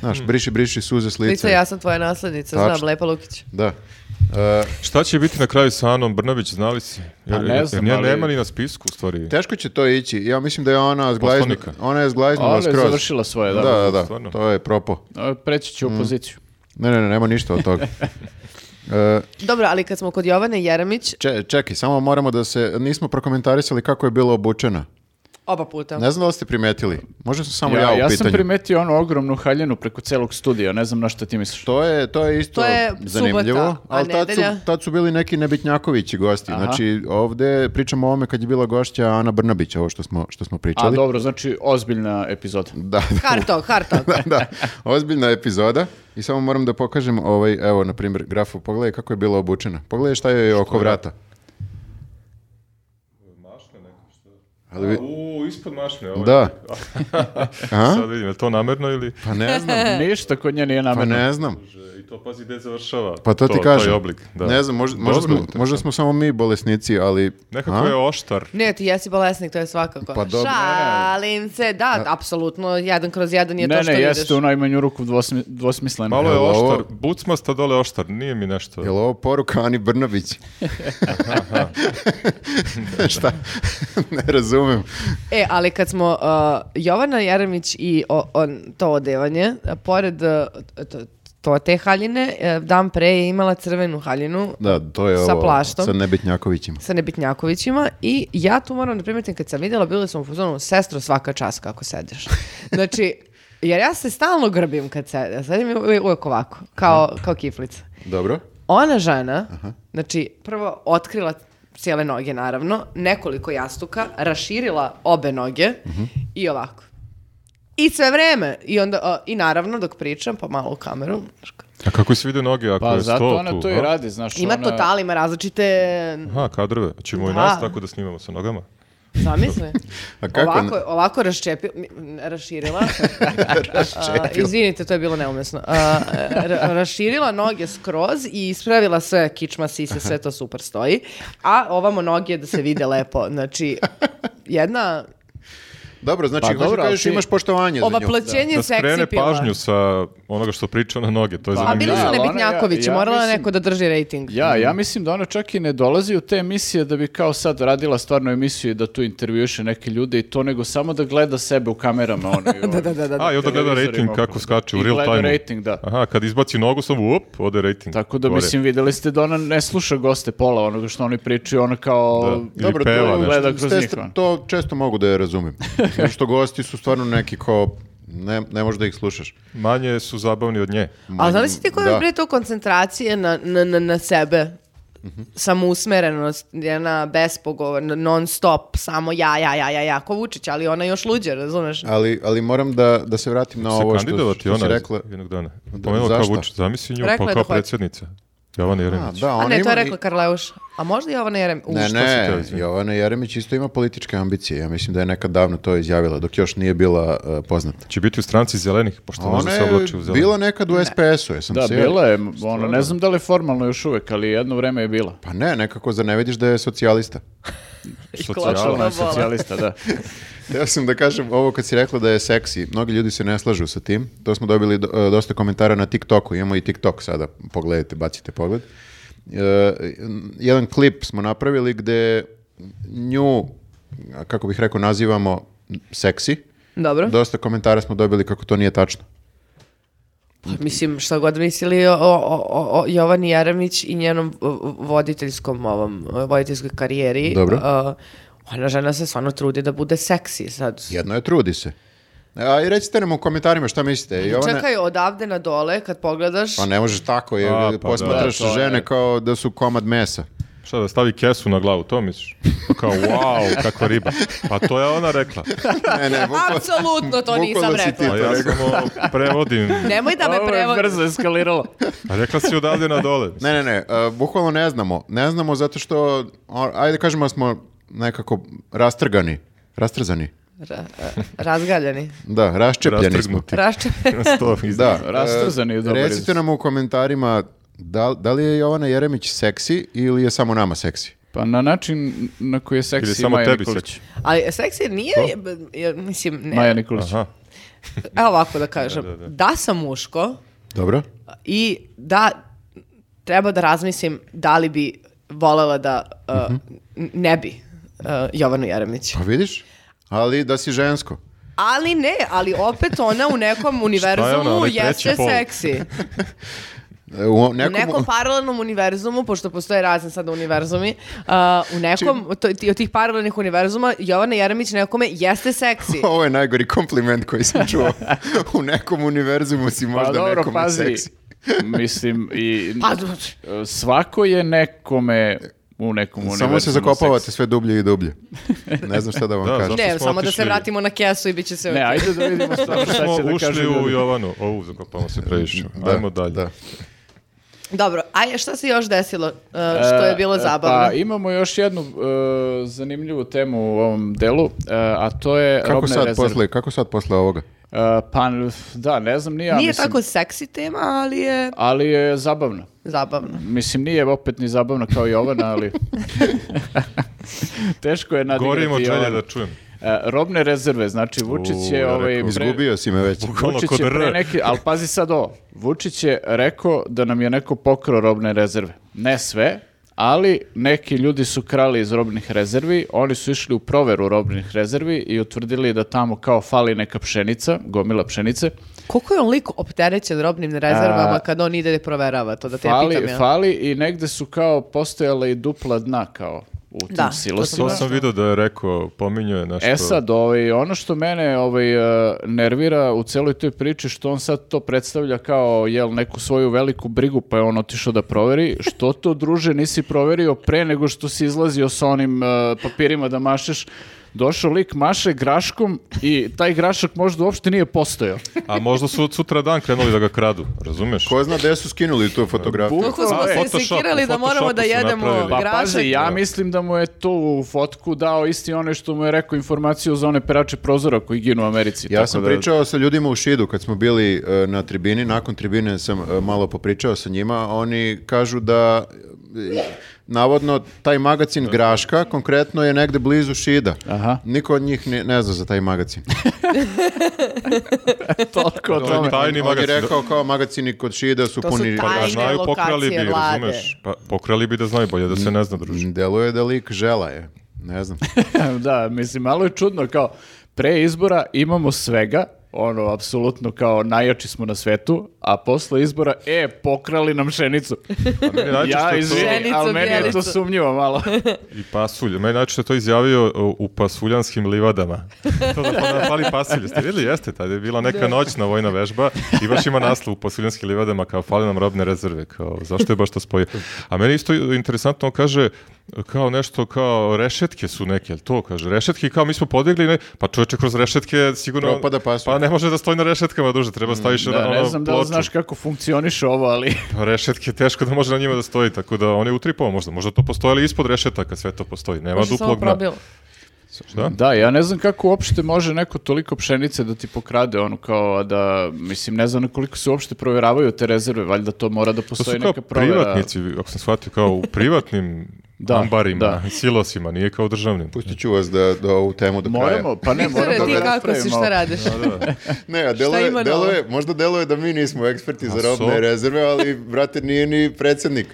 Speaker 2: Znaš,
Speaker 3: Hmm.
Speaker 2: briši briši suze s lica.
Speaker 1: Lica, ja sam tvoja naslednica, znam,
Speaker 2: Tačno.
Speaker 1: Lepa Lukić.
Speaker 2: Da. E,
Speaker 4: Šta će biti na kraju sa Anom Brnabić, znali si? Jer,
Speaker 3: Pa ne
Speaker 4: jer
Speaker 3: znam,
Speaker 4: nje
Speaker 3: ali-
Speaker 4: nema ni na spisku, u stvari.
Speaker 2: teško će to ići. Ja mislim da je ona zglajzna,
Speaker 4: Poslanika.
Speaker 2: ona je zglajznula
Speaker 3: Ona je
Speaker 2: skroz.
Speaker 3: završila svoje, da.
Speaker 2: Da, da, da.
Speaker 4: Stvarno.
Speaker 2: To je propo.
Speaker 3: A, Preći
Speaker 2: Mm.
Speaker 3: će u opoziciju.
Speaker 2: Ne, ne, ne, nema ništa od
Speaker 3: [laughs]
Speaker 2: toga. E,
Speaker 1: Dobro, ali kad smo kod Jovane Jeremić,
Speaker 2: če- čekaj, samo moramo da se, nismo prokomentarisali kako je bila obučena.
Speaker 1: oba puta.
Speaker 2: Ne znam da li ste primetili. Možda sam samo ja,
Speaker 3: Ja,
Speaker 2: u
Speaker 3: ja sam
Speaker 2: pitanju.
Speaker 3: primetio onu ogromnu haljenu preko celog studija, ne znam na šta ti misliš.
Speaker 2: To je, to je isto
Speaker 1: To je
Speaker 2: zanimljivo,
Speaker 1: subota, a
Speaker 2: ali tad su,
Speaker 1: nedelja?
Speaker 2: tad su bili neki nebitnjakovići gosti.
Speaker 3: Aha.
Speaker 2: Znači, ovde pričamo o ovome kad je bila gošća Ana Brnabić, ovo što smo, što smo
Speaker 3: A
Speaker 2: pričali.
Speaker 3: dobro, znači ozbiljna epizoda.
Speaker 2: [laughs] Da,
Speaker 1: Hard talk, hard talk.
Speaker 2: da, da, ozbiljna epizoda. I samo moram da pokažem, ovaj, evo, na primjer, grafu, pogledaj kako je bila obučena. Pogledaj šta joj je oko vrata.
Speaker 4: Mašne neko što?
Speaker 2: Ali vi-
Speaker 4: U, ispod mašne. Ovaj.
Speaker 2: Da. Aha.
Speaker 4: Sad vidim, je to namerno ili...
Speaker 2: Pa
Speaker 3: [laughs]
Speaker 2: ne znam,
Speaker 1: E.
Speaker 3: Ništa kod nje nije
Speaker 2: pa
Speaker 3: namerno.
Speaker 2: ne znam.
Speaker 4: I to pazi gde završava.
Speaker 2: Pa to, ti kažem.
Speaker 4: Taj oblik, da.
Speaker 2: Ne znam, možda, možda,
Speaker 4: Dobro,
Speaker 2: smo, možda smo samo mi bolesnici, ali...
Speaker 4: Nekako
Speaker 2: A?
Speaker 4: je oštar.
Speaker 1: Ne, ti jesi bolesnik, to je svakako.
Speaker 2: Pa dobro.
Speaker 1: Šalim se, da, apsolutno, jedan kroz jedan je
Speaker 3: Ne,
Speaker 1: to što
Speaker 3: ne,
Speaker 1: vidiš.
Speaker 3: jeste u najmanju ruku dvosmi, dvosmisleno.
Speaker 4: Malo je
Speaker 2: Jel ovo-
Speaker 4: oštar, bucmasta dole oštar, nije mi nešto.
Speaker 2: Je li ovo poruka Ani Brnabić? [laughs] Šta? ne razumem.
Speaker 1: E, ali kad smo uh, Jovana Jeremić i o- on, to odevanje, a pored uh, to, to- te haljine, eh, dan pre je imala crvenu haljinu
Speaker 2: Da, to je
Speaker 1: Sa
Speaker 2: ovo.
Speaker 1: plaštom.
Speaker 2: Sa Nebitnjakovićima.
Speaker 1: sa Nebitnjakovićima i ja tu moram da primetim kad sam vidjela, bili smo u fazonu, sestro svaka čast kako sediš. Znači, jer ja se stalno grbim kad sedim, sedim u- uvijek ovako, kao, kao kiflica.
Speaker 2: Dobro.
Speaker 1: Ona žena, znači, prvo otkrila cijele noge, naravno, nekoliko jastuka, raširila obe noge
Speaker 2: Mhm.
Speaker 1: i ovako. I sve vreme. I, onda, a, I naravno, dok pričam, pa malo u kameru, znaš kao,
Speaker 4: A kako se vide noge ako
Speaker 3: Pa
Speaker 4: je sto tu?
Speaker 3: zato ona to i
Speaker 4: a?
Speaker 3: radi, znaš.
Speaker 1: ima
Speaker 3: ona...
Speaker 1: total, ima različite
Speaker 2: [laughs]
Speaker 4: Aha, kadrove. Ćemo i
Speaker 1: Da.
Speaker 4: nas tako da snimamo sa nogama.
Speaker 1: zamisle.
Speaker 2: A kako?
Speaker 1: Ovako, ovako raščepi- m, raširila.
Speaker 2: [laughs]
Speaker 1: A, izvinite, to je bilo neumesno. A, ra- raširila noge skroz i ispravila sve kičma, sise, sve to super stoji. A ovamo noge da se vide lepo. Znači, jedna
Speaker 2: Dobro, znači,
Speaker 3: Pa
Speaker 2: hoću
Speaker 3: dobro, ali
Speaker 2: kažeš
Speaker 3: ti-
Speaker 2: imaš poštovanje za nju.
Speaker 1: oblačenje
Speaker 4: Da
Speaker 1: seksi
Speaker 4: skrene
Speaker 1: pila.
Speaker 4: pažnju sa onoga što priča na noge, to je
Speaker 3: Pa,
Speaker 1: A
Speaker 4: zanimljivo.
Speaker 1: bili
Speaker 3: Da,
Speaker 1: su
Speaker 3: ali ona,
Speaker 1: nebitnjakovići,
Speaker 3: ja- ja
Speaker 1: morala je
Speaker 3: mislim-
Speaker 1: neko da drži rating.
Speaker 3: Ja, ja mislim da ona čak i ne dolazi u te emisije da bi kao sad radila stvarno emisiju i da tu intervjuše neke ljude i to, nego samo da gleda sebe u kamerama. Ono,
Speaker 1: [laughs]
Speaker 3: i
Speaker 1: Da,
Speaker 3: ono.
Speaker 1: da, da, da.
Speaker 4: A, i onda gleda
Speaker 3: Televizorima
Speaker 4: rating
Speaker 3: okolo.
Speaker 4: kako skače u
Speaker 3: I
Speaker 4: real
Speaker 3: gleda
Speaker 4: time.
Speaker 3: rating, da.
Speaker 4: Aha, kad izbaci nogu samo, up, ode rating.
Speaker 3: Tako da,
Speaker 4: gore.
Speaker 3: mislim, videli ste da ona ne sluša goste pola onoga što oni pričaju, ona kao...
Speaker 4: Da. Ili Dobro, to je peva nešto.
Speaker 3: Pa, gleda
Speaker 2: S
Speaker 3: kroz
Speaker 2: te
Speaker 3: njih,
Speaker 2: str-
Speaker 3: ono.
Speaker 2: To često mogu da je razumim. Zato što gosti su stvarno neki kao... Ne, ne možeš da ih slušaš.
Speaker 4: Manje su zabavni od nje.
Speaker 1: Ali znaš ti koja je
Speaker 2: Da.
Speaker 1: bre to koncentracije na, na, na, na sebe? samousmerenost, jedna bespogovorna, non stop, samo ja, ja, ja, ja, ja, ko Vučić, ali ona je još luđe, razumeš?
Speaker 2: Ali, ali moram da, da se vratim na
Speaker 4: se
Speaker 2: ovo što,
Speaker 4: kandidovati
Speaker 2: što si
Speaker 4: ona
Speaker 2: rekla.
Speaker 4: jednog dana. Pomenula kao
Speaker 2: zašto?
Speaker 4: Vučić, zamisli nju,
Speaker 1: Rekla
Speaker 4: pa
Speaker 1: je da
Speaker 4: kao
Speaker 1: hoće.
Speaker 4: predsjednica. Jovana
Speaker 2: A,
Speaker 4: Jeremić.
Speaker 2: da,
Speaker 1: A ne,
Speaker 2: ona
Speaker 1: to je
Speaker 2: ima i-
Speaker 1: rekla Karleuš. A možda i Jovana Jerem... U,
Speaker 2: Ne,
Speaker 1: što
Speaker 4: si
Speaker 2: ne,
Speaker 4: htjela, izvini?
Speaker 2: Jovana Jeremić isto ima političke ambicije. Ja mislim da je nekad davno to izjavila, dok još nije bila uh, poznata.
Speaker 4: Će biti u stranci zelenih, pošto možda
Speaker 2: Ona
Speaker 4: se
Speaker 2: je
Speaker 4: oblači u zeleni.
Speaker 2: bila nekad u SPS-u, jesam
Speaker 3: Da,
Speaker 2: se ja-
Speaker 3: bila je, ono, ne znam da li je formalno još uvek, ali jedno vreme je bila.
Speaker 2: Pa ne, nekako zar ne vidiš da je socijalista?
Speaker 4: Socijala.
Speaker 1: Što
Speaker 3: Znači, Ona
Speaker 1: bola.
Speaker 3: je socijalista, da.
Speaker 2: [laughs] Ja sam da kažem ovo kad si rekla da je seksi. Mnogi ljudi se ne slažu sa tim. To smo dobili do- e, dosta komentara na TikToku. Imamo i TikTok sada. Pogledajte, bacite pogled. E, n- jedan klip smo napravili gde nju, a kako bih rekao, nazivamo seksi.
Speaker 1: Dobro.
Speaker 2: Dosta komentara smo dobili kako to nije tačno.
Speaker 1: Pa, mislim, šta god mislili o, o, o, o Jovani Jeremić i njenom o, o, voditeljskom ovom, o, voditeljskoj karijeri.
Speaker 2: Dobro.
Speaker 1: a, ona žena se stvarno trudi da bude seksi sad.
Speaker 2: Jedno je trudi se. A i recite nam u komentarima šta mislite. Jovana,
Speaker 1: Čekaj, odavde na dole, kad pogledaš,
Speaker 2: Pa ne možeš tako, je,
Speaker 4: A, pa
Speaker 2: posmatraš
Speaker 3: da, to je.
Speaker 2: žene kao da su komad mesa.
Speaker 4: Šta da stavi kesu na glavu, to misliš? Pa Kao, wow, kakva riba. Pa to je ona
Speaker 2: [laughs]
Speaker 4: rekla.
Speaker 1: [laughs]
Speaker 2: Ne, ne, bukval-
Speaker 1: Apsolutno to nisam
Speaker 2: bukvalno si ti
Speaker 1: rekla.
Speaker 4: A ja samo
Speaker 1: [laughs]
Speaker 4: prevodim.
Speaker 1: nemoj da me
Speaker 3: [laughs] Ovo je
Speaker 1: prevodi.
Speaker 3: brzo
Speaker 2: [laughs]
Speaker 3: eskaliralo.
Speaker 4: A rekla si odavde na dole. mislim.
Speaker 2: Ne, ne, ne, e, bukvalno ne znamo. Ne znamo zato što, o, ajde kažemo da smo nekako rastrgani. Rastrzani.
Speaker 1: Ra- razgaljeni.
Speaker 2: Da, raščepljeni smo.
Speaker 4: Rastrgnuti.
Speaker 1: Rašče...
Speaker 2: [laughs]
Speaker 4: [laughs] Sto iz-
Speaker 2: Da.
Speaker 3: Rastrzani je
Speaker 2: e,
Speaker 3: dobar
Speaker 2: Recite
Speaker 3: izraz.
Speaker 2: nam u komentarima da, da li je Jovana Jeremić seksi ili je samo nama seksi?
Speaker 3: Pa na način na koji je seksi
Speaker 4: Ili samo
Speaker 3: Maja
Speaker 4: tebi
Speaker 3: Nikolić.
Speaker 4: seksi.
Speaker 1: Ali seksi nije, je- je- mislim, ne.
Speaker 3: Maja Nikolić.
Speaker 4: Aha.
Speaker 1: Evo ovako da kažem. Da,
Speaker 4: Da, da, da.
Speaker 1: sam muško
Speaker 2: Dobro.
Speaker 1: i da treba da razmislim da li bi volela da uh,
Speaker 3: Mhm.
Speaker 1: n- ne bi uh, Jovanu Jeremić.
Speaker 2: Pa vidiš? Ali da si žensko.
Speaker 1: Ali ne, ali opet ona u nekom univerzumu
Speaker 4: onaj
Speaker 1: jeste
Speaker 4: treći pol?
Speaker 1: seksi.
Speaker 2: E, U
Speaker 1: U
Speaker 2: nekom...
Speaker 1: nekom paralelnom univerzumu, pošto postoje razni sada univerzumi, a, u
Speaker 3: Znači-
Speaker 1: nekom od to- ti- od tih paralelnih univerzuma Jovana Jeremić nekome jeste
Speaker 3: [laughs]
Speaker 1: seksi.
Speaker 2: [laughs] Ovo je najgori kompliment koji sam
Speaker 1: [laughs]
Speaker 2: čuo. u nekom univerzumu si
Speaker 3: Pa
Speaker 2: možda
Speaker 3: dobro,
Speaker 2: nekome
Speaker 3: pazi.
Speaker 2: seksi.
Speaker 3: [laughs] Mislim,
Speaker 2: [laughs]
Speaker 3: i
Speaker 1: Pa, d-
Speaker 3: svako je nekome u nekom
Speaker 2: Samo se
Speaker 3: univerzumu
Speaker 2: zakopavate
Speaker 3: seksi.
Speaker 2: sve dublje i dublje. Ne znam šta da
Speaker 3: [laughs]
Speaker 2: vam
Speaker 4: Da,
Speaker 2: kažem.
Speaker 4: zašto
Speaker 1: ne,
Speaker 4: smo
Speaker 1: samo da
Speaker 4: otišli?
Speaker 1: se vratimo na kesu i bit će sve
Speaker 3: Ne,
Speaker 1: okej.
Speaker 3: ajde da
Speaker 4: [laughs]
Speaker 3: vidimo šta,
Speaker 4: Zato
Speaker 3: šta će
Speaker 4: smo
Speaker 3: da kažu
Speaker 4: ušli u
Speaker 3: ljudi.
Speaker 4: Jovanu. Ovu zakopamo se previše.
Speaker 2: Da,
Speaker 4: Ajmo dalje.
Speaker 2: da.
Speaker 1: Dobro, a šta se još desilo uh, što je bilo
Speaker 3: E,
Speaker 1: zabavno?
Speaker 3: Pa imamo još jednu e, zanimljivu temu u ovom delu, e, a to je
Speaker 2: Kako
Speaker 3: robne
Speaker 2: sad,
Speaker 3: rezerve.
Speaker 2: posle, kako sad posle ovoga?
Speaker 3: E, pa, f- da, ne znam, nije,
Speaker 1: Nije
Speaker 3: mislim,
Speaker 1: tako seksi tema, ali je
Speaker 3: ali je zabavno.
Speaker 1: zabavno.
Speaker 3: Mislim, nije opet ni zabavno kao Jovana,
Speaker 4: [laughs]
Speaker 3: ali [laughs] teško je nadigrati
Speaker 4: Govorim od želje
Speaker 3: Jovanu.
Speaker 4: da čujem.
Speaker 3: E, robne rezerve, znači Vučić
Speaker 4: U,
Speaker 3: je
Speaker 4: ja
Speaker 3: ovaj...
Speaker 4: rekao,
Speaker 3: pre-
Speaker 2: Izgubio si me
Speaker 3: [laughs]
Speaker 2: već.
Speaker 4: Bukvalno
Speaker 3: Vučić
Speaker 4: Ono kod
Speaker 3: je pre
Speaker 4: R.
Speaker 3: neki, ali pazi sad ovo, Vučić je rekao da nam je neko pokrao robne rezerve. Ne sve, ali neki ljudi su krali iz robnih rezervi, oni su išli u proveru robnih rezervi i utvrdili da tamo kao fali neka pšenica, gomila pšenice,
Speaker 1: Koliko je on lik opterećen robnim rezervama
Speaker 3: A-
Speaker 4: E,
Speaker 1: kad on ide da proverava to, da te ja
Speaker 3: fali,
Speaker 1: pitam ja.
Speaker 3: fali i negde su kao postojala i dupla dna kao u tim
Speaker 1: Da, to
Speaker 3: silosima.
Speaker 4: To sam video da je rekao, pominjao je nešto.
Speaker 3: E sad, ovaj, ono što mene ovaj, e, nervira u celoj toj priči, što on sad to predstavlja kao jel, neku svoju veliku brigu, pa je on otišao da proveri. Što to, druže, nisi proverio pre nego što si izlazio sa onim e, papirima da mašeš? Došao lik maše graškom i taj grašak možda uopšte nije postojao.
Speaker 4: A možda su od sutra dan krenuli da ga kradu, razumeš?
Speaker 2: Ko zna gde su skinuli tu fotografiju?
Speaker 3: Bu-
Speaker 1: Koliko smo
Speaker 3: A,
Speaker 1: se
Speaker 4: Photoshop,
Speaker 1: sekirali
Speaker 4: u
Speaker 1: da moramo da
Speaker 4: Photoshopu su
Speaker 1: jedemo
Speaker 4: napravili.
Speaker 3: Pa
Speaker 1: grašak?
Speaker 3: pazi, ja mislim da mu je to u fotku dao isti onaj što mu je rekao informaciju za one perače prozora koji ginu u Americi.
Speaker 2: Ja
Speaker 3: tako
Speaker 2: sam
Speaker 3: da-
Speaker 2: pričao sa ljudima u Šidu kad smo bili e, na tribini, nakon tribine sam e, malo popričao sa njima, oni kažu da e, navodno taj magacin Graška konkretno je negde blizu Šida.
Speaker 3: Aha.
Speaker 2: Niko od njih ne, ne zna za taj magacin.
Speaker 3: Toliko o
Speaker 4: To je
Speaker 3: tome.
Speaker 4: tajni
Speaker 2: On je
Speaker 4: magazin.
Speaker 2: rekao kao magacini kod Šida su
Speaker 1: To su
Speaker 2: puni...
Speaker 4: Pa da
Speaker 1: Tajne
Speaker 4: znaju, pokrali bi,
Speaker 1: lokacije vlade.
Speaker 4: razumeš? Pa pokrali bi da znaju bolje, da se ne zna,
Speaker 3: [laughs]
Speaker 4: druže.
Speaker 2: Deluje da lik žela je. Ne znam.
Speaker 3: da, mislim, malo je čudno kao pre izbora imamo svega ono, apsolutno kao najjači smo na svetu, a posle izbora, e, pokrali nam šenicu.
Speaker 4: A meni je najčešće
Speaker 3: ja,
Speaker 4: to-
Speaker 3: izvini,
Speaker 1: Pšenicu,
Speaker 3: ali meni je to
Speaker 1: bijelicu.
Speaker 3: sumnjivo
Speaker 1: [laughs]
Speaker 3: malo.
Speaker 4: I pasulj. Meni najčešće to izjavio u- u pasuljanskim livadama. [laughs] to da pa da fali pasulj. Ste vidjeli? Jeste, tada je bila neka noćna vojna vežba i baš ima naslov u pasuljanskim livadama kao fali nam robne rezerve. Kao, zašto je baš to spojio? A meni isto interesantno on kaže kao nešto kao rešetke su neke, jel to kaže, rešetke kao mi smo podigli, ne, pa čovječe kroz rešetke sigurno,
Speaker 2: Propada pasulj.
Speaker 4: pa ne može da stoji na rešetkama duže, treba staviš na
Speaker 3: Mm, Da,
Speaker 4: ono
Speaker 3: ne znam da li
Speaker 4: ploču.
Speaker 3: znaš kako funkcioniše ovo, ali [laughs]
Speaker 4: Pa rešetke teško da može na njima da stoji, tako da on je utripao možda, možda to postoji, ali ispod rešetaka sve to postoji, nema
Speaker 1: Možda samo
Speaker 4: Pa duplog dna.
Speaker 1: probilo.
Speaker 4: Da?
Speaker 3: Da, ja ne znam kako uopšte može neko toliko pšenice da ti pokrade, ono kao da, mislim, ne znam koliko se uopšte provjeravaju te rezerve, valjda to mora da
Speaker 4: To su
Speaker 3: postoji
Speaker 4: kao
Speaker 3: neka provjera.
Speaker 4: privatnici, ako sam shvatio, kao u
Speaker 2: [laughs]
Speaker 4: privatnim
Speaker 3: Da,
Speaker 4: ambarima,
Speaker 3: da.
Speaker 4: silosima, nije kao u državnim.
Speaker 2: Pustit ću vas da, da ovu temu do kraja.
Speaker 3: Moramo, pa ne,
Speaker 1: Viktore,
Speaker 3: moramo
Speaker 1: ti
Speaker 3: da
Speaker 1: kako si,
Speaker 3: raspravimo.
Speaker 1: šta radiš?
Speaker 2: Ne, a deluje,
Speaker 1: ima
Speaker 2: deluje, možda deluje da mi nismo eksperti za
Speaker 4: A
Speaker 2: robne
Speaker 4: so?
Speaker 2: rezerve, ali brate nije ni predsjednik.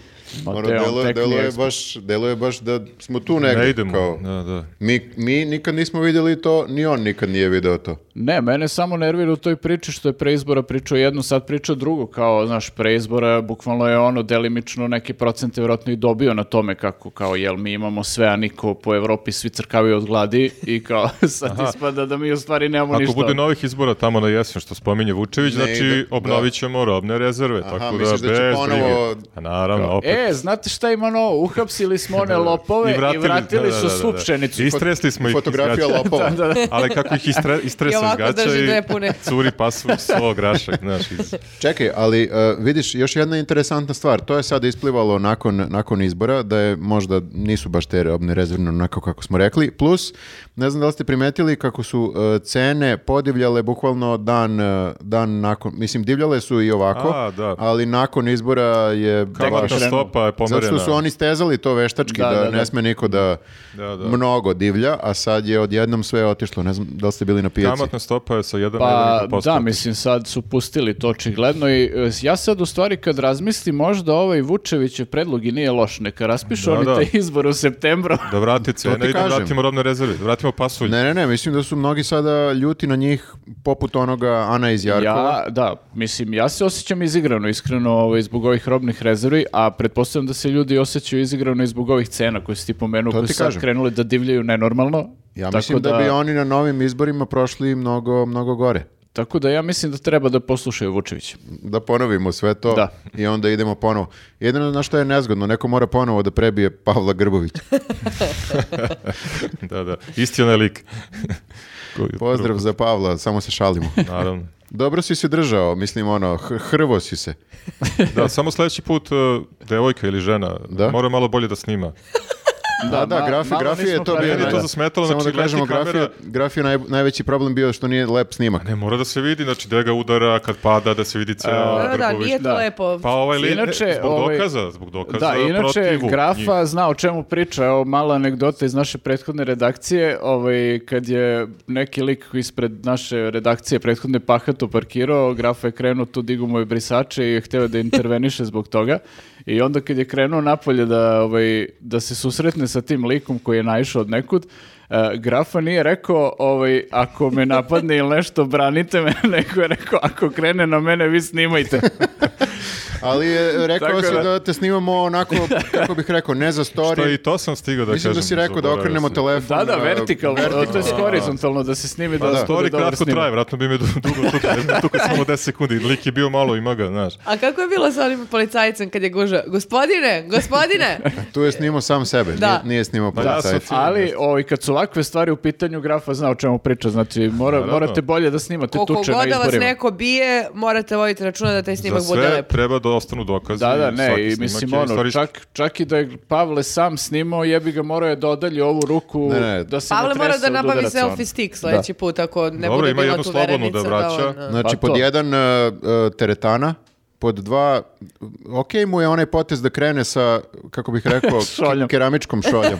Speaker 3: Ma
Speaker 2: Ono,
Speaker 3: te, on
Speaker 2: deluje,
Speaker 3: tek nije
Speaker 2: deluje
Speaker 3: ekspert.
Speaker 2: baš, deluje baš da smo tu negdje.
Speaker 4: Ne idemo,
Speaker 2: Kao,
Speaker 4: da, da.
Speaker 2: mi, mi nikad nismo vidjeli to, ni on nikad nije video to.
Speaker 3: Ne, mene samo nervira u toj priči što je pre izbora pričao jedno, sad priča drugo, kao, znaš, pre izbora bukvalno je ono delimično neke procente vjerojatno i dobio na tome kako, kao, jel mi imamo sve, a niko po Evropi svi crkavaju od gladi i kao, [laughs] sad ispada da mi u stvari nemamo
Speaker 4: Ako
Speaker 3: ništa.
Speaker 4: bude novih izbora tamo na jesen, što spominje Vučević,
Speaker 2: Ne
Speaker 4: znači
Speaker 2: ide, da.
Speaker 4: obnovit ćemo robne rezerve, tako da
Speaker 2: misliš
Speaker 4: bez
Speaker 2: da će ponovo-
Speaker 4: brige. A naravno, opet.
Speaker 3: E, znate šta ima novo? Uhapsili smo
Speaker 4: [laughs]
Speaker 3: one lopove i vratili, su svu pšenicu.
Speaker 4: Istresli smo ih. iz
Speaker 2: Fotografija
Speaker 4: gaća.
Speaker 2: lopova.
Speaker 4: [laughs] Ali kako ih istre,
Speaker 3: [laughs]
Speaker 1: I
Speaker 4: istrese iz
Speaker 1: ovako
Speaker 4: gaća
Speaker 1: drži dve
Speaker 4: i
Speaker 1: pune.
Speaker 4: curi pasu svo grašak, znaš, iz...
Speaker 2: Čekaj, ali e, vidiš, još jedna interesantna stvar, to je sad isplivalo nakon, nakon izbora, da je možda nisu baš te robne rezervne onako kako smo rekli, plus, ne znam da li ste primetili kako su e, cene podivljale bukvalno dan, e, dan nakon, mislim divljale su i ovako,
Speaker 4: A, da.
Speaker 2: ali nakon izbora je baš...
Speaker 4: Kamatna stopa je pomerena.
Speaker 2: Zato što su oni stezali to veštački, da,
Speaker 3: Da, da,
Speaker 2: ne
Speaker 3: da.
Speaker 2: sme niko da,
Speaker 4: Da, da.
Speaker 2: mnogo divlja, a sad je odjednom sve otišlo, ne znam da li ste bili na pijaci.
Speaker 4: Kamatna stopa je sa 1
Speaker 3: Pa
Speaker 4: na 1,5%.
Speaker 3: da, mislim sad su pustili to očigledno i e, ja sad u stvari kad razmislim možda ovaj Vučevićev predlog i nije loš, neka raspišu
Speaker 4: Da,
Speaker 3: oni
Speaker 4: da.
Speaker 3: te [laughs] izbore u septembru.
Speaker 4: Da vrati cene i da
Speaker 2: kažem.
Speaker 4: vratimo robne rezerve, da vratimo pasulj.
Speaker 2: Ne, ne, ne, mislim da su mnogi sada ljuti na njih poput onoga Ana iz Jarkova.
Speaker 3: Ja, da, mislim, ja se osjećam izigrano, iskreno, ovaj, zbog ovih robnih rezervi, a pretpostavljam da se ljudi osjećaju izigrano i zbog ovih cena koje si ti pomenuo,
Speaker 2: To
Speaker 3: koje
Speaker 2: ti
Speaker 3: su sad
Speaker 2: kažem.
Speaker 3: krenule da divljaju nenormalno.
Speaker 2: Ja,
Speaker 3: Tako
Speaker 2: mislim da... bi oni na novim izborima prošli mnogo, mnogo gore.
Speaker 3: Tako da ja mislim da treba da poslušaju Vučevića.
Speaker 2: Da ponovimo sve to
Speaker 3: Da.
Speaker 2: i onda idemo ponovo. Jedino na što je nezgodno, neko mora ponovo da prebije Pavla Grbovića.
Speaker 4: Da, da. Isti onaj lik. [laughs] Koji-
Speaker 2: Pozdrav za Pavla, samo se šalimo.
Speaker 4: Naravno.
Speaker 2: Dobro si se držao, mislim ono, h- hrvo si se.
Speaker 4: Da, samo sljedeći put uh, devojka ili žena
Speaker 2: Da?
Speaker 4: mora malo bolje da snima.
Speaker 2: Da, da,
Speaker 3: ma-
Speaker 2: grafi,
Speaker 3: malo
Speaker 2: grafi je
Speaker 3: nismo
Speaker 2: to bio...
Speaker 4: Meni je
Speaker 3: pratili.
Speaker 4: to
Speaker 2: da.
Speaker 4: zasmetalo,
Speaker 2: Samo
Speaker 4: znači,
Speaker 2: da kažemo,
Speaker 4: gledati
Speaker 2: grafi, grafi je naj- najveći problem bio što nije lep snimak.
Speaker 4: Ne, mora da se vidi, znači da ga udara kad pada, da se vidi ceo
Speaker 1: Da, da,
Speaker 4: Grbović.
Speaker 1: nije to
Speaker 3: E, da.
Speaker 1: lepo.
Speaker 4: Pa ovaj li,
Speaker 3: Inače,
Speaker 4: ne, zbog
Speaker 3: ovaj-
Speaker 4: dokaza, zbog dokaza
Speaker 3: Da, inače,
Speaker 4: protiv
Speaker 3: Grafa
Speaker 4: njih.
Speaker 3: zna o čemu priča, evo mala anegdota iz naše prethodne redakcije, ovaj, kad je neki lik ispred naše redakcije prethodne pahato parkirao, Grafa je krenuo tu, digu mu je brisače i je hteo da interveniše zbog toga i onda kad je krenuo napolje da, ovaj, da se susretne sa tim likom koji je naišao od nekud, e, Grafa nije rekao, ovaj, ako me napadne ili nešto, branite me, [laughs] nego je rekao, ako krene na mene, vi snimajte.
Speaker 2: Ali je, rekao
Speaker 3: Tako
Speaker 2: si
Speaker 3: da.
Speaker 2: da te snimamo onako, kako bih rekao, ne za
Speaker 4: Što
Speaker 2: story,
Speaker 4: i to sam stigao da
Speaker 2: Mislim
Speaker 4: kažem. ovaj-
Speaker 2: da si rekao da
Speaker 4: zaboravio
Speaker 2: okrenemo
Speaker 4: sam.
Speaker 2: telefon.
Speaker 3: Da, da,
Speaker 2: uh,
Speaker 3: vertikalno, to je horizontalno da se snimi da,
Speaker 2: da.
Speaker 3: da bude
Speaker 4: Story
Speaker 3: dobar
Speaker 4: kratko
Speaker 3: snimak.
Speaker 4: traje, vratno bi me du- [laughs] dugo tukao, jer me tukao samo 10 sekundi, lik je bio malo ima ga, znaš.
Speaker 1: A kako je bilo sa onim policajcem kad je guža? Gospodine,
Speaker 4: [laughs]
Speaker 1: gospodine!
Speaker 2: Tu je snimao sam sebe,
Speaker 1: Da.
Speaker 2: nije, nije snimao
Speaker 4: Ma ja sam
Speaker 2: policajca.
Speaker 3: Ali ovaj, kad su ovakve stvari u pitanju, grafa zna o čemu priča, znači mora,
Speaker 4: Naravno.
Speaker 3: morate bolje da snimate
Speaker 1: Koliko
Speaker 3: tuče na
Speaker 1: god da vas
Speaker 3: izborima.
Speaker 1: neko bije, morate voditi računa da taj
Speaker 4: Za
Speaker 1: snimak bude
Speaker 4: sve
Speaker 1: lep.
Speaker 4: treba da ostanu dokazi.
Speaker 3: Da, da, ne,
Speaker 4: svaki
Speaker 3: i
Speaker 4: snimak
Speaker 3: mislim
Speaker 4: je
Speaker 3: ono,
Speaker 4: istorijski.
Speaker 3: čak, čak i da je Pavle sam snimao, jebi ga morao je da odalje ovu ruku,
Speaker 2: Ne, ne.
Speaker 3: da se
Speaker 1: Pavle
Speaker 3: ne
Speaker 1: mora
Speaker 3: trese
Speaker 1: da
Speaker 3: od
Speaker 1: nabavi
Speaker 3: udaraca, ono.
Speaker 1: selfie stick sledeći put ako ne
Speaker 4: Dobro,
Speaker 1: bude
Speaker 4: ima
Speaker 1: bila
Speaker 4: jednu
Speaker 1: tu
Speaker 4: slobodnu
Speaker 1: verenica.
Speaker 4: da vraća.
Speaker 1: on, uh,
Speaker 2: Znači,
Speaker 3: Pa
Speaker 2: pod
Speaker 3: to.
Speaker 2: jedan uh, uh, teretana, pod dva, ok mu je onaj potez da krene sa, kako
Speaker 3: [laughs]
Speaker 2: bih rekao,
Speaker 3: Šoljom.
Speaker 2: ke- keramičkom
Speaker 3: [laughs]
Speaker 2: šoljom.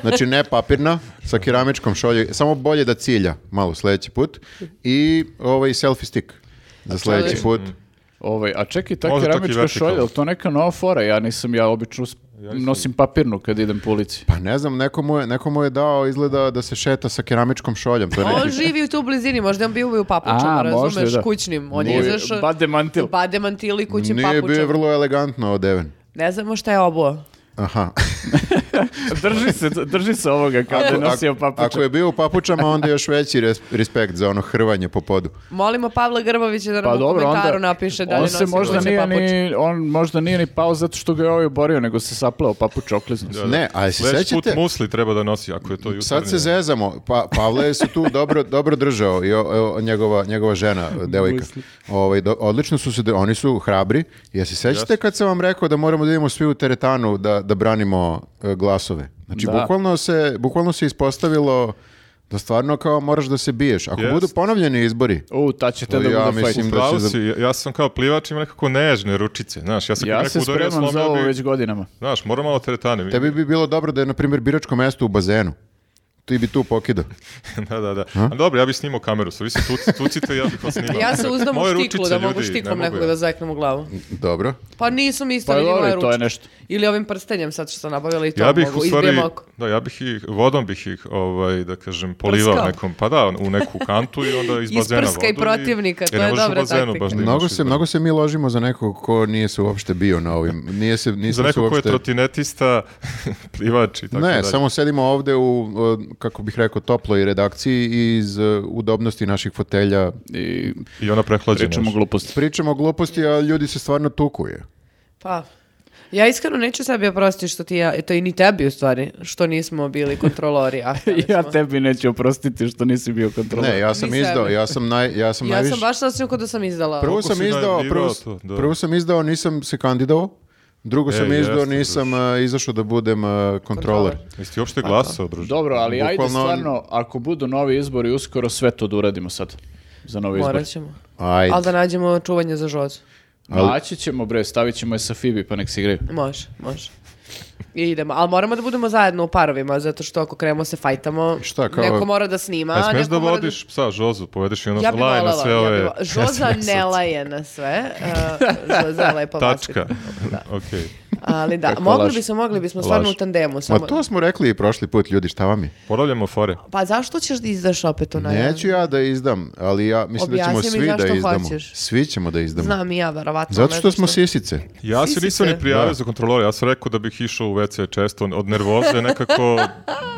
Speaker 2: Znači, ne papirna, sa keramičkom šoljom. Samo bolje da
Speaker 3: Znači,
Speaker 2: cilja malo sljedeći put. I ovaj selfie stick za sljedeći
Speaker 1: čovjek-
Speaker 2: put.
Speaker 3: Ovaj, a čekaj, ta
Speaker 4: Može čak i
Speaker 3: keramička
Speaker 4: vertikalno.
Speaker 3: šolja, jel to neka nova fora? Ja nisam, ja obično us- nosim papirnu kad idem po ulici.
Speaker 2: Pa ne znam, neko mu, je, neko mu je dao izgleda da se šeta sa keramičkom šoljom. To je neki-
Speaker 1: On Pa živi tu u blizini, možda je on bio u papučama,
Speaker 3: A,
Speaker 1: razumeš,
Speaker 3: možda, da.
Speaker 1: kućnim. On
Speaker 3: Nije-
Speaker 1: je izašao...
Speaker 3: bademantil.
Speaker 1: Bademantil i kućnim
Speaker 2: Nije bio je
Speaker 1: papučama.
Speaker 2: vrlo elegantno odeven.
Speaker 1: Ne znamo šta je obuo.
Speaker 2: Aha.
Speaker 3: drži, se, drži se ovoga kao da je nosio papuče.
Speaker 2: ako je bio u papučama, onda još veći res- respekt za ono hrvanje po podu.
Speaker 1: Molimo Pavla Grbovića da nam
Speaker 3: Pa
Speaker 1: u
Speaker 3: dobro,
Speaker 1: komentaru
Speaker 3: onda
Speaker 1: napiše da li
Speaker 3: on
Speaker 1: nosi
Speaker 3: se možda
Speaker 1: kućne
Speaker 3: nije
Speaker 1: papuče.
Speaker 3: ni, on možda nije ni pao zato što ga je ovaj oborio, nego se sapleo papuč okliznu. se.
Speaker 2: Ne, ali se
Speaker 4: Sljedeći put
Speaker 2: sećate...
Speaker 4: musli treba da nosi, ako je to jutarnje.
Speaker 2: Sad se zezamo, pa Pavle se tu dobro, dobro držao i o- o- njegova, njegova žena, devojka. Ovaj, do- odlično su se, de- oni su hrabri. Ja se sećate kad sam vam rekao da moramo da idemo svi u teretanu da, da branimo e, glasove? Znači,
Speaker 3: Da.
Speaker 2: bukvalno, se, bukvalno se ispostavilo da stvarno kao moraš da se biješ. Ako
Speaker 4: Jest.
Speaker 2: budu ponovljeni izbori,
Speaker 3: U, ta ćete
Speaker 2: To
Speaker 3: da
Speaker 2: ja
Speaker 3: bude fajt.
Speaker 2: mislim-
Speaker 4: Pravo
Speaker 2: da će
Speaker 4: si, ja- ja sam kao plivač, imam nekako nežne ručice, znaš, ja sam kad
Speaker 3: Ja
Speaker 4: neko
Speaker 3: se
Speaker 4: udario,
Speaker 3: spremam za
Speaker 4: slomio
Speaker 3: ovo
Speaker 4: bi-
Speaker 3: već godinama.
Speaker 4: Znaš, moram malo teretane.
Speaker 2: tebi bi bilo dobro da je, na primjer, biračko mesto u bazenu. Ti bi tu pokidao.
Speaker 4: [laughs] da, da, da. A dobro, ja bih snimao kameru, sad vi se tuc, tucite, ja bih vas snimao.
Speaker 1: [laughs] Ja se uzdam u
Speaker 4: Moje
Speaker 1: štiklu,
Speaker 4: ručice,
Speaker 1: da mogu
Speaker 4: ljudi,
Speaker 1: štiklom
Speaker 4: ne mogu
Speaker 1: nekoga
Speaker 4: ja.
Speaker 1: da zeknem u glavu.
Speaker 2: Dobro.
Speaker 1: Pa nisu mi isto
Speaker 3: Pa
Speaker 1: ni moje
Speaker 3: dobro, to je
Speaker 1: ručice.
Speaker 3: nešto.
Speaker 1: Ili ovim prstenjem sad što sam nabavila i to
Speaker 4: Ja bih
Speaker 1: mogu,
Speaker 4: u stvari,
Speaker 1: izbijem oko.
Speaker 4: da, ja bih ih, vodom bih ih, ovaj, da kažem, polivao
Speaker 1: Prskao.
Speaker 4: nekom, pa da, u neku kantu i
Speaker 1: [laughs]
Speaker 4: onda iz bazena vodu.
Speaker 1: Isprskaj protivnika,
Speaker 4: jer
Speaker 1: to
Speaker 4: ne
Speaker 1: je
Speaker 4: možeš u
Speaker 1: dobra
Speaker 4: bazenu
Speaker 1: taktika.
Speaker 4: baš da imaš
Speaker 2: Mnogo se,
Speaker 4: izbora.
Speaker 2: mnogo se mi ložimo za nekog ko nije se uopšte bio na ovim. Nije se, nismo
Speaker 4: [laughs] Za
Speaker 2: se
Speaker 4: nekog ko je
Speaker 2: uopšte-
Speaker 4: trotinetista, [laughs] plivač i tako
Speaker 2: ne,
Speaker 4: dalje.
Speaker 2: samo sedimo ovde u, o, kako bih rekao, toploj redakciji i iz e, udobnosti naših fotelja.
Speaker 3: I
Speaker 4: I ona prehlađena.
Speaker 3: pričamo
Speaker 4: još.
Speaker 3: gluposti.
Speaker 2: Pričamo gluposti, a ljudi se stvarno tukuje.
Speaker 1: Pa, ja iskreno neću sebi oprostiti što ti ja, to i ni tebi u stvari, što nismo bili
Speaker 3: [laughs]
Speaker 1: kontrolori. A hteli
Speaker 3: ja
Speaker 1: smo.
Speaker 3: tebi neću oprostiti što nisi bio kontroler.
Speaker 2: Ne, ja sam
Speaker 1: Ni
Speaker 2: izdao,
Speaker 1: sebe.
Speaker 2: ja sam, naj, ja sam
Speaker 1: Ja
Speaker 2: najviše...
Speaker 1: sam baš sasvim kod da sam izdala.
Speaker 2: Prvo
Speaker 4: Koliko
Speaker 2: sam
Speaker 4: si
Speaker 2: izdao,
Speaker 4: najavljivao
Speaker 2: prvo,
Speaker 4: to, da.
Speaker 2: prvo sam izdao, nisam se kandidovao. Drugo
Speaker 4: E,
Speaker 2: sam izdao,
Speaker 4: jeste,
Speaker 2: nisam e, izašao da budem e, kontroler.
Speaker 4: Jesi ti uopšte glasao, druže?
Speaker 3: Dobro, ali ajde
Speaker 2: Bukvalno-
Speaker 3: stvarno, ako budu novi izbori, uskoro sve to da uradimo sad. Za novi izbor.
Speaker 1: Morat ćemo.
Speaker 2: Ajde.
Speaker 1: Ali da nađemo čuvanje za žozu.
Speaker 2: Ali-
Speaker 3: Naći ćemo, bre, stavit ćemo je sa Fibi, pa nek se igraju.
Speaker 1: Može, može. I idemo. Ali moramo da budemo zajedno u parovima, zato što ako krenemo se fajtamo,
Speaker 2: Šta, kao-
Speaker 1: neko mora da snima.
Speaker 4: A smeš
Speaker 1: neko
Speaker 4: da
Speaker 1: mora
Speaker 4: vodiš psa Žozu, povedeš i ono
Speaker 1: Ja bi
Speaker 4: laje na
Speaker 1: voljela,
Speaker 4: sve
Speaker 1: ja bi
Speaker 4: ove... [laughs]
Speaker 1: voljela. Žoza ne laje na sve. Uh, Žoza je lepa
Speaker 4: Tačka.
Speaker 1: maskirka. Da.
Speaker 4: Okej.
Speaker 1: Ali da,
Speaker 3: Kakva
Speaker 1: mogli
Speaker 3: laž.
Speaker 1: bismo, mogli bismo stvarno
Speaker 4: Laž.
Speaker 1: u tandemu.
Speaker 2: Ma
Speaker 1: Samo...
Speaker 2: to smo rekli i prošli put, ljudi, šta vam je?
Speaker 4: Poravljamo fore.
Speaker 1: Pa zašto ćeš da izdaš opet onaj?
Speaker 2: Neću ja da izdam, ali ja mislim da
Speaker 1: Objasni
Speaker 2: ćemo
Speaker 1: mi
Speaker 2: svi
Speaker 1: zašto
Speaker 2: da izdamo.
Speaker 1: hoćeš.
Speaker 2: Svi ćemo da izdamo.
Speaker 1: Znam i ja, verovatno.
Speaker 2: Zato što
Speaker 1: ne znam
Speaker 2: smo sisice.
Speaker 4: Ja se
Speaker 1: Sisi
Speaker 4: nisam
Speaker 1: se.
Speaker 4: ni prijavio za kontrolora, ja sam rekao da bih išao u WC često, od nervoze nekako,
Speaker 1: [laughs]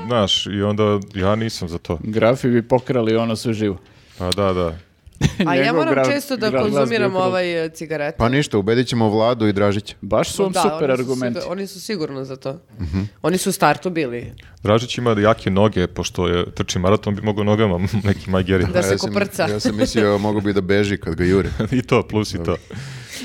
Speaker 4: znaš, i onda ja nisam za to.
Speaker 3: Grafi bi pokrali ono sve živo.
Speaker 4: Pa da, da.
Speaker 1: A ja
Speaker 3: [laughs] Njegov
Speaker 1: moram
Speaker 3: gra-
Speaker 1: često da
Speaker 3: gra- glas bi
Speaker 1: konzumiram
Speaker 3: ukrao.
Speaker 1: ovaj e, cigaret.
Speaker 2: Pa ništa, ubedit ćemo Vladu i Dražića.
Speaker 3: Baš su vam
Speaker 1: Da,
Speaker 3: super
Speaker 1: oni su
Speaker 3: argumenti.
Speaker 1: sigur- oni su sigurno za to. Oni su u startu bili.
Speaker 4: Dražić ima jake noge, pošto je trči maraton, bi mogao nogama [laughs] neki majgeri.
Speaker 1: Da se
Speaker 2: sam-
Speaker 1: koprca.
Speaker 2: Pa Ja sam
Speaker 1: [laughs]
Speaker 2: mislio, mogu bi da beži kad ga jure.
Speaker 4: I to, plus i to.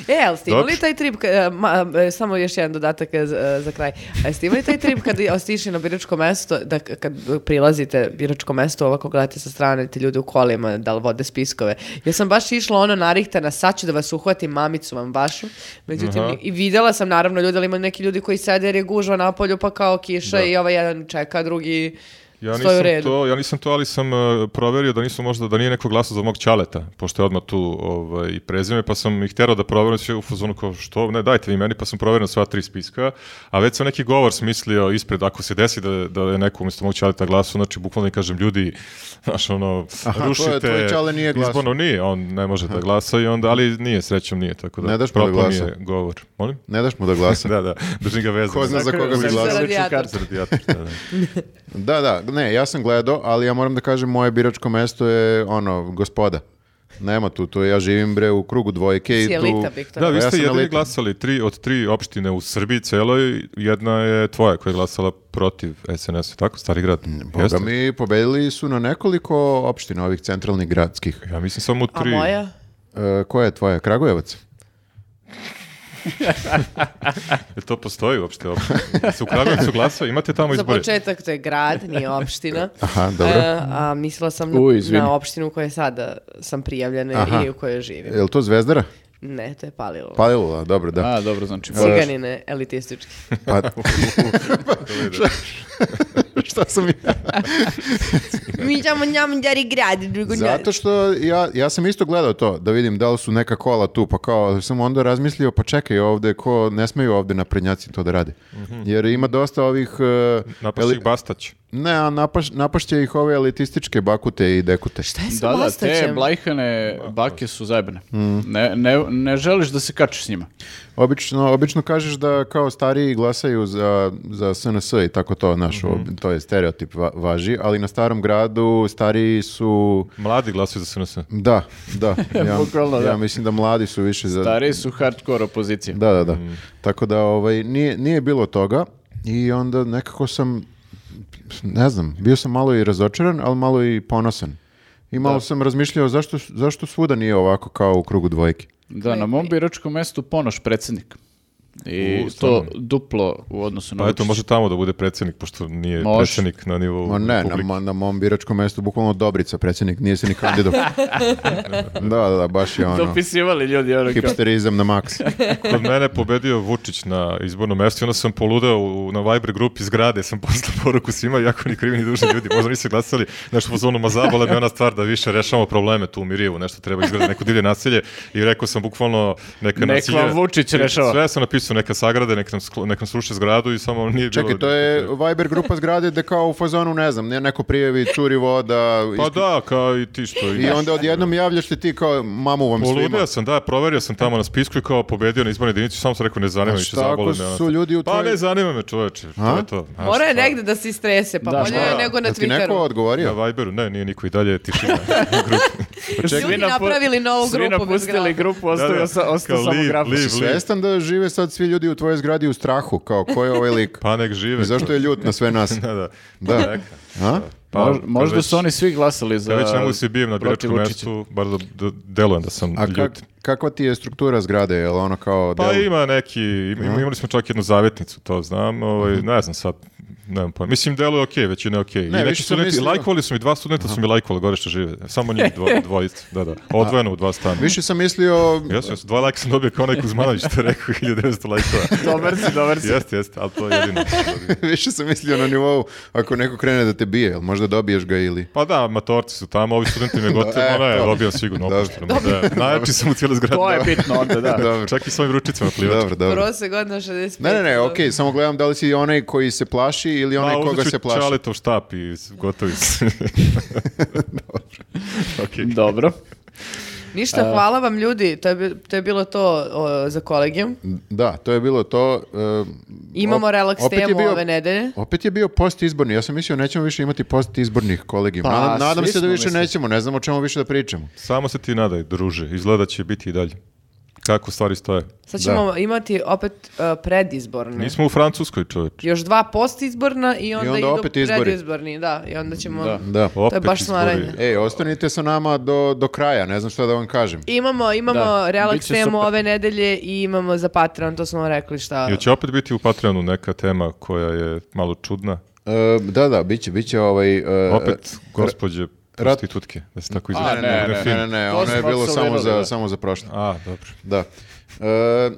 Speaker 1: E, ali ste imali
Speaker 4: Dobro.
Speaker 1: taj trip, ka- e, ma, e, samo još jedan dodatak e, z- e, za kraj. A ste imali taj trip kad [laughs] ste išli na biračko mesto, da k- kad prilazite biračko mesto, ovako gledate sa strane te ljude u kolima, da li vode spiskove. Ja sam baš išla ono narihtana, sad ću da vas uhvatim, mamicu vam vašu. Međutim,
Speaker 4: Aha.
Speaker 1: i videla sam naravno ljude, ali ima neki ljudi koji sede jer je gužva na polju, pa kao kiša
Speaker 4: Da.
Speaker 1: i ovaj jedan čeka, drugi
Speaker 4: Ja
Speaker 1: stoji u
Speaker 4: nisam,
Speaker 1: redu.
Speaker 4: to, ja nisam to, ali sam e, proverio da nisu možda, da nije neko glasao za mog čaleta, pošto je odmah tu ovaj, i prezime, pa sam ih terao da proverim sve u fazonu kao što, ne dajte vi meni, pa sam proverio sva tri spiska, a već sam neki govor smislio ispred, ako se desi da, da je neko umjesto mog čaleta glasao, znači bukvalno i kažem ljudi, znaš ono,
Speaker 2: Aha, to je-
Speaker 4: rušite,
Speaker 2: tvoj čale nije glasao.
Speaker 4: izborno nije, on ne može da glasa i onda, ali nije, srećom nije, tako da
Speaker 2: Ne daš mu da
Speaker 4: propao mi
Speaker 2: glasa?
Speaker 4: je govor. Molim?
Speaker 2: Ne daš mu da glasa.
Speaker 4: Da, da, držim ga vezano.
Speaker 2: Ko zna za koga bi
Speaker 3: Sakrio-
Speaker 2: glasao?
Speaker 3: ličnu kartu.
Speaker 4: Za radijator, da,
Speaker 2: Da,
Speaker 4: da.
Speaker 2: da, ne, ja sam gledao, ali ja moram da kažem, moje biračko mesto je, ono, gospoda. Nema tu, tu ja živim, bre, u krugu dvojke. i
Speaker 1: Si
Speaker 2: tu...
Speaker 1: elita, Viktor.
Speaker 4: Da,
Speaker 2: A
Speaker 4: vi
Speaker 2: ja
Speaker 4: ste
Speaker 2: sam
Speaker 4: jedini
Speaker 2: elita.
Speaker 4: glasali tri, od tri opštine u Srbiji celoj, jedna je tvoja koja je glasala protiv SNS-a, tako, Stari grad?
Speaker 2: Boga
Speaker 4: Jeste?
Speaker 2: mi pobedili su na nekoliko opština ovih centralnih gradskih.
Speaker 4: Ja mislim samo u
Speaker 1: A
Speaker 4: tri.
Speaker 1: moja?
Speaker 2: E, koja je tvoja? Kragujevac?
Speaker 4: Jel to postoji uopšte opština? Jeste u Kragujevcu glasao, imate tamo
Speaker 1: Za
Speaker 4: izbore.
Speaker 1: početak to je grad, nije
Speaker 4: [laughs]
Speaker 1: opština.
Speaker 2: Aha, dobro.
Speaker 1: E, a mislila sam na,
Speaker 3: U, izvini.
Speaker 1: na opštinu u kojoj sada sam prijavljena
Speaker 2: Aha. Pa,
Speaker 1: i u kojoj živim.
Speaker 2: Je li to Zvezdara?
Speaker 1: Ne, to je palilo. [laughs]
Speaker 2: Palilula, dobro, da.
Speaker 3: A, dobro,
Speaker 2: [laughs]
Speaker 3: znači.
Speaker 1: Ciganine, elitistički.
Speaker 2: Pa, Šta [laughs] sam ja?
Speaker 5: Mi ćemo njam djeri gradi, drugo njeri.
Speaker 2: Zato što ja, ja sam isto gledao to, da vidim da li su neka kola tu, pa kao sam onda razmislio, pa čekaj ovde, ko ne smeju ovde naprednjaci to da rade. Jer ima dosta ovih... e,
Speaker 4: Napaših
Speaker 2: eli-
Speaker 4: Bastać.
Speaker 2: Ne, a napaš, napašće ih ove elitističke bakute i dekute.
Speaker 1: Šta je sa
Speaker 3: Da, da, te
Speaker 1: Bastaćem?
Speaker 3: blajhane bake su zajebane.
Speaker 4: Mm.
Speaker 3: Ne, ne, ne želiš da se kačiš s njima.
Speaker 2: Obično, obično kažeš da kao stariji glasaju za, za SNS i tako to, naš, to je stereotip va- važi, ali na starom gradu stariji su...
Speaker 4: Mladi glasuju za SNS.
Speaker 2: Da,
Speaker 3: [laughs]
Speaker 2: da. Ja,
Speaker 3: Bukvalno,
Speaker 2: ja
Speaker 3: da.
Speaker 2: mislim da mladi su više za...
Speaker 3: Stari su hardcore opozicija.
Speaker 2: Da, da, da.
Speaker 4: Mm.
Speaker 2: Tako da ovaj, nije, nije bilo toga i onda nekako sam, ne znam, bio sam malo i razočaran, ali malo i ponosan. I malo sam razmišljao zašto, zašto svuda nije ovako kao u krugu dvojke.
Speaker 3: Da, na mom biračkom mestu ponoš predsjednik. I
Speaker 4: U,
Speaker 3: to
Speaker 4: stvarno.
Speaker 3: duplo u odnosu na
Speaker 4: Pa eto,
Speaker 3: Vučića.
Speaker 4: može tamo da bude predsjednik, pošto nije
Speaker 3: Može.
Speaker 4: predsjednik na nivou
Speaker 2: Ma ne, na,
Speaker 4: publike.
Speaker 2: mo- na mom biračkom mestu bukvalno Dobrica, predsjednik, nije se ni kandidov.
Speaker 4: [laughs]
Speaker 2: da, da, da, baš je ono,
Speaker 3: Dopisivali ljudi, ono
Speaker 4: pa
Speaker 3: kao,
Speaker 2: hipsterizam na
Speaker 4: [laughs]
Speaker 2: maks.
Speaker 4: Kod mene je pobedio Vučić na izbornom mestu i onda sam poludeo u, na Viber grupi zgrade, sam poslao poruku svima, jako ni krivi ni dužni ljudi, možda nisu glasali, nešto po zonu, ma zabole me ona stvar da više rešavamo probleme tu u Mirijevu, nešto treba izgledati, neko divlje nasilje i rekao sam bukvalno neka
Speaker 3: Nek
Speaker 4: nasilje.
Speaker 3: vam Vučić rešava.
Speaker 4: Sve sam napisao, neka sagrade, nek nam, sklo- nek nam sruše zgradu i samo nije bilo...
Speaker 2: Čekaj, to je Viber grupa zgrade da kao u fazonu, ne znam, ne- neko prijevi, curi voda,
Speaker 4: Pa
Speaker 2: ispit-
Speaker 4: da, kao i ti što
Speaker 2: i
Speaker 4: imaš.
Speaker 2: onda odjednom javljaš se ti kao mamu vam svima.
Speaker 4: Poludeo sam, da, proverio sam tamo na spisku i kao pobedio na izbornoj jedinici, samo sam rekao ne zanima
Speaker 2: A
Speaker 4: me, više
Speaker 2: šta ako
Speaker 4: zabole me. ona
Speaker 2: Znači, su
Speaker 4: stvar.
Speaker 2: ljudi u
Speaker 4: Pa
Speaker 2: tvojoj-
Speaker 4: ne zanima me čoveče, to je to. A
Speaker 1: Mora je
Speaker 4: šta?
Speaker 1: negde da se istrese, pa
Speaker 3: Da,
Speaker 1: bolje
Speaker 3: šta?
Speaker 1: je nego na
Speaker 2: Da ti neko
Speaker 1: Twitteru.
Speaker 2: odgovorio?
Speaker 4: Na Viberu, ne, nije niko i dalje je tišina.
Speaker 2: [laughs]
Speaker 1: Ljudi napravili novu
Speaker 3: Svi
Speaker 1: grupu bez
Speaker 3: napustili
Speaker 1: grada.
Speaker 3: grupu, ostavio
Speaker 4: Da, da,
Speaker 3: sa, ostao
Speaker 4: kao
Speaker 3: samo
Speaker 4: live,
Speaker 3: grafus.
Speaker 4: live.
Speaker 2: Svestan da žive sad svi ljudi u tvojoj zgradi u strahu, kao ko je ovaj lik?
Speaker 4: pa nek žive.
Speaker 2: I zašto je ljut na sve nas?
Speaker 4: [laughs] Da, da.
Speaker 2: Da.
Speaker 4: Pa neka.
Speaker 2: A?
Speaker 4: Pa,
Speaker 3: Mož-
Speaker 4: kad
Speaker 3: možda
Speaker 4: već-
Speaker 3: su oni svi glasali za...
Speaker 4: Kad već ne mogu se bijem na
Speaker 3: protiv
Speaker 4: biračkom
Speaker 3: Vučića.
Speaker 4: mestu, bar da, da delujem da sam
Speaker 2: A
Speaker 4: ljut.
Speaker 2: kak, kakva ti je struktura zgrade? Je li ono kao...
Speaker 4: Pa
Speaker 2: del-
Speaker 4: ima neki, im- im- imali smo čak jednu zavetnicu, to znam, ovaj, ne znam sad, nemam pojma. Mislim, delo je okej, već je ne okej. I
Speaker 2: Ne,
Speaker 4: neki
Speaker 2: više sam
Speaker 4: studenti,
Speaker 2: mislio-
Speaker 4: lajkovali su mi, dva studenta su mi lajkovali gore što žive. Samo njih
Speaker 2: [laughs]
Speaker 4: dvo, dvojica, da, da. Odvojeno u dva stana.
Speaker 2: Više sam mislio...
Speaker 4: Jasno, jasno, dva lajka sam dobio kao onaj Kuzmanović što je rekao 1900
Speaker 2: [laughs]
Speaker 4: lajkova.
Speaker 3: Dobar si, dobar si.
Speaker 4: [laughs] jeste, jeste, ali to je jedino. što sam dobio.
Speaker 2: [laughs] Više sam mislio na nivou ako neko krene da te bije, jel možda dobiješ ga ili...
Speaker 4: Pa da, matorci su tamo, ovi studenti
Speaker 2: [laughs]
Speaker 4: me gotovo,
Speaker 2: E,
Speaker 4: ona je
Speaker 2: to.
Speaker 4: dobio sigurno
Speaker 2: Dobro.
Speaker 4: opušteno. Da, najjači sam u cijeloj zgradi.
Speaker 3: To je bitno onda, da.
Speaker 2: [laughs] Dobro,
Speaker 4: Čak i s ovim ručicama plivač.
Speaker 2: dobro, dobro.
Speaker 1: Prosek godina 65.
Speaker 2: Ne, ne, ne,
Speaker 1: dobro.
Speaker 2: okej, samo gledam da li si onaj koji se plaši ili onaj koga se plaši.
Speaker 4: Čaletov štap i s- [laughs] gotovi su.
Speaker 3: [laughs]
Speaker 4: okay.
Speaker 3: Dobro.
Speaker 1: Ništa,
Speaker 2: E.
Speaker 1: hvala vam ljudi, to je, bi- to je bilo to o, za kolegijum.
Speaker 2: Da, to je bilo to. e,
Speaker 1: Imamo
Speaker 2: op-
Speaker 1: relaks
Speaker 2: opet je
Speaker 1: temu
Speaker 2: bio-
Speaker 1: ove nedelje.
Speaker 2: Opet je bio post izborni. Ja sam mislio nećemo više imati post izbornih kolegijuma.
Speaker 3: Pa,
Speaker 2: nadam, nadam
Speaker 3: svi
Speaker 2: se da
Speaker 3: smo,
Speaker 2: više
Speaker 3: mislim.
Speaker 2: nećemo. Ne znam o čemu više da pričamo.
Speaker 4: Samo se ti nadaj, druže, izgleda će biti i dalje. Kako stvari stoje.
Speaker 1: Sad ćemo imati opet uh, predizborne.
Speaker 4: Nismo u Francuskoj, čovječe.
Speaker 1: Još dva postizborna i onda,
Speaker 2: onda
Speaker 1: idu
Speaker 2: opet izbori.
Speaker 1: predizborni. Da, i onda ćemo...
Speaker 3: Da.
Speaker 2: Da.
Speaker 4: Opet
Speaker 1: baš
Speaker 4: izbori.
Speaker 1: smaranje.
Speaker 2: Ej, ostanite sa nama do, do kraja. Ne znam šta da vam kažem.
Speaker 1: Imamo, imamo
Speaker 3: Da, bit
Speaker 1: relaks
Speaker 3: će
Speaker 1: temu
Speaker 3: super.
Speaker 1: ove nedelje i imamo za Patreon, to smo vam rekli šta.
Speaker 4: Jel će opet biti u Patreonu neka tema koja je malo čudna?
Speaker 2: E, da, da, bit će, bit će ovaj... e,
Speaker 4: Opet, gospođe
Speaker 2: rat-
Speaker 4: prostitutke, da se tako
Speaker 2: Ne,
Speaker 4: izrazi.
Speaker 2: ne, ne, ne, ne,
Speaker 3: ne,
Speaker 2: ne, ne,
Speaker 3: To
Speaker 2: ono
Speaker 3: smo
Speaker 2: je bilo samo
Speaker 3: absolvirali,
Speaker 2: za,
Speaker 3: da.
Speaker 2: samo za prošle.
Speaker 4: A, dobro.
Speaker 2: Da. E,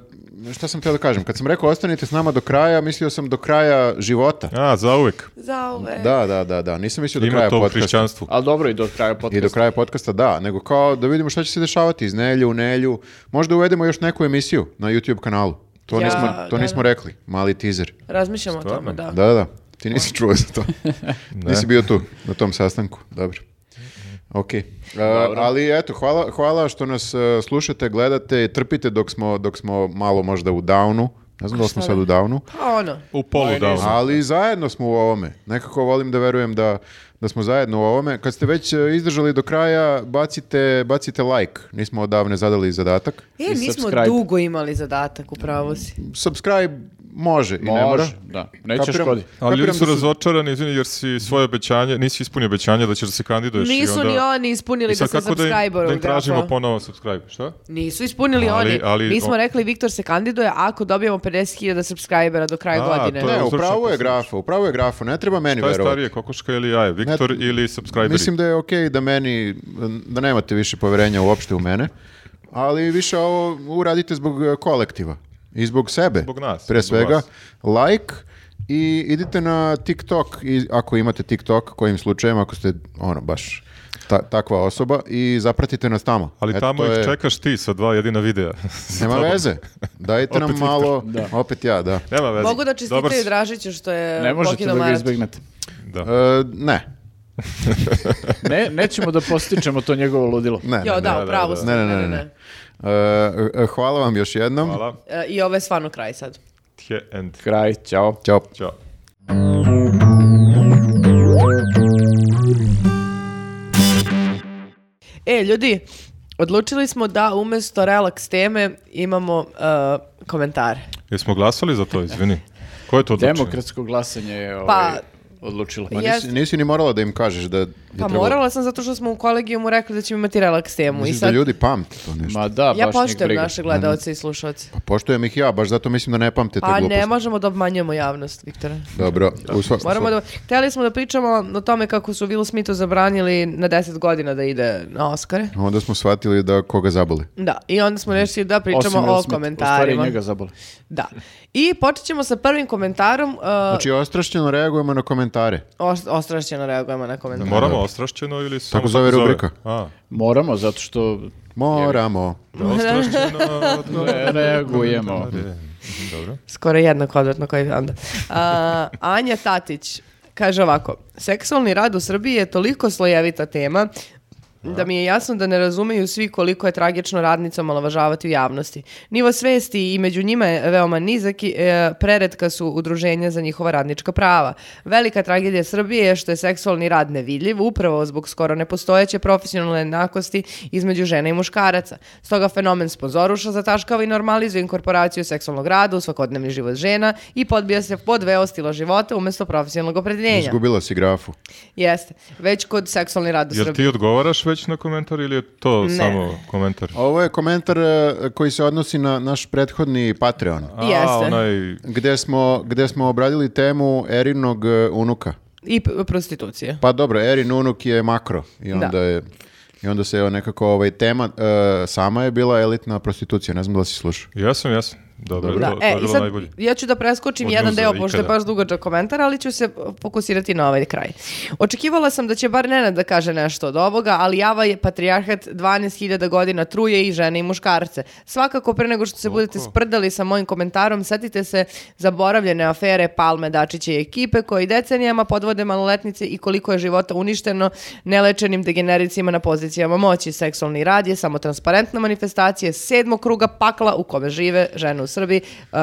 Speaker 2: šta sam htio da kažem? Kad sam rekao ostanite s nama do kraja, mislio sam do kraja života.
Speaker 4: A, zauvek.
Speaker 1: Zauvek.
Speaker 2: Da, da, da, da. Nisam mislio do
Speaker 4: Ima
Speaker 2: kraja
Speaker 4: to u
Speaker 2: podcasta.
Speaker 4: hrišćanstvu.
Speaker 3: Ali dobro i do kraja podcasta.
Speaker 2: I do kraja podcasta, da, nego kao da vidimo šta će se dešavati iz nelje u nelju. Možda uvedemo još neku emisiju na YouTube kanalu. To
Speaker 1: Ja,
Speaker 2: nismo, to
Speaker 1: da,
Speaker 2: nismo
Speaker 1: da.
Speaker 2: rekli. Mali teaser.
Speaker 1: Razmišljamo o tome,
Speaker 4: Stvarno?
Speaker 1: da.
Speaker 2: Da, da, da. Ti nisi čuo za to.
Speaker 1: [laughs]
Speaker 2: nisi bio tu na tom sastanku. Dobro. Ok. E, ali eto, hvala, hvala što nas e, slušate, gledate, trpite dok smo, dok smo malo možda u downu. Ne znam da li smo sad u downu.
Speaker 1: Pa ono,
Speaker 4: U polu da.
Speaker 2: Ali zajedno smo u ovome. Nekako volim da verujem da, da smo zajedno u ovome. Kad ste već e, izdržali do kraja, bacite, bacite like. Nismo odavne zadali zadatak.
Speaker 1: e,
Speaker 3: I
Speaker 1: nismo
Speaker 3: subscribe.
Speaker 1: dugo imali zadatak, upravo si.
Speaker 2: Subscribe može i ne mora.
Speaker 3: Može, da. Neće
Speaker 2: Kapiram-
Speaker 3: škodi.
Speaker 4: Ali ljudi
Speaker 2: kapiram
Speaker 4: su
Speaker 2: da
Speaker 4: razočarani, izvini, jer si svoje obećanje, nisi ispunio obećanje da ćeš da se kandiduješ. i
Speaker 1: Nisu
Speaker 4: onda-
Speaker 1: ni oni ispunili
Speaker 4: I
Speaker 1: da
Speaker 4: sad
Speaker 1: se
Speaker 4: kako da im,
Speaker 1: subscriberu ono.
Speaker 4: da im tražimo
Speaker 1: grafao.
Speaker 4: ponovo subscribe, šta?
Speaker 1: Nisu ispunili
Speaker 4: Ali-
Speaker 1: oni.
Speaker 4: ali-
Speaker 1: Mi smo
Speaker 4: o-
Speaker 1: rekli Viktor se kandiduje ako dobijemo 50.000 subscribera do kraja
Speaker 4: A,
Speaker 1: godine.
Speaker 4: to
Speaker 2: Ne,
Speaker 4: je-
Speaker 2: upravo je grafa, upravo je grafa, ne treba meni
Speaker 4: Šta je
Speaker 2: verovati.
Speaker 4: starije, kokoška ili jaje? Viktor
Speaker 2: Ne,
Speaker 4: ili subscriberi?
Speaker 2: Mislim da je okej da meni, da nemate više poverenja uopšte u mene, ali više ovo uradite zbog e, kolektiva i zbog sebe.
Speaker 4: Zbog nas,
Speaker 2: Pre
Speaker 4: zbog
Speaker 2: svega,
Speaker 4: vas.
Speaker 2: like I idite na TikTok, i, ako imate TikTok, kojim slučajem, ako ste ono, baš ta- takva osoba, i zapratite nas tamo.
Speaker 4: Ali
Speaker 2: Eto,
Speaker 4: tamo
Speaker 2: to
Speaker 4: ih
Speaker 2: je-
Speaker 4: čekaš ti sa dva jedina videa. [laughs]
Speaker 2: Nema veze. Dajte nam malo, opet ja, da.
Speaker 4: Nema veze.
Speaker 1: Mogu da čestitaju
Speaker 4: Dobar si.
Speaker 1: Dražiću što je
Speaker 3: Ne možete
Speaker 1: pokidao
Speaker 3: da ga
Speaker 1: marat.
Speaker 3: izbegnete.
Speaker 4: Da.
Speaker 2: E, ne.
Speaker 3: Ne, nećemo da postičemo to njegovo ludilo.
Speaker 2: Ne, ne,
Speaker 1: Jo,
Speaker 2: ne.
Speaker 1: da,
Speaker 4: da,
Speaker 1: upravo
Speaker 4: da.
Speaker 1: ste,
Speaker 2: Ne, ne, ne, ne. E, e, hvala vam još jednom.
Speaker 4: Hvala.
Speaker 1: E, I ovo je stvarno kraj sad.
Speaker 4: Tje and
Speaker 3: Kraj, ćao.
Speaker 2: Ćao.
Speaker 4: Ćao.
Speaker 1: E, ljudi, odlučili smo da umjesto relaks teme imamo uh, komentare.
Speaker 4: Jesmo glasali za to, izvini. Ko je to odlučio?
Speaker 3: Demokratsko glasanje je ovaj,
Speaker 1: Pa-
Speaker 3: odlučilo.
Speaker 2: Pa
Speaker 1: Ja-
Speaker 2: nisi, nisi ni morala da im kažeš da je
Speaker 1: Pa
Speaker 2: trebalo-
Speaker 1: morala sam zato što smo u kolegijumu rekli da ćemo imati relaks temu. I
Speaker 2: Misliš
Speaker 1: sad,
Speaker 2: da ljudi pamte to nešto.
Speaker 3: Ma da,
Speaker 1: ja
Speaker 3: baš njih
Speaker 1: poštujem
Speaker 3: briga. Mhm.
Speaker 1: naše gledalce i slušalce.
Speaker 2: Pa poštujem ih ja, baš zato mislim da ne pamte te
Speaker 1: Pa
Speaker 2: gluposti.
Speaker 1: ne možemo da obmanjujemo javnost, Viktore.
Speaker 2: Dobro, u sva-
Speaker 1: Moramo da... Htjeli smo da pričamo o tome kako su Will Smithu zabranili na 10 godina da ide na Oscare.
Speaker 2: Onda smo shvatili da koga zaboli.
Speaker 1: Da, i onda smo rešili da pričamo
Speaker 3: Mhm. Osim Will
Speaker 1: o
Speaker 3: Smith, U
Speaker 1: komentarima.
Speaker 3: stvari njega zabole.
Speaker 1: Da. I počet ćemo sa prvim komentarom. Uh,
Speaker 2: Znači, ostrašćeno reagujemo na komentare.
Speaker 1: os- ostrašćeno reagujemo na komentar.
Speaker 4: Moramo ostrašćeno ili samo
Speaker 2: Tako zove rubrika.
Speaker 4: A,
Speaker 3: Moramo, zato
Speaker 1: [laughs]
Speaker 3: što
Speaker 2: Moramo.
Speaker 4: da,
Speaker 2: [laughs]
Speaker 4: ostrašćeno.
Speaker 3: ne reagujemo.
Speaker 4: Dobro.
Speaker 1: Skoro jedno kvadratno koji je onda. A, Anja Tatić kaže ovako. Seksualni rad u Srbiji je toliko slojevita tema da mi je jasno da ne razumeju svi koliko je tragično radnica omalovažavati u javnosti. Nivo svesti i među njima je veoma nizak i e, preretka su udruženja za njihova radnička prava. Velika tragedija Srbije je što je seksualni rad nevidljiv upravo zbog skoro nepostojeće profesionalne jednakosti između žena i muškaraca. Stoga fenomen spozoruša zataškava i normalizuje inkorporaciju seksualnog rada u svakodnevni život žena i podbija se pod veo stila života umjesto profesionalnog opredeljenja.
Speaker 2: Izgubila si grafu.
Speaker 1: Jeste, već kod seksualni rad u
Speaker 4: Jel
Speaker 1: Srbiji.
Speaker 4: ti odgovaraš već na komentar ili je to samo komentar?
Speaker 2: Ovo je komentar e, koji se odnosi na naš prethodni Patreon,
Speaker 4: A,
Speaker 1: Jeste.
Speaker 4: onaj...
Speaker 2: gde smo, gde smo obradili temu Erinog e, unuka.
Speaker 1: I p- prostitucije.
Speaker 2: Pa dobro, Erin unuk je makro i onda
Speaker 1: Da.
Speaker 2: je... I onda se evo, nekako ovaj tema, e, sama je bila elitna prostitucija, ne znam da li si slušao.
Speaker 4: Jesam, jesam. Dobro,
Speaker 1: Da,
Speaker 4: To, to
Speaker 1: e,
Speaker 4: je
Speaker 1: i
Speaker 4: bilo
Speaker 1: sad
Speaker 4: najbolje.
Speaker 1: ja ću da preskočim
Speaker 4: Od
Speaker 1: jedan
Speaker 4: njuza
Speaker 1: deo, pošto je
Speaker 4: ikada.
Speaker 1: baš dugačak komentar, ali ću se fokusirati na ovaj kraj. Očekivala sam da će bar Nenad da kaže nešto od ovoga, ali Java je patrijarhat 12.000 godina truje i žene i muškarce. Svakako, pre nego što se budete sprdali sa mojim komentarom, setite se zaboravljene afere Palme, Dačića i ekipe koji decenijama podvode maloletnice i koliko je života uništeno nelečenim degenericima na pozicijama moći. Seksualni rad je samo transparentna manifestacija sedmog kruga pakla u kome žive žene u Srbiji uh,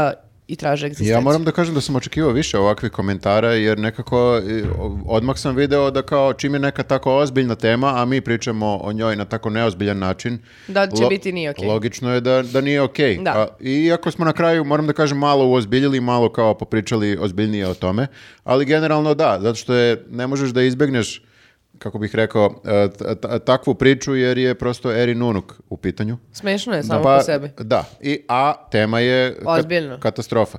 Speaker 1: i traže egzistenciju.
Speaker 2: Ja moram da kažem da sam očekivao više ovakvih komentara, jer nekako e, o- odmah sam video da kao čim je neka tako ozbiljna tema, a mi pričamo o njoj na tako neozbiljan način.
Speaker 1: Da će biti nije okej.
Speaker 2: Logično je da, da nije okej.
Speaker 1: Da.
Speaker 2: A- Iako smo na kraju, moram da kažem, malo uozbiljili, malo kao popričali ozbiljnije o tome, ali generalno da, zato što je, ne možeš da izbegneš kako bih rekao, e, t- t- takvu priču jer je prosto Erin Unuk u pitanju.
Speaker 1: Smešno je samo
Speaker 2: Pa,
Speaker 1: po sebi.
Speaker 2: Da, I, a tema je ka-
Speaker 1: Ozbiljno.
Speaker 2: katastrofa.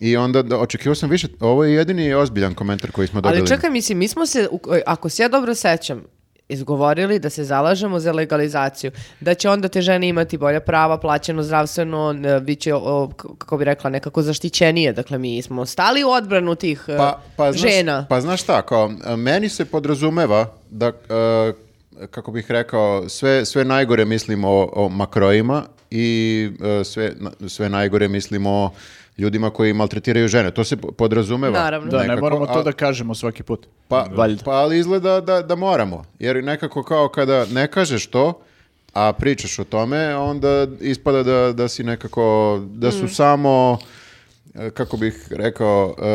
Speaker 2: I onda da, očekivao sam više, ovo je jedini ozbiljan komentar koji smo dobili.
Speaker 1: Ali čekaj, mislim, mi smo se, u- ako se ja dobro sećam, izgovorili da se zalažemo za legalizaciju, da će onda te žene imati bolja prava, plaćeno zdravstveno, e, bit će, o, k- kako bi rekla, nekako zaštićenije. Dakle, mi smo stali u odbranu tih e,
Speaker 2: pa, pa, znaš,
Speaker 1: žena.
Speaker 2: Pa znaš šta, kao, meni se podrazumeva da, e, kako bih rekao, sve, sve najgore mislim o, o makrojima i e, sve, na- sve najgore mislim o ljudima koji maltretiraju žene. To se po- podrazumeva.
Speaker 1: Naravno.
Speaker 3: Da, ne
Speaker 2: nekako,
Speaker 3: moramo to
Speaker 2: a-
Speaker 3: da kažemo svaki put.
Speaker 2: Pa,
Speaker 3: Valjda.
Speaker 2: pa ali izgleda da, da moramo, jer nekako kao kada ne kažeš to, a pričaš o tome, onda ispada da, da si nekako, da su samo, e, kako bih rekao, e,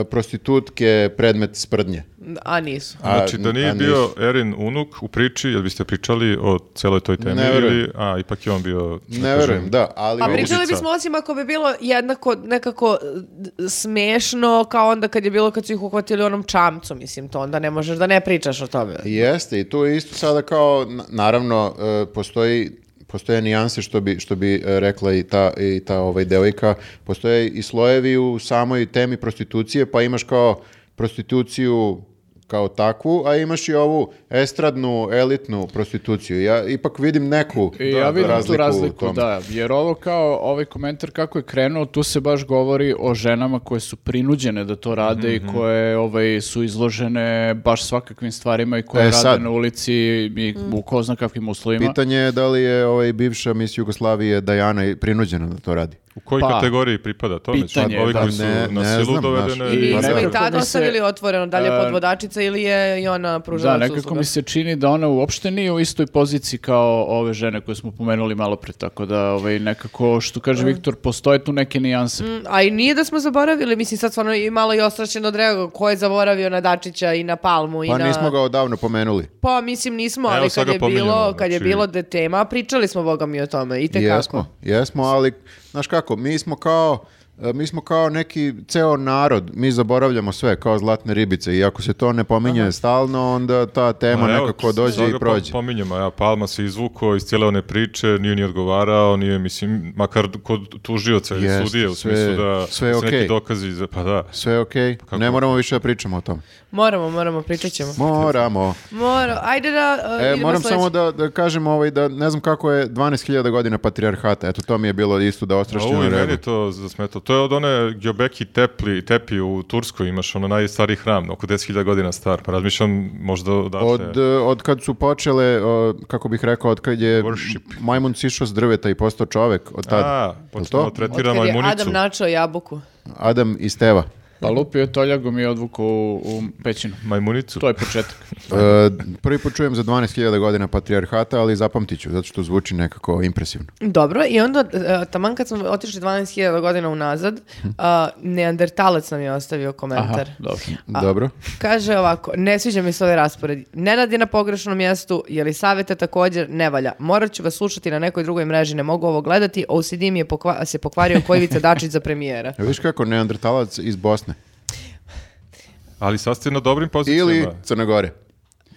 Speaker 2: e, prostitutke predmet sprdnje.
Speaker 1: A nisu.
Speaker 2: A,
Speaker 4: Znači da
Speaker 2: a
Speaker 4: nije
Speaker 2: nisu.
Speaker 4: bio Erin unuk u priči, jel biste pričali o celoj toj temi
Speaker 2: Ne
Speaker 4: ili...
Speaker 2: verujem.
Speaker 4: A, ipak je on bio...
Speaker 2: Ne verujem, da, ali...
Speaker 1: Pa
Speaker 2: mogu-
Speaker 1: pričali
Speaker 4: ulica.
Speaker 1: bismo osim ako bi bilo jednako nekako d- smešno kao onda kad je bilo kad su ih uhvatili u onom čamcu, mislim to onda ne možeš da ne pričaš o tome.
Speaker 2: Jeste, i to je isto sada kao, na- naravno, e, postoji postoje nijanse što bi što bi e, rekla i ta i ta ovaj devojka postoje i slojevi u samoj temi prostitucije pa imaš kao prostituciju kao takvu, a imaš i ovu estradnu, elitnu prostituciju. Ja ipak vidim neku
Speaker 3: I ja vidim
Speaker 2: razliku,
Speaker 3: tu
Speaker 2: u
Speaker 3: razliku,
Speaker 2: tome.
Speaker 3: da, jer ovo kao ovaj komentar kako je krenuo, tu se baš govori o ženama koje su prinuđene da to rade
Speaker 2: Mhm.
Speaker 3: i koje ovaj, su izložene baš svakakvim stvarima i koje
Speaker 2: E,
Speaker 3: rade
Speaker 2: sad.
Speaker 3: na ulici i u ko zna kakvim uslovima.
Speaker 2: Pitanje je da li je ovaj bivša mis Jugoslavije Dajana i prinuđena da to radi.
Speaker 4: U kojoj
Speaker 3: Pa,
Speaker 4: kategoriji pripada to? Znači,
Speaker 3: pitanje je,
Speaker 4: Ovi
Speaker 3: da.
Speaker 4: koji su
Speaker 2: Ne-
Speaker 4: na
Speaker 2: ne
Speaker 4: silu
Speaker 2: znam,
Speaker 4: dovedene...
Speaker 2: znaš.
Speaker 1: I
Speaker 2: Pa
Speaker 1: smo
Speaker 2: da.
Speaker 1: i
Speaker 3: Nekako
Speaker 1: tad
Speaker 3: mi se-
Speaker 1: ostavili otvoreno, da li je
Speaker 3: E,
Speaker 1: podvodačica ili je i ona pružala
Speaker 3: Da, nekako mi se čini da ona uopšte nije u istoj poziciji kao ove žene koje smo pomenuli malo pre, tako da ovaj, nekako, što kaže Viktor, postoje tu neke nijanse.
Speaker 1: A i nije da smo zaboravili, mislim sad stvarno i malo i ostrašćeno od ko je zaboravio na Dačića i na Palmu i
Speaker 2: Pa
Speaker 1: na...
Speaker 2: nismo ga odavno pomenuli.
Speaker 1: Pa mislim nismo,
Speaker 4: Evo,
Speaker 1: ali kad
Speaker 4: sad ga
Speaker 1: je bilo,
Speaker 4: pominjemo,
Speaker 1: kad je
Speaker 4: znači-
Speaker 1: bilo da tema, pričali smo boga mi o tome i te
Speaker 2: Jesmo, jesmo, ali znaš kako, mi smo kao e, mi smo kao neki ceo narod, mi zaboravljamo sve, kao zlatne ribice i ako se to ne pominje stalno, onda ta tema
Speaker 4: Ma Pa evo,
Speaker 2: nekako
Speaker 4: s-
Speaker 2: dođe
Speaker 4: sad
Speaker 2: i
Speaker 4: ga
Speaker 2: prođe.
Speaker 4: pom- Pominjemo, ja, Palma se izvuko iz cijele one priče, nije ni odgovarao, nije, mislim, makar kod tužioca ili
Speaker 2: Jest,
Speaker 4: sudije, u
Speaker 2: sve-
Speaker 4: smislu da
Speaker 2: sve
Speaker 4: se
Speaker 2: okej.
Speaker 4: neki dokazi, za- pa da.
Speaker 2: Sve je okej, ne moramo više da pričamo o tom.
Speaker 1: Moramo, moramo, pričat ćemo.
Speaker 2: Moramo.
Speaker 1: Mora, ajde da uh,
Speaker 2: E,
Speaker 1: idemo
Speaker 2: moram
Speaker 1: sledeće.
Speaker 2: samo da, da kažem ovaj, da ne znam kako je 12.000 godina patrijarhata, eto to mi je bilo isto da
Speaker 4: Ovo
Speaker 2: ostrašnjeno
Speaker 4: i meni
Speaker 2: reagujem.
Speaker 4: je to zasmetalo. To je od one Gjobeki tepli, tepi u Turskoj, imaš ono najstariji hram, oko 10.000 godina star, pa razmišljam možda odatle.
Speaker 2: Od, e, od kad su počele, o, kako bih rekao, od kad je majmun sišao s drveta i postao čovek, od tad
Speaker 4: A,
Speaker 2: to?
Speaker 4: počnemo tretira
Speaker 1: Otkad je
Speaker 4: majmunicu.
Speaker 1: Adam načao jabuku.
Speaker 2: Adam i Steva.
Speaker 3: Pa lupio je toljagom i odvukao u, u pećinu.
Speaker 4: Majmunicu.
Speaker 3: To je početak.
Speaker 2: E, prvi put čujem za 12.000 godina patrijarhata, ali zapamtit ću, zato što zvuči nekako impresivno.
Speaker 1: Dobro, i onda, e, taman kad smo otišli 12.000 godina unazad, a, Neandertalac nam je ostavio
Speaker 3: Aha,
Speaker 1: komentar.
Speaker 3: dobro.
Speaker 2: Dobro.
Speaker 1: Kaže ovako, ne sviđa mi se ovaj raspored. Nenad je na pogrešnom mjestu, jer i savete također ne valja. Morat ću vas slušati na nekoj drugoj mreži, ne mogu ovo gledati. OCD mi je pokva- se pokvario koji vice Dačić za
Speaker 2: [laughs]
Speaker 1: premijera.
Speaker 2: Ja, viš E, kako, neandertalac iz Bosne.
Speaker 4: Ali sad ste na dobrim pozicijama.
Speaker 2: Ili Crne Gore.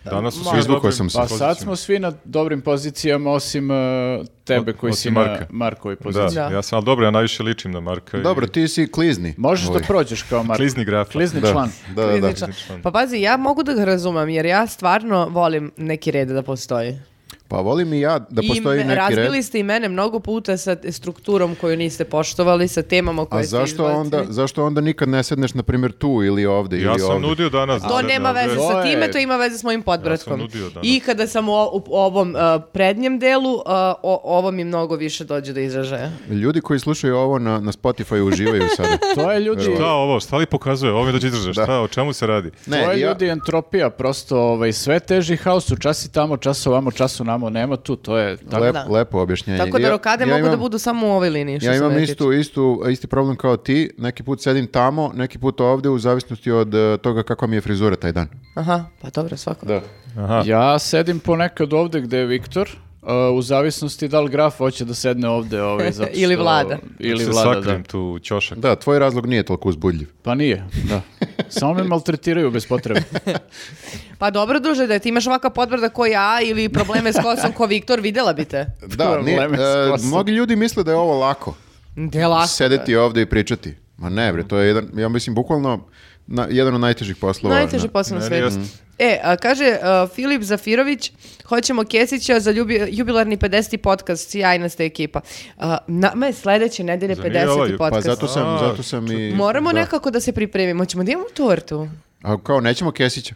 Speaker 4: Danas su
Speaker 1: Ma,
Speaker 4: svi
Speaker 2: izvukao
Speaker 4: dobrim
Speaker 2: sam se.
Speaker 4: pozicijama.
Speaker 3: Pa sad smo svi na dobrim pozicijama, osim e, tebe
Speaker 4: O-
Speaker 3: koji
Speaker 4: osim
Speaker 3: si na
Speaker 4: Marka.
Speaker 3: Markovoj poziciji.
Speaker 4: Da,
Speaker 1: Da.
Speaker 4: ja sam, ali dobro, ja najviše ličim na Marka. i-
Speaker 2: Dobro, ti si klizni.
Speaker 3: Možeš
Speaker 2: Ovaj.
Speaker 3: da prođeš kao Marko.
Speaker 4: Klizni grafa.
Speaker 3: Klizni
Speaker 2: Da,
Speaker 3: član.
Speaker 2: Da, da, da.
Speaker 1: Kliničar. Pa pazi, ja mogu da ga razumem, jer ja stvarno volim neki red da postoji.
Speaker 2: Pa volim i ja da
Speaker 1: I
Speaker 2: postoji
Speaker 1: me-
Speaker 2: neki red.
Speaker 1: razbili ste i mene mnogo puta sa t- strukturom koju niste poštovali, sa temama koje
Speaker 2: A
Speaker 1: ste
Speaker 2: zašto
Speaker 1: izbacili.
Speaker 2: onda, zašto onda nikad ne sedneš, na primjer, tu ili ovde?
Speaker 4: Ja
Speaker 2: ili
Speaker 4: sam
Speaker 2: ovde?
Speaker 4: nudio danas. da
Speaker 1: To
Speaker 4: sedne
Speaker 1: nema
Speaker 4: ovde.
Speaker 1: veze
Speaker 3: To
Speaker 1: sa
Speaker 3: je-
Speaker 1: time, to ima veze s mojim podbratkom.
Speaker 4: nudio danas.
Speaker 1: I kada sam u, o- u ovom uh, prednjem delu, uh, o- ovo mi mnogo više dođe do izražaja.
Speaker 2: Ljudi koji slušaju ovo na, na Spotify uživaju
Speaker 1: [laughs]
Speaker 2: sada.
Speaker 3: To
Speaker 4: [laughs]
Speaker 3: je ljudi...
Speaker 4: Šta ovo, šta li pokazuje? Ovo mi dođe izražaj, šta, o čemu se radi?
Speaker 3: to
Speaker 2: Ne,
Speaker 3: je
Speaker 2: ja,
Speaker 3: ljudi entropija, prosto ovaj, sve teži haos, u čas i tamo, čas ovamo, čas onamo, nema tu, to je tako.
Speaker 2: lep-
Speaker 1: Da.
Speaker 2: lepo objašnjenje.
Speaker 1: Tako da
Speaker 2: E, Ja-
Speaker 1: rokade
Speaker 2: ja
Speaker 1: mogu da
Speaker 2: imam-
Speaker 1: budu samo u ovoj liniji. Što
Speaker 2: Ja
Speaker 1: se
Speaker 2: imam
Speaker 1: mene tiče.
Speaker 2: istu, istu, isti problem kao ti, neki put sedim tamo, neki put ovdje u zavisnosti od e, toga kakva mi je frizura taj dan.
Speaker 1: Aha, pa dobro, svako. Da.
Speaker 4: Aha.
Speaker 3: Ja sedim ponekad ovde gde je Viktor, a, u zavisnosti da li graf hoće da sedne ovde. Ovaj, zato što-
Speaker 1: [laughs] Ili vlada.
Speaker 3: Ili
Speaker 4: se
Speaker 3: vlada, da.
Speaker 4: sakrim tu u ćošak.
Speaker 2: Da, tvoj razlog nije
Speaker 1: [laughs]
Speaker 2: toliko uzbudljiv.
Speaker 3: Pa nije,
Speaker 2: [laughs]
Speaker 3: da. Samo me maltretiraju bez potrebe.
Speaker 4: [laughs]
Speaker 1: Pa dobro, druže, da ti imaš ovakav podbrda ko ja ili probleme s kosom ko Viktor, videla bi te.
Speaker 2: Da, nije-
Speaker 3: Probleme s
Speaker 2: e,
Speaker 3: kosom.
Speaker 2: mnogi ljudi misle da je ovo lako,
Speaker 1: De lako.
Speaker 2: sedeti ovdje i pričati. Ma ne bre, to je jedan, ja mislim, bukvalno na- jedan od najtežih poslova.
Speaker 1: Najteži
Speaker 2: na-
Speaker 1: posao na
Speaker 4: Meni
Speaker 1: svetu.
Speaker 4: jeste.
Speaker 1: E, a kaže a, Filip Zafirović, hoćemo Kesića za ljubi- jubilarni 50. podcast, sjajna ste ekipa. A, nama je sledeće nedelje
Speaker 4: Zar nije
Speaker 1: 50.
Speaker 4: ovaj? Pa
Speaker 2: Pa
Speaker 1: podcast.
Speaker 2: zato sam,
Speaker 4: A,
Speaker 2: zato sam i...
Speaker 1: Moramo
Speaker 2: da.
Speaker 1: nekako da se pripremimo. Ćemo da imamo tortu.
Speaker 2: A kao, nećemo Kesića.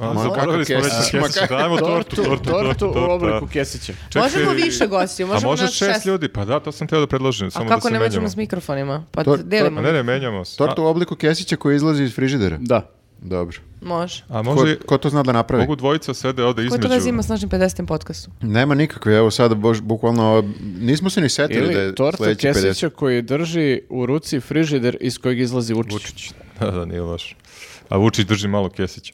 Speaker 4: A,
Speaker 2: Ma,
Speaker 4: zaboravili smo
Speaker 2: kako
Speaker 4: već na
Speaker 2: kesić, ma
Speaker 4: kesić.
Speaker 2: kako-
Speaker 4: Dajmo tortu,
Speaker 3: tortu,
Speaker 4: tortu, tortu,
Speaker 3: tortu u
Speaker 4: torta.
Speaker 3: obliku kesića.
Speaker 4: Čekaj.
Speaker 1: Možemo više gostiju,
Speaker 4: A
Speaker 1: možemo
Speaker 4: može
Speaker 1: nas
Speaker 4: šest
Speaker 1: šest.
Speaker 4: ljudi, pa da, to sam teo da predložim,
Speaker 1: A
Speaker 4: samo da
Speaker 1: kako
Speaker 4: se
Speaker 1: ne
Speaker 4: menjamo.
Speaker 1: možemo s mikrofonima? Pa
Speaker 2: Tor-
Speaker 1: delimo.
Speaker 4: A ne, ne, menjamo se.
Speaker 2: Tortu u obliku Kesića koji izlazi iz frižidera.
Speaker 3: Da.
Speaker 2: Dobro.
Speaker 1: Može.
Speaker 4: A,
Speaker 2: Ko,
Speaker 4: a može,
Speaker 2: ko to zna da napravi?
Speaker 4: mogu dvojica sede ovde
Speaker 1: Ko
Speaker 4: između.
Speaker 1: to veze ima s našim 50. podcastom?
Speaker 2: Nema nikakve, evo sad, bož, bukvalno, nismo se ni setili da
Speaker 3: Ili
Speaker 2: je
Speaker 3: torta
Speaker 2: sledeći 50.
Speaker 3: kesića koji drži u ruci frižider iz kojeg izlazi Vučić.
Speaker 4: Vučić. [laughs] Da, da, nije loš. A Vučić drži malo kesića.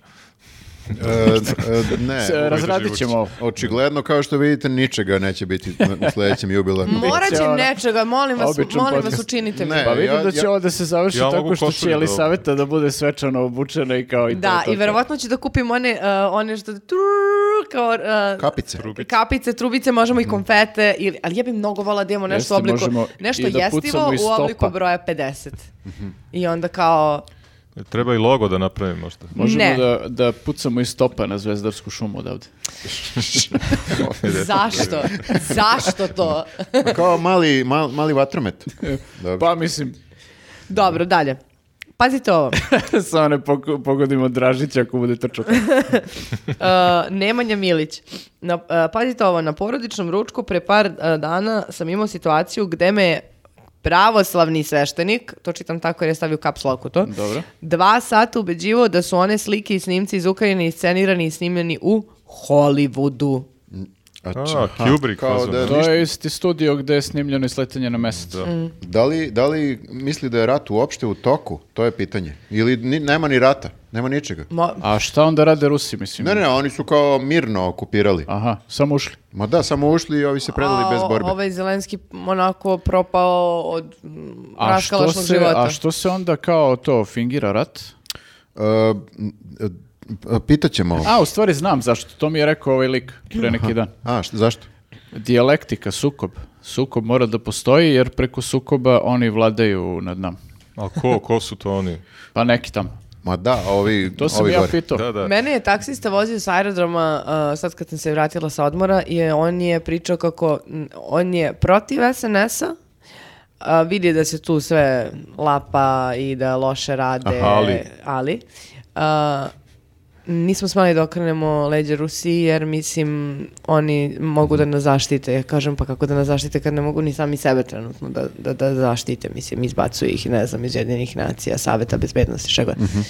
Speaker 3: [laughs]
Speaker 2: E, e, ne,
Speaker 3: S- Razradit ćemo ovo.
Speaker 2: očigledno kao što vidite ničega neće biti na- u sledećem jubilarnom.
Speaker 1: Morat će
Speaker 3: Ona-
Speaker 1: nečega, molim vas,
Speaker 3: ono. Običan
Speaker 1: molim vas,
Speaker 3: podcast.
Speaker 1: učinite mi.
Speaker 2: Ne,
Speaker 3: Pa vidim
Speaker 2: E, ja-
Speaker 3: da će
Speaker 2: ja-
Speaker 3: ovo da se završi
Speaker 4: Ja mogu
Speaker 3: tako što
Speaker 4: košulju
Speaker 3: će
Speaker 4: da
Speaker 3: Elisaveta da bude svečano obučena i kao i to,
Speaker 1: Da,
Speaker 3: to,
Speaker 1: i
Speaker 3: to.
Speaker 1: verovatno će da kupim one, uh, one što trrr, kao, uh,
Speaker 2: Kapice.
Speaker 1: kapice, trubice, možemo
Speaker 4: Mm.
Speaker 1: i konfete, ili, ali ja bi mnogo vola da imamo nešto,
Speaker 3: Jeste,
Speaker 1: u obliku,
Speaker 3: možemo
Speaker 1: nešto
Speaker 3: i da
Speaker 1: jestivo
Speaker 3: pucamo iz
Speaker 1: u obliku
Speaker 3: stopa.
Speaker 4: [laughs]
Speaker 1: broja 50. I onda kao,
Speaker 4: Treba i logo da napravim možda.
Speaker 3: Možemo
Speaker 1: Ne.
Speaker 3: da, da pucamo iz stopa na Zvezdarsku šumu odavde.
Speaker 4: [laughs]
Speaker 1: Zašto? Zašto to?
Speaker 2: Pa Kao mali, mal- mali
Speaker 3: [laughs]
Speaker 2: vatromet. Dobro.
Speaker 3: Pa mislim, [laughs]
Speaker 1: Dobro, dalje. Pazite ovo.
Speaker 3: samo ne poko- pogodimo Dražića ako bude
Speaker 2: [laughs]
Speaker 3: trčao.
Speaker 1: Uh, Nemanja Milić. Na, uh, pazite ovo, na porodičnom ručku pre par uh, dana sam imao situaciju gde me je pravoslavni sveštenik, to čitam tako jer je stavio caps lock u to,
Speaker 3: Dobro.
Speaker 1: dva sata ubeđivo da su one slike i snimci iz Ukrajine iscenirani i snimljeni u Hollywoodu.
Speaker 2: A, č-
Speaker 4: A, Kubrick,
Speaker 2: Znači, kao
Speaker 4: fazon.
Speaker 2: da-
Speaker 3: To je isti studio gde je snimljeno i sletanje na mesec.
Speaker 1: Mm.
Speaker 2: Da li, da li misli da je rat uopšte u toku? To je pitanje. Ili ni- nema ni rata, nema ničega.
Speaker 1: Mo-
Speaker 3: A šta onda rade Rusi, mislim?
Speaker 2: Ne, ne, oni su kao mirno okupirali.
Speaker 3: Aha, samo ušli.
Speaker 2: Ma da, samo ušli i ovi se predali
Speaker 1: A,
Speaker 2: bez
Speaker 1: o-
Speaker 2: borbe.
Speaker 1: Ovaj Zelenski onako propao od mm,
Speaker 3: A što,
Speaker 1: raskalašnog
Speaker 3: se,
Speaker 1: života.
Speaker 3: a što se onda kao to fingira rat?
Speaker 2: E, m, e, e, pitaćemo.
Speaker 3: A, u stvari znam zašto. To mi je rekao ovaj lik pre neki dan.
Speaker 2: A, š- zašto?
Speaker 3: Dijalektika, sukob. Sukob mora da postoji jer preko sukoba oni vladaju nad nam.
Speaker 4: A ko, ko su to
Speaker 2: [laughs]
Speaker 4: oni?
Speaker 3: Pa neki tamo.
Speaker 2: Ma da, a ovi,
Speaker 3: To sam
Speaker 2: ovi
Speaker 3: ja
Speaker 2: gore.
Speaker 3: pitao.
Speaker 4: Da, da.
Speaker 1: Mene je taksista vozio sa aerodroma uh, sad kad sam se vratila sa odmora i on je pričao kako mm, on je protiv SNS-a, a, vidi da se tu sve lapa i da loše rade,
Speaker 2: Aha, ali.
Speaker 1: ali, a, nismo smeli da okrenemo leđa Rusiji jer mislim oni mogu da nas zaštite. Ja kažem pa kako da nas zaštite kad ne mogu ni sami sebe trenutno da, da, da zaštite. Mislim izbacuju ih ne znam iz jedinih nacija, saveta bezbednosti, šta god.
Speaker 2: Mhm.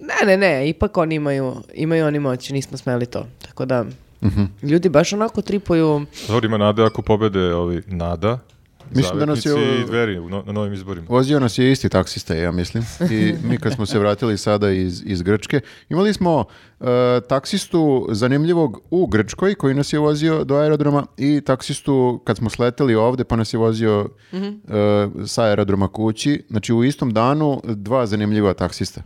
Speaker 1: Ne, ne, ne, ipak oni imaju, imaju oni moći, nismo smeli to. Tako da,
Speaker 2: Mhm.
Speaker 1: ljudi baš onako tripuju,
Speaker 4: Dobro, ima nade ako pobede ovi Nada.
Speaker 2: Mislim da nas je
Speaker 4: Zavetnici
Speaker 2: ovo-
Speaker 4: i dveri u no- na novim izborima.
Speaker 2: Vozio nas je isti taksista, ja mislim. [laughs] I mi kad smo se vratili sada iz, iz Grčke, imali smo e, taksistu zanimljivog u Grčkoj koji nas je vozio do aerodroma i taksistu kad smo sleteli ovde pa nas je vozio e, sa aerodroma kući. Znači u istom danu dva zanimljiva taksista.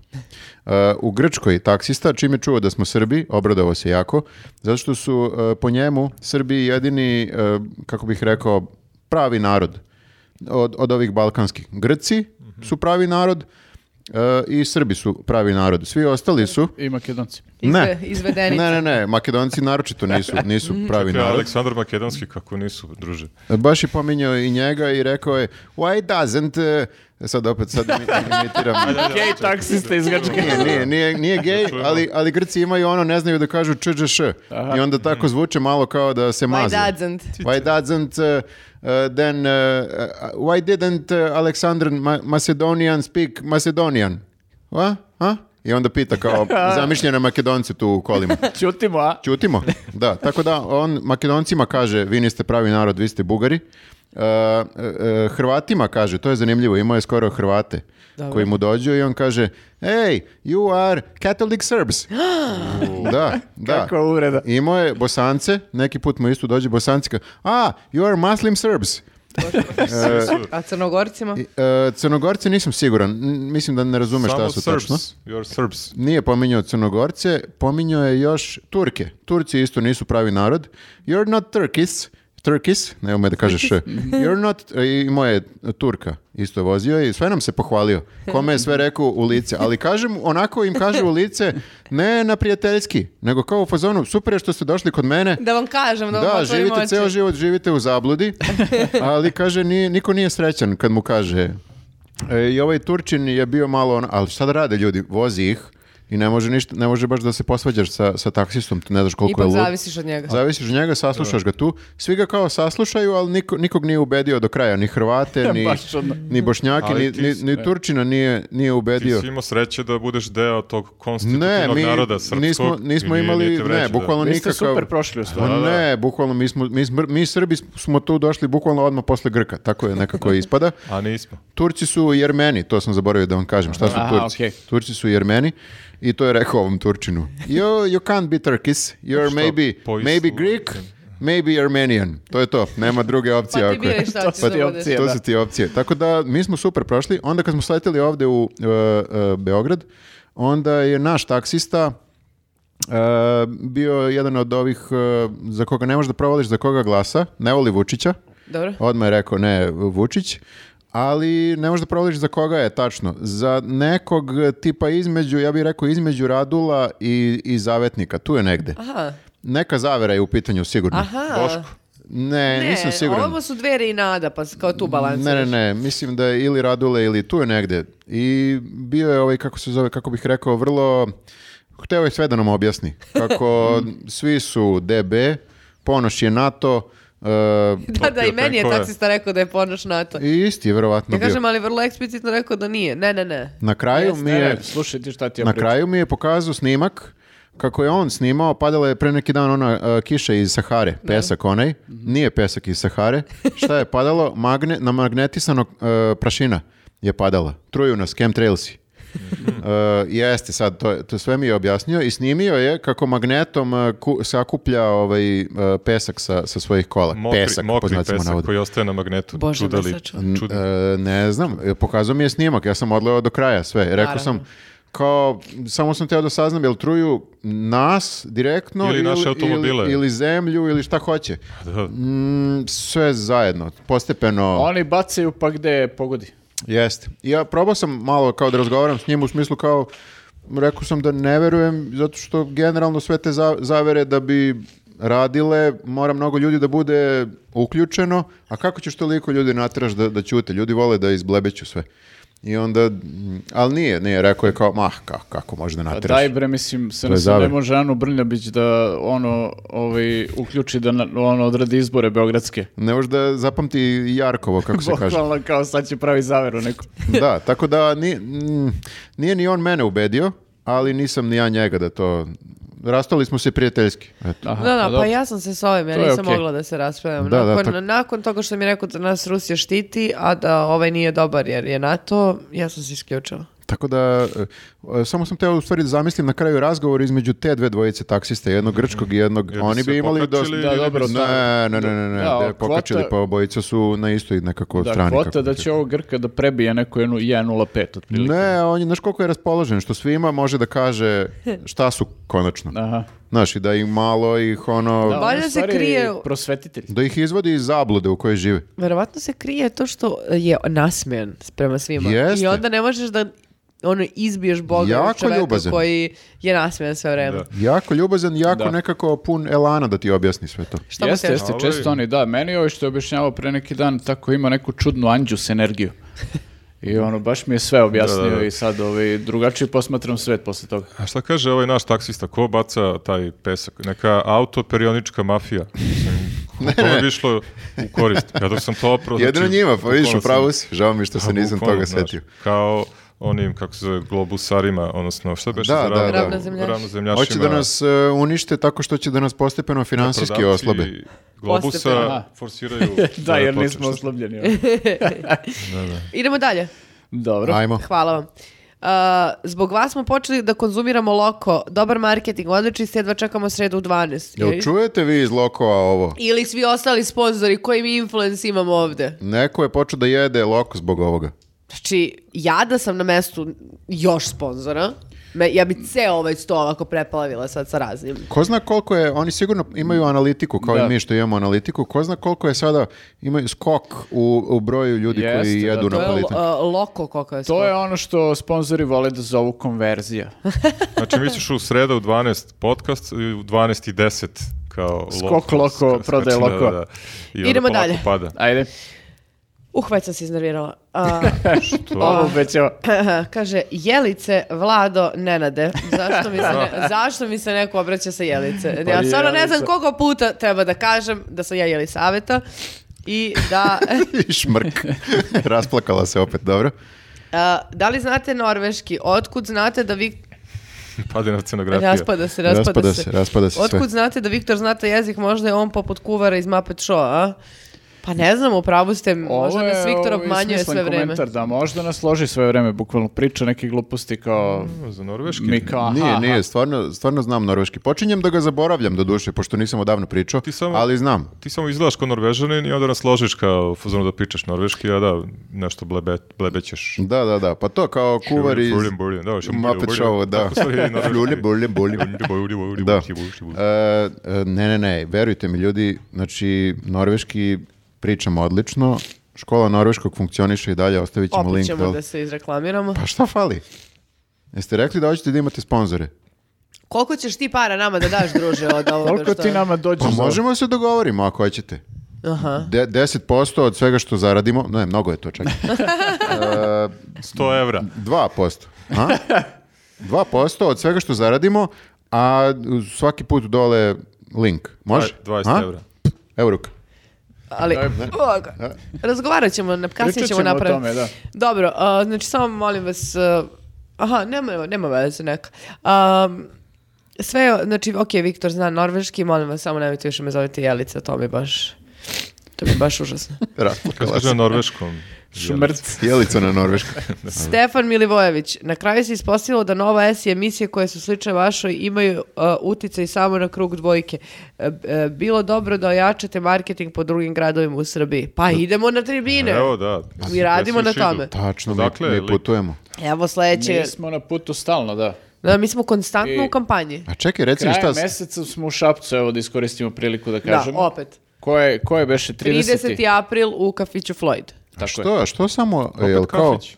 Speaker 2: E, u Grčkoj taksista, čim je čuo da smo Srbi, obradovao se jako, zato što su e, po njemu Srbi jedini, e, kako bih rekao, pravi narod od, od ovih balkanskih. Grci su pravi narod e, i Srbi su pravi narod. Svi ostali su...
Speaker 3: I makedonci.
Speaker 1: izve,
Speaker 2: Ne.
Speaker 1: izvedenice.
Speaker 2: [laughs]
Speaker 1: [laughs]
Speaker 2: Ne, ne, ne, makedonci naročito nisu, nisu pravi
Speaker 4: Ja,
Speaker 2: narod.
Speaker 4: Aleksandar Makedonski, kako nisu, druže.
Speaker 2: Baš je pominjao i njega i rekao je why doesn't... e, Sad opet sad imi- imitiram.
Speaker 3: Gej taksista iz Grčke.
Speaker 2: Nije, nije, nije, nije gej, ali, ali Grci imaju ono, ne znaju da kažu čđš. I onda tako zvuče malo kao da se
Speaker 1: Why
Speaker 2: maze.
Speaker 1: doesn't?
Speaker 2: Why doesn't uh, uh, then uh, uh, why didn't uh, Alexander Ma- Macedonian speak Macedonian? What? Ha? I onda pita kao zamišljene Makedonce tu u kolima.
Speaker 3: Ćutimo, a?
Speaker 2: Ćutimo. Da, tako da on Makedoncima kaže vi niste pravi narod, vi ste Bugari. Uh, uh, uh, Hrvatima kaže, to je zanimljivo, imao je skoro Hrvate koji mu dođu i on kaže Hey, you are Catholic Serbs. da, da.
Speaker 3: Kakva uvreda.
Speaker 2: Imao je Bosance, neki put mu isto dođe Bosanci kao, a, you are Muslim Serbs.
Speaker 1: A crnogorcima?
Speaker 2: I, e, Crnogorce nisam siguran, n- mislim da ne razume šta
Speaker 4: Samo
Speaker 2: su
Speaker 4: Serbs.
Speaker 2: tačno.
Speaker 4: You're Serbs.
Speaker 2: Nije pominjao Crnogorce, pominjao je još Turke. Turci isto nisu pravi narod. You're not Turkis, Turkis, ne ume da kažeš š. [laughs] You're not, e, i moje Turka isto je vozio i sve nam se pohvalio. Kome je sve rekao u lice. Ali kažem, onako im kaže u lice, ne na prijateljski, nego kao u fazonu, super je što ste došli kod mene,
Speaker 1: Da vam kažem, da vam
Speaker 2: Da,
Speaker 1: otvorim
Speaker 2: živite
Speaker 1: oči.
Speaker 2: ceo život, živite u
Speaker 3: [laughs]
Speaker 2: zabludi, ali kaže, nije, niko nije srećan kad mu kaže. E, I ovaj Turčin je bio malo, on, ali šta da rade ljudi, vozi ih i ne može, ništa, ne može baš da se posvađaš sa, sa taksistom, ne znaš koliko
Speaker 1: Ipak
Speaker 2: je lud.
Speaker 1: zavisiš od njega.
Speaker 2: Zavisiš od njega, saslušaš ga tu. Svi ga kao saslušaju, ali niko, nikog nije ubedio do kraja. Ni
Speaker 3: [laughs]
Speaker 2: Hrvate, ni,
Speaker 3: Baš ono. čudno.
Speaker 2: ni Bošnjake,
Speaker 4: Ali
Speaker 2: ni,
Speaker 4: ti
Speaker 2: ni,
Speaker 4: si- e.
Speaker 2: ni Turčina nije, nije
Speaker 4: Ti
Speaker 2: ubedio.
Speaker 4: si imao sreće da budeš deo tog
Speaker 2: Ne,
Speaker 4: konstitutivnog
Speaker 2: mi
Speaker 4: naroda srpskog.
Speaker 2: nismo,
Speaker 4: i
Speaker 2: nismo
Speaker 4: nije- nije
Speaker 2: imali,
Speaker 4: te
Speaker 2: ne,
Speaker 4: vreće, da.
Speaker 2: bukvalno
Speaker 3: Vi ste
Speaker 2: nikakav...
Speaker 3: super prošli u
Speaker 2: Pa
Speaker 3: stvari.
Speaker 2: ne, bukvalno mi smo mi, smr- mi Srbi smo tu došli bukvalno odmah posle Grka, tako je nekako ispada.
Speaker 4: A nismo.
Speaker 2: Turci su Jermeni, to sam zaboravio da vam kažem, šta su
Speaker 3: Aha,
Speaker 2: Turci?
Speaker 3: okej.
Speaker 2: Turci su Jermeni i to je rekao ovom Turčinu. You, you can't be Turkis, you're maybe,
Speaker 4: Po
Speaker 2: maybe
Speaker 4: istu-
Speaker 2: Greek, maybe Armenian. To je to, nema druge opcije.
Speaker 1: Pa ti
Speaker 2: ako je-
Speaker 1: biraj šta
Speaker 3: To
Speaker 1: ćeš
Speaker 3: su
Speaker 1: da
Speaker 3: ti
Speaker 1: budeš.
Speaker 3: opcije.
Speaker 2: [laughs] to
Speaker 3: da.
Speaker 2: su ti opcije. Tako da mi smo super prošli. Onda kad smo sleteli ovde u e, e, Beograd, onda je naš taksista e, bio jedan od ovih e, za koga ne možeš da provališ za koga glasa, ne voli Vučića.
Speaker 1: Dobro.
Speaker 2: Odmah je rekao ne Vučić. ali ne možeš da provališ za koga je tačno. Za nekog tipa između, ja bih rekao između Radula i, i Zavetnika, tu je negde.
Speaker 1: Aha,
Speaker 2: Neka zavera je u pitanju sigurno.
Speaker 1: aha.
Speaker 2: Ne,
Speaker 1: Ne,
Speaker 2: E, nisam siguran.
Speaker 1: ovo su dvere i nada, pa kao tu balansiraš.
Speaker 2: Ne, ne, ne, mislim da je ili Radule ili tu je negde. I bio je ovaj, kako se zove, kako bih rekao, vrlo... Hteo je sve da nam objasni.
Speaker 1: [laughs]
Speaker 2: Kako svi su DB, Ponoš je NATO, e,
Speaker 1: [laughs] [laughs] Da, da, i meni je
Speaker 4: Tenkove.
Speaker 1: taksista rekao da je ponoš NATO.
Speaker 2: i isti je verovatno
Speaker 1: Ja
Speaker 2: bio.
Speaker 1: kažem, ali vrlo eksplicitno rekao da nije. Ne, ne, ne.
Speaker 2: Na kraju mi
Speaker 3: Ne,
Speaker 2: je...
Speaker 3: ne, slušaj ti šta ti ja
Speaker 2: Na
Speaker 3: pričam.
Speaker 2: kraju mi je pokazao snimak kako je on snimao, padala je pre neki dan ona e, kiša iz Sahare, pesak onaj,
Speaker 4: Mhm.
Speaker 2: nije pesak iz
Speaker 4: [laughs]
Speaker 2: Sahare, šta je padalo? Magne, na magnetisano e, prašina je padala. Truju nas, chemtrailsi.
Speaker 4: Mhm.
Speaker 2: E, jeste sad, to, je- to sve mi je objasnio i snimio je kako magnetom e, ku- sakuplja ovaj, e, pesak sa, sa svojih kola.
Speaker 4: Mokri,
Speaker 2: pesak, pod
Speaker 4: mokri
Speaker 2: znacima
Speaker 4: pesak
Speaker 2: navoda.
Speaker 4: koji ostaje na magnetu.
Speaker 1: Bože, me
Speaker 4: Čudali-
Speaker 1: sačuvaj.
Speaker 4: čud-
Speaker 2: E, ne znam, e, pokazao mi je snimak, ja sam odleo do kraja sve. Rekao
Speaker 1: Naravno.
Speaker 2: sam, kao, samo sam teo da saznam, jel truju nas direktno
Speaker 4: Ili naše automobile.
Speaker 2: ili, ili zemlju ili šta hoće.
Speaker 4: Da.
Speaker 2: Mm, sve zajedno, postepeno.
Speaker 3: Oni bacaju pa gde pogodi.
Speaker 2: Jeste. I Ja probao sam malo kao da razgovaram s njim u smislu kao rekao sam da ne verujem zato što generalno sve te za- zavere da bi radile, mora mnogo ljudi da bude uključeno, a kako ćeš toliko ljudi nateraš da, da ćute? Ljudi vole da izblebeću sve. I onda, mm, ali nije, nije, rekao je kao, mah, kako, kako može da
Speaker 3: Pa
Speaker 2: nateraš?
Speaker 3: daj bre, mislim, se
Speaker 2: To je
Speaker 3: nas ne
Speaker 2: zavet.
Speaker 3: može Anu Brnjabić da ono, ovaj, uključi da na- ono odradi izbore beogradske.
Speaker 2: Ne može da zapamti Jarkovo, kako
Speaker 3: [laughs]
Speaker 2: se kaže.
Speaker 3: Bukvalno kao sad će pravi zaveru neku.
Speaker 4: [laughs]
Speaker 2: da, tako da nije, nije ni on mene ubedio, ali nisam ni ja njega da to... Rastali smo se prijateljski. Eto.
Speaker 3: Aha,
Speaker 1: Da, da, pa
Speaker 3: dobro.
Speaker 1: ja sam se s ovim, ja
Speaker 3: To je
Speaker 1: nisam
Speaker 3: okej.
Speaker 1: mogla da se raspravljam.
Speaker 2: Da, da,
Speaker 1: nakon,
Speaker 2: tak-
Speaker 1: nakon toga što mi je rekao da nas Rusija štiti, a da ovaj nije dobar jer je NATO, ja sam se isključila.
Speaker 2: Tako da, e, e, samo sam teo u stvari da zamislim na kraju razgovor između te dve dvojice taksista, jednog grčkog i jednog,
Speaker 4: Ili
Speaker 2: oni
Speaker 4: Mhm. se
Speaker 2: bi imali dosta...
Speaker 4: pokačili
Speaker 3: Da,
Speaker 4: ili
Speaker 3: dobro,
Speaker 4: bi-
Speaker 3: da.
Speaker 2: Ne, ne, ne, ne, ne,
Speaker 3: Da,
Speaker 2: da,
Speaker 3: a
Speaker 2: pokačili,
Speaker 3: kvota-
Speaker 2: pa obojica su na istoj nekako
Speaker 3: Da,
Speaker 2: strani.
Speaker 3: kvota
Speaker 2: kako
Speaker 3: da
Speaker 2: bi
Speaker 3: će
Speaker 2: rekao.
Speaker 3: ovo Grka da prebije neku jednu 1.05 otprilike.
Speaker 2: Ne, on je, znaš koliko je raspoložen, što svima može da kaže šta su konačno.
Speaker 3: Aha.
Speaker 2: Znaš, i da im malo ih ono...
Speaker 3: Da,
Speaker 2: Da.
Speaker 1: Valjda
Speaker 3: on je
Speaker 1: se
Speaker 3: u stvari
Speaker 1: krije u-
Speaker 3: Prosvetitelj.
Speaker 2: ih izvodi iz zablude u kojoj žive.
Speaker 1: Verovatno se krije to što je nasmijen prema svima.
Speaker 2: Jeste.
Speaker 1: I onda ne možeš da ono, izbiješ Boga
Speaker 2: Jako
Speaker 1: od čoveka
Speaker 2: ljubazan.
Speaker 1: koji je nasmijen sve vreme.
Speaker 4: Da.
Speaker 2: Jako ljubazan, jako
Speaker 3: Da.
Speaker 2: nekako pun elana da ti objasni sve to.
Speaker 1: Šta mu
Speaker 3: jeste,
Speaker 1: kažeš?
Speaker 3: jeste,
Speaker 4: Ali-
Speaker 3: često oni, da, meni je ovaj što je objašnjavao pre neki dan, tako ima neku čudnu anđus energiju. I ono, baš mi je sve objasnio
Speaker 4: Da, da, da.
Speaker 3: i sad ovaj, drugačije posmatram svet posle toga.
Speaker 4: A šta kaže ovaj naš taksista? Ko baca taj pesak? Neka autoperionička mafija.
Speaker 2: [laughs]
Speaker 4: Mislim, Kome bi išlo u korist? Ja dok sam to opravo...
Speaker 2: Jedno
Speaker 4: znači,
Speaker 2: njima, pa vidiš,
Speaker 4: bukvalno
Speaker 2: u pravu
Speaker 4: sam-
Speaker 2: si. Žao mi je što se
Speaker 4: A,
Speaker 2: nisam
Speaker 4: bukvalno,
Speaker 2: toga
Speaker 4: znaš,
Speaker 2: setio.
Speaker 4: Kao onim, kako se zove, globusarima, odnosno, šta beše
Speaker 2: Da,
Speaker 4: za
Speaker 2: da,
Speaker 4: ravno-
Speaker 2: da.
Speaker 1: Ravnozemljaši.
Speaker 4: ravnozemljašima?
Speaker 2: Hoće da nas e, unište tako što će da nas postepeno finansijski
Speaker 4: prodavci
Speaker 2: oslabe.
Speaker 4: Globusa
Speaker 1: Postepeno.
Speaker 3: Aha.
Speaker 4: forsiraju...
Speaker 3: [laughs] Da, jer
Speaker 4: ove ploče.
Speaker 3: nismo
Speaker 4: Šta-
Speaker 3: oslobljeni. ono.
Speaker 1: Idemo dalje.
Speaker 3: Dobro.
Speaker 2: Ajmo.
Speaker 1: Hvala vam. Uh, zbog vas smo počeli da konzumiramo loko. Dobar marketing, odlični ste, jedva čekamo sredu u 12.
Speaker 2: Jel
Speaker 1: Ili,
Speaker 2: čujete vi iz lokova ovo?
Speaker 1: ili svi ostali sponzori, koji mi influence imamo ovde.
Speaker 2: Neko je počeo da jede loko zbog ovoga.
Speaker 1: Znači, ja da sam na mestu još sponzora, me, ja bi ceo ovaj sto ovako prepalavila sad sa raznim.
Speaker 2: Ko zna koliko je, oni sigurno imaju analitiku, kao
Speaker 3: Da.
Speaker 2: i mi što imamo analitiku, ko zna koliko je sada, imaju skok u, u broju ljudi koji
Speaker 3: Jeste, da,
Speaker 2: jedu
Speaker 3: to
Speaker 1: To je
Speaker 2: napolitan.
Speaker 1: uh, loko koliko je
Speaker 3: To je ono što sponzori vole da zovu konverzija.
Speaker 4: Znači, misliš u sreda u 12 podcast, i u 12 i 10 kao
Speaker 3: Skok loko, prodaj
Speaker 4: Znači,
Speaker 3: loko.
Speaker 4: I onda
Speaker 1: Idemo
Speaker 4: polako
Speaker 1: dalje.
Speaker 4: Pada.
Speaker 3: Ajde,
Speaker 1: Uh, već sam se iznervirala. A, [laughs]
Speaker 3: ovo obećava.
Speaker 1: kaže, jelice, Vlado, Nenade. Zašto mi se,
Speaker 2: [laughs]
Speaker 1: ne- zašto mi se neko obraća sa jelice?
Speaker 3: Pa
Speaker 1: ja stvarno ne znam
Speaker 3: Jelica.
Speaker 1: koliko puta treba da kažem da sam ja jelisaveta i da...
Speaker 2: [laughs]
Speaker 1: [laughs]
Speaker 2: I šmrk. Rasplakala se opet, dobro.
Speaker 1: a, da li znate norveški? Otkud znate da vi...
Speaker 4: Pada na scenografija.
Speaker 1: Raspada se, raspada,
Speaker 2: Raspada se, raspada se sve.
Speaker 1: Otkud znate da Viktor znate jezik? Možda je on poput kuvara iz Muppet Show, a? Pa ne znam, u pravu ste, možda
Speaker 3: Ovo je,
Speaker 1: nas Viktor
Speaker 3: ovaj,
Speaker 1: obmanjuje
Speaker 3: smislen
Speaker 1: sve vreme.
Speaker 3: komentar, da, možda nas loži sve vreme, bukvalno priča neke gluposti kao...
Speaker 4: Za norveški?
Speaker 3: Mi kao, aha,
Speaker 2: Mm. nije,
Speaker 3: aha.
Speaker 2: nije, stvarno, stvarno znam norveški. Počinjem da ga zaboravljam do duše, pošto nisam odavno pričao,
Speaker 4: Ti samo-
Speaker 2: ali znam.
Speaker 4: Ti samo izgledaš kao norvežanin i onda nas ložiš kao u fazonu da pričaš norveški, a da nešto blebe, blebećeš.
Speaker 2: Da, da, da, pa to kao kuvar iz...
Speaker 4: Burlin, burlin, da, šum-
Speaker 2: Muppet
Speaker 4: burlin.
Speaker 2: Show, da.
Speaker 4: Tako stvari i norveški.
Speaker 2: Burlin, burlin, burlin.
Speaker 4: Burlin, burlin,
Speaker 2: Da.
Speaker 4: burlin, burlin.
Speaker 2: E, e, ne, ne, ne, verujte mi ljudi, znači norveški pričam odlično, škola norveškog funkcioniše i dalje, ostavit ćemo
Speaker 1: Opet
Speaker 2: link.
Speaker 1: ćemo
Speaker 2: dole.
Speaker 1: da se izreklamiramo.
Speaker 2: Pa šta fali? Jeste rekli da hoćete da imate sponzore?
Speaker 1: Koliko ćeš ti para nama da daš, druže, od ovoga
Speaker 3: Koliko
Speaker 1: što-
Speaker 3: ti nama dođeš?
Speaker 2: Pa
Speaker 3: za-
Speaker 2: možemo da se dogovorimo ako hoćete.
Speaker 1: Aha.
Speaker 2: De, 10% od svega što zaradimo, ne, mnogo je to čak.
Speaker 4: 100 evra.
Speaker 2: 2%. A?
Speaker 4: [laughs]
Speaker 2: 2% od svega što zaradimo, a svaki put dole link. Može?
Speaker 4: Dvaj- 20
Speaker 2: A?
Speaker 4: evra.
Speaker 2: Euruka.
Speaker 1: Ali,
Speaker 3: Daj,
Speaker 1: Boga. razgovarat ćemo, na- kasnije
Speaker 3: Pričat
Speaker 1: ćemo
Speaker 3: ćemo o
Speaker 1: napraviti.
Speaker 3: tome, da.
Speaker 1: Dobro, a, znači samo molim vas, a, aha, nema, nema veze neka. A, sve, znači, ok, Viktor zna norveški, molim vas, samo nemojte više me zovete Jelica, to mi baš, to mi je baš užasno.
Speaker 4: Kad kaže na norveškom.
Speaker 3: Šmrc.
Speaker 2: Jelica na norveškom.
Speaker 4: [laughs]
Speaker 1: Stefan Milivojević, na kraju se ispostavilo da Nova S i emisije koje su slične vašoj imaju uh, uticaj samo na krug dvojke. E, e, bilo dobro da ojačate marketing po drugim gradovima u Srbiji. Pa idemo na tribine.
Speaker 4: Evo da.
Speaker 1: Mi radimo na
Speaker 4: Pesniš idu.
Speaker 1: tome.
Speaker 2: Tačno, mi,
Speaker 4: Odakle je
Speaker 2: mi
Speaker 4: lik?
Speaker 2: putujemo.
Speaker 1: Evo sledeće.
Speaker 3: Mi smo na putu stalno, da.
Speaker 1: Da, mi smo konstantno
Speaker 3: I-
Speaker 1: u kampanji.
Speaker 2: A čekaj, reci mi
Speaker 3: Krajem
Speaker 2: šta... s-
Speaker 3: meseca smo u Šapcu, evo da iskoristimo priliku da
Speaker 1: Da,
Speaker 3: kažemo.
Speaker 1: opet.
Speaker 3: Ko je, ko je beše 30.
Speaker 1: 30. april u kafiću Floyd.
Speaker 3: Tako
Speaker 2: Što,
Speaker 3: je.
Speaker 2: što samo, jel kao,
Speaker 4: kafić.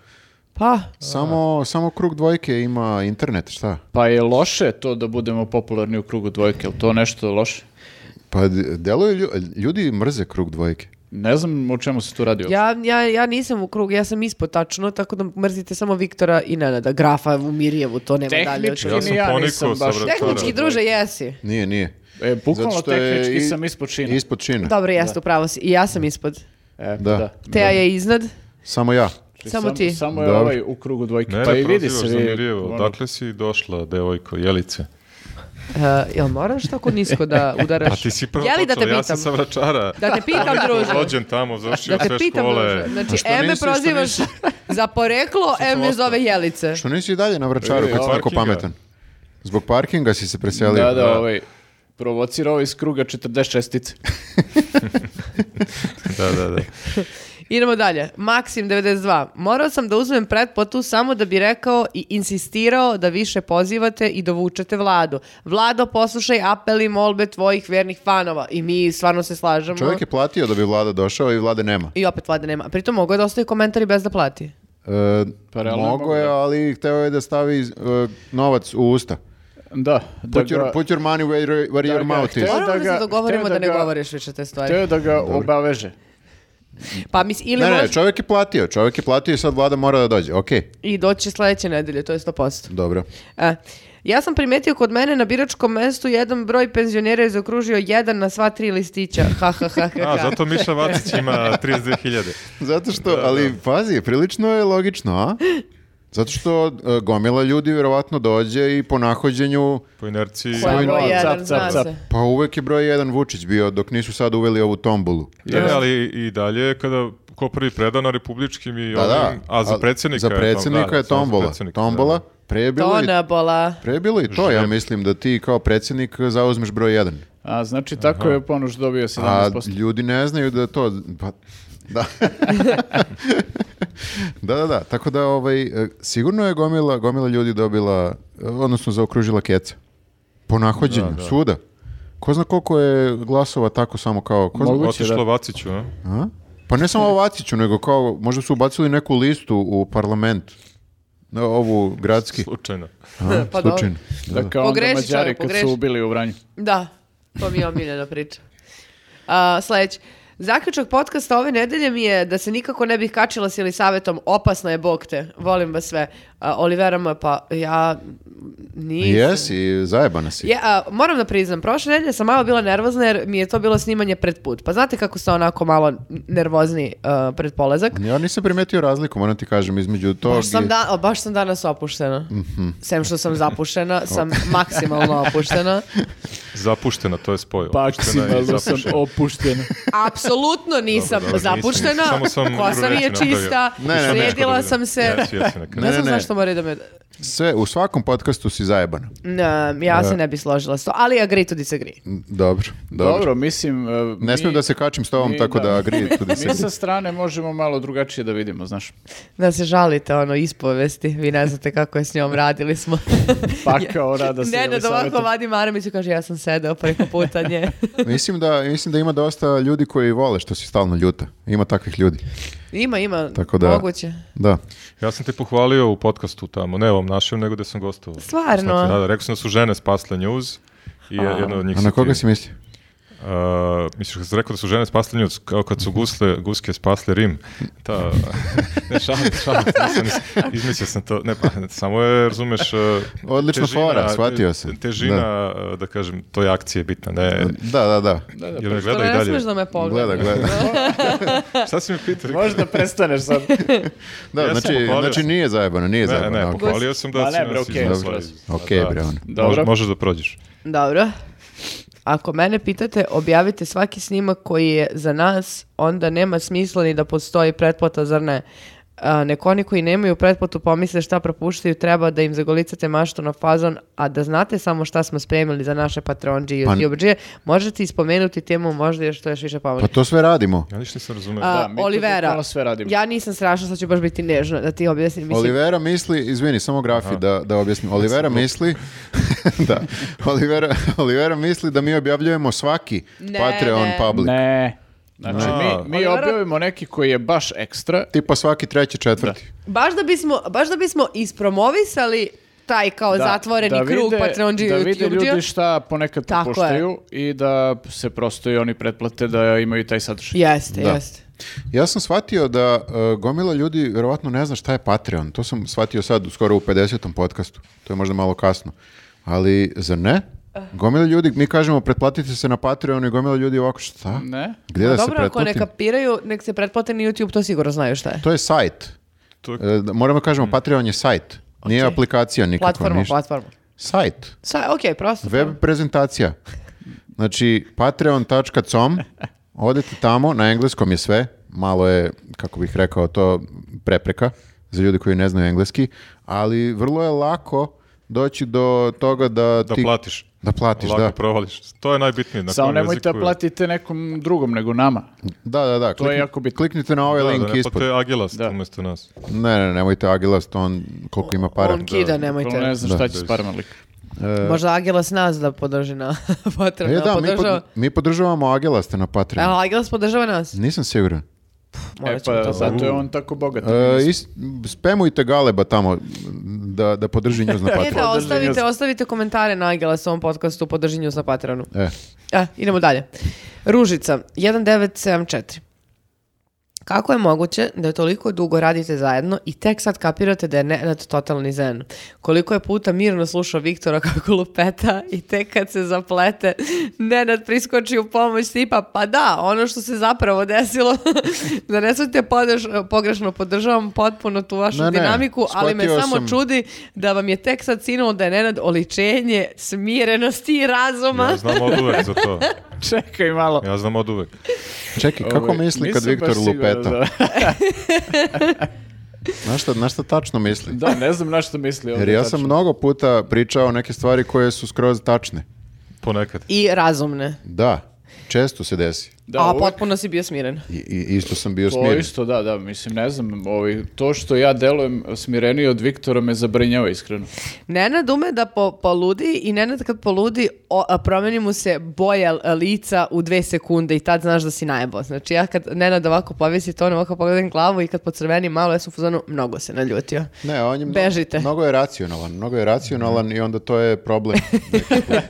Speaker 1: Pa,
Speaker 2: samo, samo krug dvojke ima internet, šta?
Speaker 3: Pa je loše to da budemo popularni u krugu dvojke, je li to nešto loše?
Speaker 2: Pa d- deluje, lju- ljudi mrze krug dvojke.
Speaker 3: Ne znam o čemu se tu radi.
Speaker 1: ja, ja, ja nisam u krugu, ja sam ispod tačno, tako da mrzite samo Viktora i Nenada. Grafa u Mirjevu, to nema dalje. od
Speaker 3: Tehnički
Speaker 1: toga.
Speaker 4: Ja
Speaker 3: ja
Speaker 4: sam
Speaker 3: ni ja
Speaker 4: ponikao
Speaker 3: nisam
Speaker 4: sa
Speaker 3: baš...
Speaker 4: vratora.
Speaker 1: Tehnički, druže, jesi.
Speaker 2: Nije, nije.
Speaker 3: E, bukvalno
Speaker 2: Zato što je
Speaker 3: tehnički
Speaker 2: i-
Speaker 3: sam ispod čina.
Speaker 2: Ispod čina.
Speaker 1: Dobro, jeste, upravo si. I ja sam ispod.
Speaker 3: E,
Speaker 2: Da.
Speaker 3: da.
Speaker 1: Teja je iznad.
Speaker 2: Samo ja.
Speaker 3: Znači,
Speaker 1: Samo ti.
Speaker 3: Samo je
Speaker 2: Dobro.
Speaker 3: ovaj u krugu dojke.
Speaker 4: Mene
Speaker 3: pa i vidi se.
Speaker 4: prozivaš za
Speaker 3: vi-
Speaker 4: Mirjevo.
Speaker 3: ono,
Speaker 4: Odakle si došla, devojko, Jelice?
Speaker 1: Uh, jel moraš tako nisko
Speaker 4: [laughs]
Speaker 1: da udaraš?
Speaker 4: A Pa ti si prvo
Speaker 1: Je li da te
Speaker 4: počela, ja sam
Speaker 1: pitam?
Speaker 4: sa Vračara.
Speaker 1: Da te
Speaker 4: [laughs]
Speaker 1: pitam, druže.
Speaker 4: Rođen tamo, završio
Speaker 1: Da te
Speaker 4: sve
Speaker 1: pitam,
Speaker 4: škole.
Speaker 1: druže. Znači,
Speaker 2: što
Speaker 1: em me
Speaker 2: nisi, što
Speaker 1: prozivaš [laughs] za poreklo, em me
Speaker 4: ostao?
Speaker 1: zove Jelice.
Speaker 2: Što nisi i dalje na vračaru
Speaker 4: E,
Speaker 2: kad si tako
Speaker 4: parkinga.
Speaker 2: pametan? Zbog parkinga si se preselio.
Speaker 3: Da, da,
Speaker 4: Da.
Speaker 3: ovaj provocira ovaj iz kruga 40 čestice.
Speaker 4: Da, da, da.
Speaker 1: Idemo dalje. Maksim 92. Morao sam da uzmem pretplatu samo da bi rekao i insistirao da više pozivate i dovučete vladu. Vlado, poslušaj apel i molbe tvojih vernih fanova. I mi stvarno se slažemo.
Speaker 2: Čovjek je platio da bi vlada došao i vlade nema.
Speaker 1: I opet vlade nema. Pritom mogu je da ostavi komentari bez da plati.
Speaker 2: E,
Speaker 3: Pa realno je
Speaker 2: mogo je,
Speaker 3: mogo, da.
Speaker 2: ali hteo je da stavi e, novac u usta.
Speaker 3: [laughs] Da, da
Speaker 2: Put
Speaker 3: ga,
Speaker 2: your, put your money where, where your
Speaker 3: ga
Speaker 2: mouth is.
Speaker 3: hteo-
Speaker 1: Moramo da,
Speaker 3: da ga-
Speaker 1: se dogovorimo
Speaker 3: hteo
Speaker 1: da, ne
Speaker 3: da ga-
Speaker 1: govoriš više te stvari.
Speaker 3: teo da ga obaveže.
Speaker 1: Pa mislim, ili
Speaker 2: Ne, ne,
Speaker 1: možda-
Speaker 2: čovjek je platio, čovjek je platio i sad vlada mora da dođe. Okej,
Speaker 1: I doći sledeće nedelje, to je 100%.
Speaker 2: dobro.
Speaker 1: E, ja sam primetio kod mene na biračkom mestu jedan broj penzionera je zaokružio jedan na sva tri listića. Ha, ha, ha, ha,
Speaker 4: [laughs] A,
Speaker 1: ha.
Speaker 4: zato Miša Vacić ima 32.000.
Speaker 2: Zato što, ali pazi, prilično je logično, a? Zato što e, gomila ljudi vjerovatno dođe i po nahođenju,
Speaker 4: Po inerciji...
Speaker 1: Ko je
Speaker 3: Samo
Speaker 1: broj
Speaker 3: ima
Speaker 1: jedan,
Speaker 3: cap,
Speaker 1: zna
Speaker 3: cap, cap.
Speaker 1: se.
Speaker 2: pa uvek je broj jedan Vučić bio dok nisu sad uveli ovu tombolu.
Speaker 4: Je, ali i dalje, kada ko prvi preda na republičkim i
Speaker 2: Da, da.
Speaker 4: ovim, a za predsjednika
Speaker 2: Za
Speaker 4: je tom-
Speaker 2: predsjednika
Speaker 4: da,
Speaker 2: je
Speaker 4: samo za
Speaker 2: tombola.
Speaker 4: predsjednika,
Speaker 2: Tombola, pre je bilo i,
Speaker 1: Tona bola.
Speaker 2: pre je bilo i to, ja mislim da ti kao predsjednik zauzmeš broj jedan.
Speaker 3: A znači tako je ponuš dobio
Speaker 2: A
Speaker 3: 17%.
Speaker 2: ljudi ne znaju da to... Pa, da. da, da, da. Tako da, ovaj, e, sigurno je gomila, gomila ljudi dobila, e, odnosno zaokružila keca. Po nahođenju, svuda. Ko zna koliko je glasova tako samo kao... Ko zna-
Speaker 4: Da.
Speaker 3: Moguće,
Speaker 4: Otišlo
Speaker 3: da.
Speaker 4: Vaciću, a?
Speaker 2: A? Pa ne samo Vaciću, nego kao, možda su ubacili neku listu u parlament. Na ovu gradski.
Speaker 4: Slučajno.
Speaker 2: A,
Speaker 1: Pa dobro.
Speaker 2: slučajno.
Speaker 3: Da kao onda
Speaker 1: Pogreši
Speaker 3: Mađari
Speaker 1: čovjek,
Speaker 3: kad
Speaker 1: pogreši.
Speaker 3: su ubili u Vranju.
Speaker 1: Da, to mi je omiljena priča. A, sljedeći. Zaključak podcasta ove nedelje mi je da se nikako ne bih kačila s ili savetom opasna je bog te, volim vas sve. A, Olivera moja, pa ja nisam.
Speaker 2: Jesi, zajebana si.
Speaker 1: Ja, a, moram da priznam, prošle nedelje sam malo bila nervozna jer mi je to bilo snimanje pred put. Pa znate kako sam onako malo nervozni a, pred polazak?
Speaker 2: Ja nisam primetio razliku, moram ti kažem, između tog
Speaker 1: Baš sam,
Speaker 2: i-
Speaker 1: da, a, baš sam danas opuštena. Sem što sam zapuštena, sam maksimalno opuštena.
Speaker 4: Zapuštena, to je spoj. Opuštena i
Speaker 3: Pa, Maksimalno sam
Speaker 4: zapuštena.
Speaker 3: opuštena.
Speaker 1: Apsolutno nisam
Speaker 4: Dobro, dobro,
Speaker 1: zapuštena,
Speaker 4: nisam, samo sam
Speaker 1: kosa mi je
Speaker 4: reći
Speaker 1: čista,
Speaker 4: napravio.
Speaker 2: Ne, ne, ne.
Speaker 1: sredila sam se.
Speaker 4: Jesi, jesi na kraju.
Speaker 1: Ne,
Speaker 2: Ne,
Speaker 1: znam
Speaker 2: ne, ne.
Speaker 1: zašto mora da me...
Speaker 2: Sve, u svakom podcastu si zajebano.
Speaker 1: Ne, ja se ne bi složila s to, ali agree to disagree.
Speaker 2: Dobro, [laughs] dobro.
Speaker 3: Dobro, mislim... e, mi-
Speaker 2: Ne smijem da se kačim s tobom,
Speaker 3: mi-
Speaker 2: tako da agree to
Speaker 3: Mi
Speaker 2: disagree.
Speaker 3: sa strane možemo malo drugačije da vidimo, znaš.
Speaker 1: Da se žalite, ono, ispovesti. Vi ne znate kako je s njom radili smo. [laughs]
Speaker 3: Pa kao rada se...
Speaker 1: ne, ne, da ovako vadim Aramić i kaže ja sam sedeo preko puta nje.
Speaker 2: Mislim da, mislim da ima dosta ljudi koji vole što si stalno ljuta. Ima takvih ljudi.
Speaker 1: [laughs] Ima, ima,
Speaker 2: Tako da-
Speaker 1: moguće.
Speaker 2: Da.
Speaker 4: Ja sam te pohvalio u podcastu tamo, ne ovom našem, nego gde sam gostovao.
Speaker 1: Stvarno?
Speaker 4: Sad sam- Da, da, rekao sam da su žene spasle njuz i jedna od njih
Speaker 2: A na
Speaker 4: si
Speaker 2: koga
Speaker 4: ti.
Speaker 2: si mislio?
Speaker 4: A, misliš kad sam rekao da su žene spasle njuz, kao kad su gusle, guske spasle Rim. Ta, ne, šalim, šalim, nisam, nisam- izmislio sam to. Ne, pa, samo je, razumeš... e,
Speaker 2: Odlična fora, shvatio sam.
Speaker 4: Težina, da. da kažem, toj akcije je bitna. Ne,
Speaker 2: Da, da, da.
Speaker 4: jer me
Speaker 1: Što
Speaker 4: gleda i
Speaker 1: ne
Speaker 4: dalje.
Speaker 1: smiješ da me pogleda.
Speaker 2: Gleda, gleda.
Speaker 4: Šta si mi pitao?
Speaker 3: Možda prestaneš sad.
Speaker 2: Da,
Speaker 4: Ja sam
Speaker 2: znači,
Speaker 4: pohvalio
Speaker 2: znači
Speaker 4: sam.
Speaker 2: nije zajebano, nije
Speaker 4: Ne,
Speaker 2: zajebano.
Speaker 4: ne,
Speaker 2: ok.
Speaker 4: pohvalio sam da
Speaker 3: Ma
Speaker 4: si
Speaker 3: ne, bre,
Speaker 4: nas
Speaker 3: okej.
Speaker 4: iznasla.
Speaker 2: Ok,
Speaker 4: Da.
Speaker 2: bre, ono.
Speaker 3: Dobro.
Speaker 4: Mož- možeš da prođeš.
Speaker 1: Dobro. Ako mene pitate, objavite svaki snimak koji je za nas, onda nema smisla ni da postoji pretplata, zar ne? A, nek oni koji nemaju pretplatu pomisle šta propuštaju, treba da im zagolicate maštu na fazon, a da znate samo šta smo spremili za naše patronđe i
Speaker 2: Pa-
Speaker 1: YouTubeđe, možete ispomenuti temu možda još što još više pomoći.
Speaker 2: Pa to sve radimo.
Speaker 4: Ja ništa nisam razumeo.
Speaker 1: A,
Speaker 3: Da, mi to bukvalno sve radimo.
Speaker 1: ja nisam strašna, sad ću baš biti nežna da ti objasnim. Mislim,
Speaker 2: Olivera misli, izvini, samo grafi da, da objasnim. Olivera misli, [laughs] da, Olivera, Olivera misli da mi objavljujemo svaki
Speaker 1: Ne,
Speaker 2: Patreon
Speaker 1: ne.
Speaker 2: public.
Speaker 3: Ne. Znači,
Speaker 4: A.
Speaker 3: mi, mi objavimo neki koji je baš ekstra.
Speaker 2: Tipa svaki treći, četvrti.
Speaker 1: baš, da bismo, baš da bismo ispromovisali taj kao zatvoreni krug
Speaker 3: vide-
Speaker 1: patronđe i
Speaker 3: Da vide
Speaker 1: YouTubeđija.
Speaker 3: ljudi šta ponekad
Speaker 1: Tako je.
Speaker 3: popuštaju i da se prosto i oni pretplate da imaju taj sadržaj.
Speaker 1: Jeste,
Speaker 2: Da.
Speaker 1: jeste.
Speaker 2: Ja sam shvatio da e, gomila ljudi verovatno ne zna šta je Patreon. To sam shvatio sad u skoro u 50. podcastu. To je možda malo kasno. Ali, zar ne?
Speaker 1: Eh.
Speaker 2: Gomila ljudi, mi kažemo pretplatite se na Patreon i gomila ljudi ovako šta?
Speaker 3: Ne?
Speaker 2: Gdje da
Speaker 1: A
Speaker 2: se
Speaker 1: Pa dobro, ako ne
Speaker 2: pretplatim?
Speaker 1: kapiraju, nek se pretplate na YouTube, to sigurno znaju šta je.
Speaker 2: To je sajt.
Speaker 4: To je- Mm.
Speaker 2: E, da- moramo kažemo, Patreon je sajt. Nije aplikacija nikakva.
Speaker 1: Platforma,
Speaker 2: ništa.
Speaker 1: platforma.
Speaker 2: Sajt.
Speaker 1: Sa, ok, prosto.
Speaker 2: Web prezentacija. Znači, patreon.com, odete tamo, na engleskom je sve, malo je, kako bih rekao to, prepreka za ljudi koji ne znaju engleski, ali vrlo je lako doći do toga da,
Speaker 4: Da
Speaker 2: ti...
Speaker 4: platiš.
Speaker 2: Da platiš,
Speaker 4: Lako
Speaker 2: da.
Speaker 4: provališ. To je najbitnije. Na
Speaker 3: Samo
Speaker 4: kojem
Speaker 3: nemojte da
Speaker 4: jeziku je.
Speaker 3: platite nekom drugom nego nama.
Speaker 2: Da, da, da.
Speaker 3: To je jako bitno.
Speaker 2: Kliknite na ovaj
Speaker 4: Da,
Speaker 2: link
Speaker 4: da, ne,
Speaker 2: ispod.
Speaker 4: Pa to je Agilast
Speaker 3: Da.
Speaker 4: umjesto nas.
Speaker 2: Ne, ne, nemojte Agilast, on koliko ima para.
Speaker 1: On kida, nemojte.
Speaker 3: Bukvalno Ne znam šta će
Speaker 4: Da.
Speaker 3: s parama lika.
Speaker 1: Možda Agilas nas da podrži na [laughs] Patreon.
Speaker 2: E,
Speaker 1: da,
Speaker 2: da, mi, pod-
Speaker 1: podržava.
Speaker 2: mi podržavamo Agilasta na Patreon.
Speaker 1: A, Agilas podržava nas.
Speaker 2: Nisam siguran.
Speaker 1: Morat
Speaker 3: E
Speaker 1: ćemo
Speaker 3: pa
Speaker 1: to.
Speaker 3: zato je on tako bogat.
Speaker 2: E, is- spemujte Galeba tamo da, da podrži njuz
Speaker 1: [laughs]
Speaker 2: na
Speaker 1: E, da,
Speaker 2: Patreon.
Speaker 1: ostavite, ostavite komentare na Agilas u ovom podcastu, podrži nju na Patreonu.
Speaker 2: E,
Speaker 1: E, idemo dalje. Ružica, 1974. Kako je moguće da toliko dugo radite zajedno i tek sad kapirate da je Nenad totalni zen? Koliko je puta mirno slušao Viktora kako lupeta i tek kad se zaplete, Nenad priskoči u pomoć tipa, pa da, ono što se zapravo desilo, [laughs] da ne svojte pogrešno, podržavam potpuno tu vašu
Speaker 2: Ne, ne,
Speaker 1: dinamiku, ali me
Speaker 2: shvatio
Speaker 1: samo
Speaker 2: sam.
Speaker 1: čudi da vam je tek sad sinulo da je Nenad oličenje smirenosti i razuma.
Speaker 4: Ja znam od uvek za to.
Speaker 3: Čekaj malo.
Speaker 4: Ja znam od uvek.
Speaker 2: čekaj, kako
Speaker 3: Ovaj,
Speaker 2: misli kad
Speaker 3: nisam
Speaker 2: Viktor
Speaker 3: baš siguran,
Speaker 2: lupeta?
Speaker 3: Da,
Speaker 2: Na šta, na šta tačno misli?
Speaker 3: [laughs] Da, ne znam na što misli.
Speaker 2: Jer ja sam mnogo puta pričao neke stvari koje su skroz tačne.
Speaker 4: Ponekad.
Speaker 1: I razumne.
Speaker 2: Da, često se desi.
Speaker 3: Da,
Speaker 1: A pa
Speaker 3: uvek-
Speaker 1: potpuno si bio smiren.
Speaker 2: I, i- isto sam bio
Speaker 3: To
Speaker 2: smiren.
Speaker 3: isto, da, da, mislim, ne znam, ovaj, to što ja delujem smireniji od Viktora me zabrinjava iskreno.
Speaker 1: Nenad ume da po, poludi i Nenad kad poludi o, a, promeni mu se boja e, lica u dve sekunde i tad znaš da si najbo. Znači ja kad Nenad ovako povisi to, ovako pogledam glavu i kad pocrveni malo, ja sam u fazonu, mnogo se naljutio.
Speaker 2: Ne, on je mno-
Speaker 1: Bežite.
Speaker 2: mnogo je racionalan, mnogo je racionalan i onda to je
Speaker 3: [laughs]
Speaker 2: problem. nekako. Tako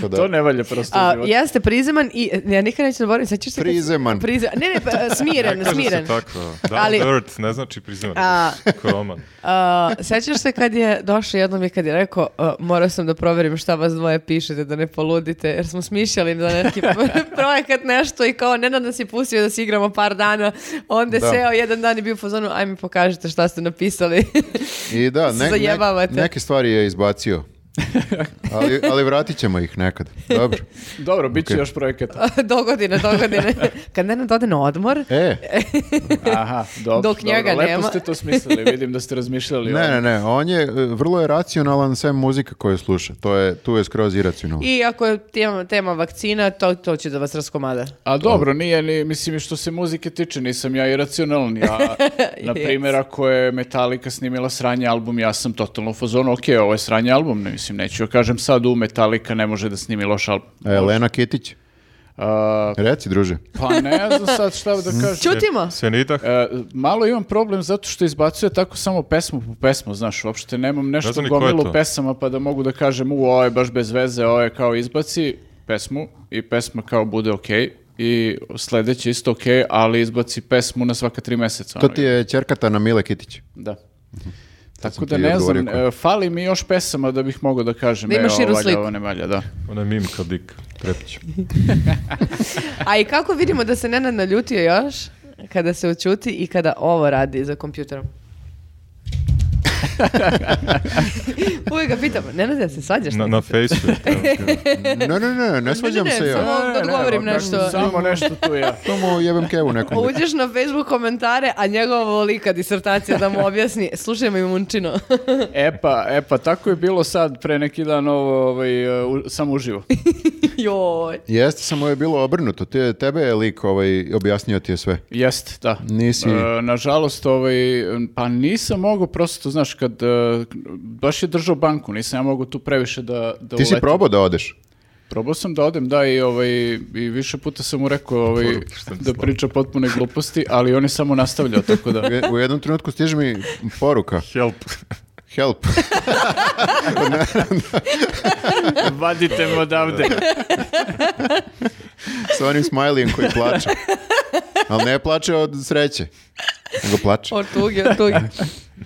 Speaker 2: Pa da-
Speaker 3: To ne valja prosto u
Speaker 1: A,
Speaker 3: životu.
Speaker 1: jeste prizeman i ja nikad neću zaboraviti. Sećaš se kad-
Speaker 2: Prizeman.
Speaker 1: Prize- ne, ne, pa, smiren,
Speaker 4: Kaže
Speaker 1: smiren.
Speaker 4: se tako. Da,
Speaker 1: Ali-
Speaker 4: ali, dirt, ne znači prizivan.
Speaker 1: A-
Speaker 4: Kroman.
Speaker 1: A, sećaš Uh, se kad je došao jednom i kad je rekao a, morao sam da proverim šta vas dvoje pišete da ne poludite jer smo smišljali za neki projekat nešto i kao Nenad nas je pustio da se igramo par dana onda je
Speaker 2: Da.
Speaker 1: seo jedan dan i bio u fazonu aj mi pokažite šta ste napisali [laughs]
Speaker 2: I da, ne, ne-
Speaker 1: Zajebavate. [laughs]
Speaker 2: neke stvari je izbacio Ali, ali vratit ćemo ih nekad. Dobro.
Speaker 3: Dobro, bit će
Speaker 2: Ok.
Speaker 3: još projekata.
Speaker 1: do godine, do godine. Kad Nenad ode na odmor, [laughs]
Speaker 2: E,
Speaker 3: Aha, dobro.
Speaker 1: [laughs] Dok
Speaker 3: dobro.
Speaker 1: njega
Speaker 3: Lepo
Speaker 1: nema.
Speaker 3: ste to smislili, vidim da ste razmišljali. o-
Speaker 2: ne, ne, ne, on je, e, vrlo je racionalan sve muzika koju sluša. To je, tu je skroz iracionalno.
Speaker 1: i ako je tema, tema vakcina, to, to će da vas raskomada.
Speaker 3: A dobro, nije, ni, mislim, i što se muzike tiče, nisam ja iracionalni.
Speaker 1: [laughs]
Speaker 3: A, na primjer, ako je Metallica snimila sranje album, ja sam totalno u fazonu, ok, ovo je sranje album, ne, mislim, neću joj kažem sad, u Metallica ne može da snimi loš album.
Speaker 2: E, Lena Kitić,
Speaker 3: A,
Speaker 2: reci druže.
Speaker 3: pa ne znam sad šta da kažem.
Speaker 1: Čutimo!
Speaker 4: Senida,
Speaker 3: E, malo imam problem zato što izbacuje tako samo pesmu po pesmu, znaš, uopšte nemam
Speaker 4: Ne
Speaker 3: nešto
Speaker 4: znam ni ko je
Speaker 3: gomilu
Speaker 4: to.
Speaker 3: pesama pa da mogu da kažem u, ovo je baš bez veze, ovo je kao izbaci pesmu i pesma kao bude okej i sledeće isto okej, ali izbaci pesmu na svaka tri meseca.
Speaker 2: To
Speaker 3: ono,
Speaker 2: ti je čerkata na Mile
Speaker 1: [laughs]
Speaker 2: Kitić.
Speaker 3: Da. Tako
Speaker 2: sam
Speaker 3: da
Speaker 2: ti
Speaker 3: ne
Speaker 2: odgovorio
Speaker 3: znam,
Speaker 2: ko je.
Speaker 3: e, fali mi još pesama da bih mogao da kažem.
Speaker 1: Da imaš
Speaker 3: e,
Speaker 1: širu
Speaker 3: ovo valja,
Speaker 1: sliku.
Speaker 3: ovo ne valja, da.
Speaker 4: ona je mimika dik, trepić.
Speaker 1: A i kako vidimo da se Nenad naljutio još, kada se učuti i kada ovo radi za kompjuterom. Uvijek ga pitam, Nenad, ja se svađaš?
Speaker 4: Na, na fejsu. да.
Speaker 2: Ne, ne, ne, ne svađam
Speaker 1: ne,
Speaker 2: se ja.
Speaker 1: samo- Samo da odgovorim
Speaker 3: ne,
Speaker 1: nešto.
Speaker 3: Samo nešto tu ja.
Speaker 2: Samo jebem kevu nekom.
Speaker 1: Uđeš na Facebook komentare, a njegova lika disertacija da mu objasni, slušaj mi munčino. [laughs]
Speaker 3: E pa, e pa, tako je bilo sad pre neki dan ovo, ovaj, e, u- samo uživo.
Speaker 1: Joj.
Speaker 2: Jeste, samo je bilo obrnuto. Te, tebe je lik ovaj, objasnio ti je sve.
Speaker 3: Jeste, da.
Speaker 2: Nisi-
Speaker 3: E, nažalost, ovaj, pa nisam mogao prosto, znaš, kad e, baš je držao banku, nisam ja mogao tu previše da, da
Speaker 2: Ti si
Speaker 3: uletim.
Speaker 2: probao da odeš?
Speaker 3: Probao sam da odem, da, i, ovaj, i više puta sam mu rekao ovaj,
Speaker 4: Poruke, šta mi
Speaker 3: da
Speaker 4: slabo.
Speaker 3: priča potpune gluposti, ali on je samo nastavljao, tako [laughs] da...
Speaker 2: U- U jednom trenutku stiže mi poruka.
Speaker 4: Help.
Speaker 2: Help.
Speaker 3: Vadite me odavde.
Speaker 2: Sa onim smajlijem koji plače. Ali ne plače od sreće. Nego plače.
Speaker 1: Od tuge, od tuge.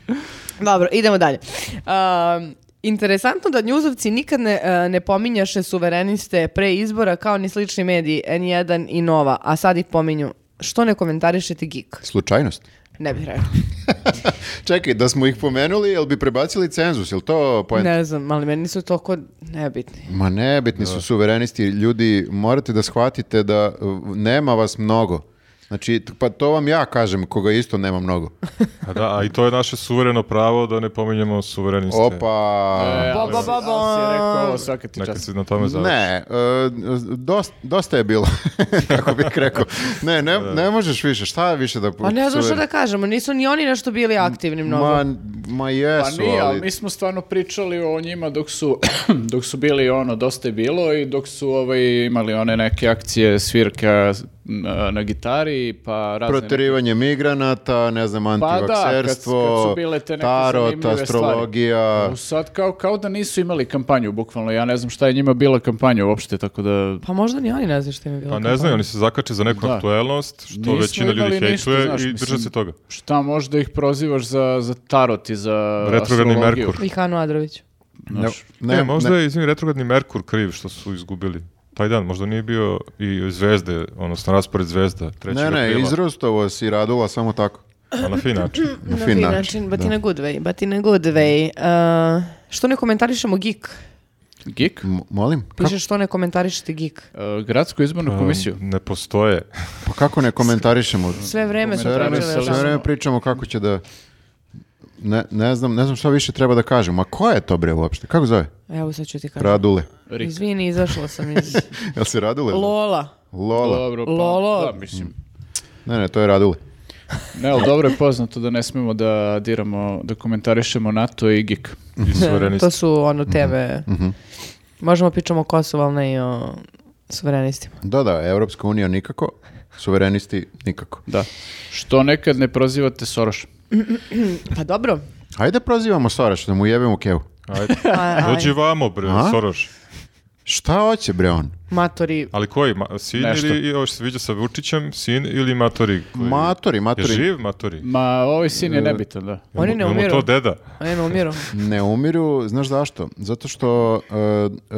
Speaker 1: [laughs] Dobro, idemo dalje. Um, interesantno da njuzovci nikad ne, e, ne pominjaše suvereniste pre izbora kao ni slični mediji N1 i Nova, a sad ih pominju. Što ne komentarišete geek?
Speaker 2: Slučajnost.
Speaker 1: Ne bih rekla.
Speaker 2: Čekaj, da smo ih pomenuli, jel bi prebacili cenzus? Jel to poenta?
Speaker 1: Ne znam, ali meni su toliko nebitni.
Speaker 2: Ma ne, bitni su suverenisti ljudi, morate da shvatite da uh, nema vas mnogo. Znači, t- pa to vam ja kažem, koga isto nema mnogo.
Speaker 4: A, da, a i to je naše suvereno pravo da ne pominjemo suvereniste.
Speaker 3: E,
Speaker 2: Opa!
Speaker 1: Ba, ba, ba,
Speaker 3: Ali si- ali si rekao, ovo svaka ti
Speaker 4: Neka
Speaker 3: čast.
Speaker 4: se na tome završi.
Speaker 2: Ne, e, dost- dosta je bilo, [laughs] kako bih rekao. Ne, ne, ne možeš više, šta više da...
Speaker 1: Pa ne znam što da ono. kažemo, nisu ni oni nešto bili aktivni mnogo.
Speaker 2: Ma, ma
Speaker 3: Pa
Speaker 2: jesu,
Speaker 3: nije, ali
Speaker 2: ali...
Speaker 3: mi smo stvarno pričali o njima dok su, [clears throat] dok su bili ono, dosta je bilo i dok su ovaj, imali one neke akcije svirka na, na gitari, pa razne...
Speaker 2: Proterivanje migranata, ne znam,
Speaker 3: Pa da, kad, kad
Speaker 2: antivakserstvo,
Speaker 3: su bile te neke
Speaker 2: tarot,
Speaker 3: zanimljive
Speaker 2: astrologija.
Speaker 3: stvari. U, Sad kao, kao da nisu imali kampanju, bukvalno. Ja ne znam šta je njima bila kampanja uopšte, tako da...
Speaker 1: Pa možda ni oni ne znaju što im je bilo.
Speaker 4: Pa ne znaju, oni se zakače za neku
Speaker 3: Da.
Speaker 4: aktuelnost, što
Speaker 3: Nismo
Speaker 4: većina ljudi
Speaker 3: imali
Speaker 4: hejtuje
Speaker 3: ništa, znaš,
Speaker 4: i
Speaker 3: mislim,
Speaker 4: drže se toga.
Speaker 3: Šta možda ih prozivaš za, za tarot i za
Speaker 4: Retrogradni
Speaker 3: astrologiju?
Speaker 4: Merkur.
Speaker 1: I Hanu Adrović.
Speaker 2: Ne,
Speaker 4: Ne,
Speaker 2: ne,
Speaker 4: možda
Speaker 2: ne.
Speaker 4: je, izvini, retrogradni Merkur kriv što su izgubili. Taj dan, možda nije bio i zvezde, odnosno raspored zvezda, 3.
Speaker 2: Ne, ne,
Speaker 4: aprila,
Speaker 2: izrostovo si radula samo tako.
Speaker 4: a na fin
Speaker 3: [clears throat]
Speaker 4: način.
Speaker 2: Na fin način,
Speaker 1: but
Speaker 2: da.
Speaker 1: in a good way, but in a good way. Uh, što ne komentarišemo geek?
Speaker 3: Gik?
Speaker 2: M- molim? Kako,
Speaker 1: Piše što ne komentarišete geek.
Speaker 3: E, gradsku izbornu komisiju.
Speaker 4: Um, Ne
Speaker 3: [clears throat]
Speaker 4: postoje.
Speaker 2: pa kako ne komentarišemo?
Speaker 1: Sve vreme smo
Speaker 2: Sve vreme,
Speaker 1: pričali
Speaker 3: Komentarišemo.
Speaker 1: o
Speaker 2: sve
Speaker 1: tome.
Speaker 2: vreme pričamo kako će da... Ne, ne znam, ne znam šta više treba da kažem. Ma ko je to bre uopšte? Kako zove?
Speaker 1: Evo sad ću ti kažem.
Speaker 2: Radule.
Speaker 3: Rik.
Speaker 1: Izvini, izašla sam
Speaker 4: [laughs]
Speaker 1: iz...
Speaker 2: Jel se Radule? zove?
Speaker 1: Lola.
Speaker 2: Lola.
Speaker 3: Dobro, pa
Speaker 1: Lolo.
Speaker 3: Da, mislim.
Speaker 2: Ne, ne, to je Radule.
Speaker 3: Ne, ali dobro je poznato da ne smemo da diramo, da komentarišemo NATO i GIK.
Speaker 4: I suverenisti.
Speaker 1: [laughs]
Speaker 4: Mhm.
Speaker 1: To su ono teme. Možemo pričamo o Kosovu, ali ne i o suverenistima.
Speaker 2: Da, da, Evropska unija nikako, suverenisti nikako.
Speaker 3: Da. Što nekad ne prozivate Soroš.
Speaker 1: Pa dobro.
Speaker 2: Hajde prozivamo Soraš da mu jebemo kevu.
Speaker 4: Ajde.
Speaker 1: [laughs] A- aj.
Speaker 4: Dođi vamo, bre,
Speaker 2: A?
Speaker 4: Soroš.
Speaker 2: Šta hoće bre on?
Speaker 1: Matori,
Speaker 4: Ali koji, ma, sin
Speaker 3: Nešto.
Speaker 4: ili, ovo što se viđa sa Vučićem, sin ili Matori? koji-
Speaker 2: Matori,
Speaker 4: Je
Speaker 2: matori.
Speaker 4: živ Matori?
Speaker 3: Ma, ovaj sin
Speaker 2: E,
Speaker 3: je nebitan, da.
Speaker 1: Oni
Speaker 4: Jel mu-
Speaker 1: ne
Speaker 4: jel mu
Speaker 1: umiru.
Speaker 4: to deda?
Speaker 1: oni ne umiru.
Speaker 2: Ne umiru, znaš zašto? Zato što e,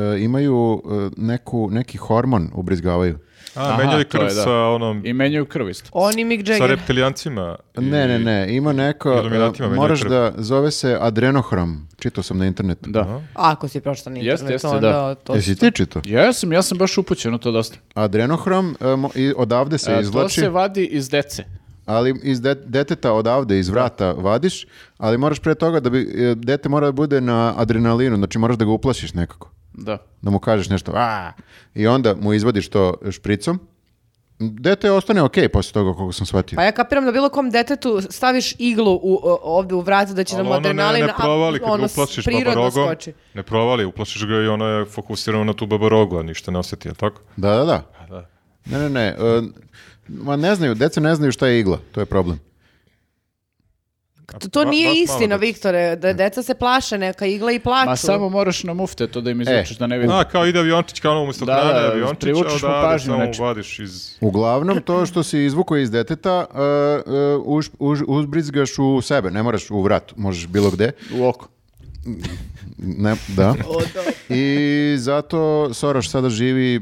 Speaker 2: e, imaju e, neku, neki hormon ubrizgavaju.
Speaker 4: A,
Speaker 3: Aha,
Speaker 4: menjali
Speaker 3: to
Speaker 4: krv
Speaker 3: je, da.
Speaker 4: sa onom,
Speaker 3: I menjaju krv isto.
Speaker 1: Oni Mick
Speaker 4: sa
Speaker 1: Jagger.
Speaker 4: reptilijancima. i-
Speaker 2: Ne, ne, ne, ima neko,
Speaker 4: Iluminatima
Speaker 2: uh,
Speaker 4: menjaju
Speaker 2: moraš
Speaker 4: krv.
Speaker 2: da, zove se adrenohrom, čitao sam na internetu.
Speaker 3: Da.
Speaker 1: Ako si prošla na
Speaker 3: Jeste,
Speaker 1: internetu,
Speaker 3: jeste,
Speaker 1: onda
Speaker 3: da.
Speaker 1: to...
Speaker 2: Jesi ti čitao?
Speaker 3: Ja sam, ja sam baš upućen u to dosta.
Speaker 2: Adrenohrom, uh, mo- i odavde se
Speaker 3: E, to
Speaker 2: izvlači,
Speaker 3: se vadi iz dece.
Speaker 2: ali iz de- deteta odavde, iz vrata vadiš, ali moraš pre toga da bi, e, dete mora da bude na adrenalinu, znači moraš da ga uplašiš nekako.
Speaker 3: Da.
Speaker 2: da mu kažeš nešto a i onda mu izvadiš to špricom dete ostane ok posle toga koliko sam shvatio
Speaker 1: Pa ja kapiram da bilo kom detetu staviš iglu u, o- ovde u vrat da će
Speaker 4: Ali
Speaker 1: nam
Speaker 4: ono ne,
Speaker 1: adrenalin...
Speaker 4: ne provali kad pa ga
Speaker 1: ono
Speaker 4: uplašiš
Speaker 1: prirodno
Speaker 4: babarogom.
Speaker 1: skoči.
Speaker 4: Ne provali, uplašiš ga i ono je fokusirano na tu babarogu, a ništa ne osjeti, je tako?
Speaker 2: da da da
Speaker 3: Pa
Speaker 4: da.
Speaker 2: ne ne ne e, ma ne znaju deca ne znaju šta je igla to je problem
Speaker 1: To, to
Speaker 4: Ba-
Speaker 1: nije
Speaker 4: baš malo
Speaker 1: istina,
Speaker 4: deca.
Speaker 1: Viktore, da deca se plaše, neka igla i plaču.
Speaker 3: Ma samo moraš na mufte to da im
Speaker 2: E.
Speaker 3: izvučeš da ne vidim.
Speaker 4: A, kao ide aviončić, kao ono umjesto
Speaker 3: Da,
Speaker 4: hrane
Speaker 3: da,
Speaker 4: aviončića,
Speaker 3: privučeš mu
Speaker 4: odavde
Speaker 3: pažnju,
Speaker 4: samo
Speaker 3: znači.
Speaker 4: vadiš iz... [laughs]
Speaker 2: uglavnom to što si izvukao iz deteta e, e, už- už- uzbrizgaš u sebe ne moraš u vrat možeš bilo gde
Speaker 3: U oko.
Speaker 2: ne, da i zato Soroš sada živi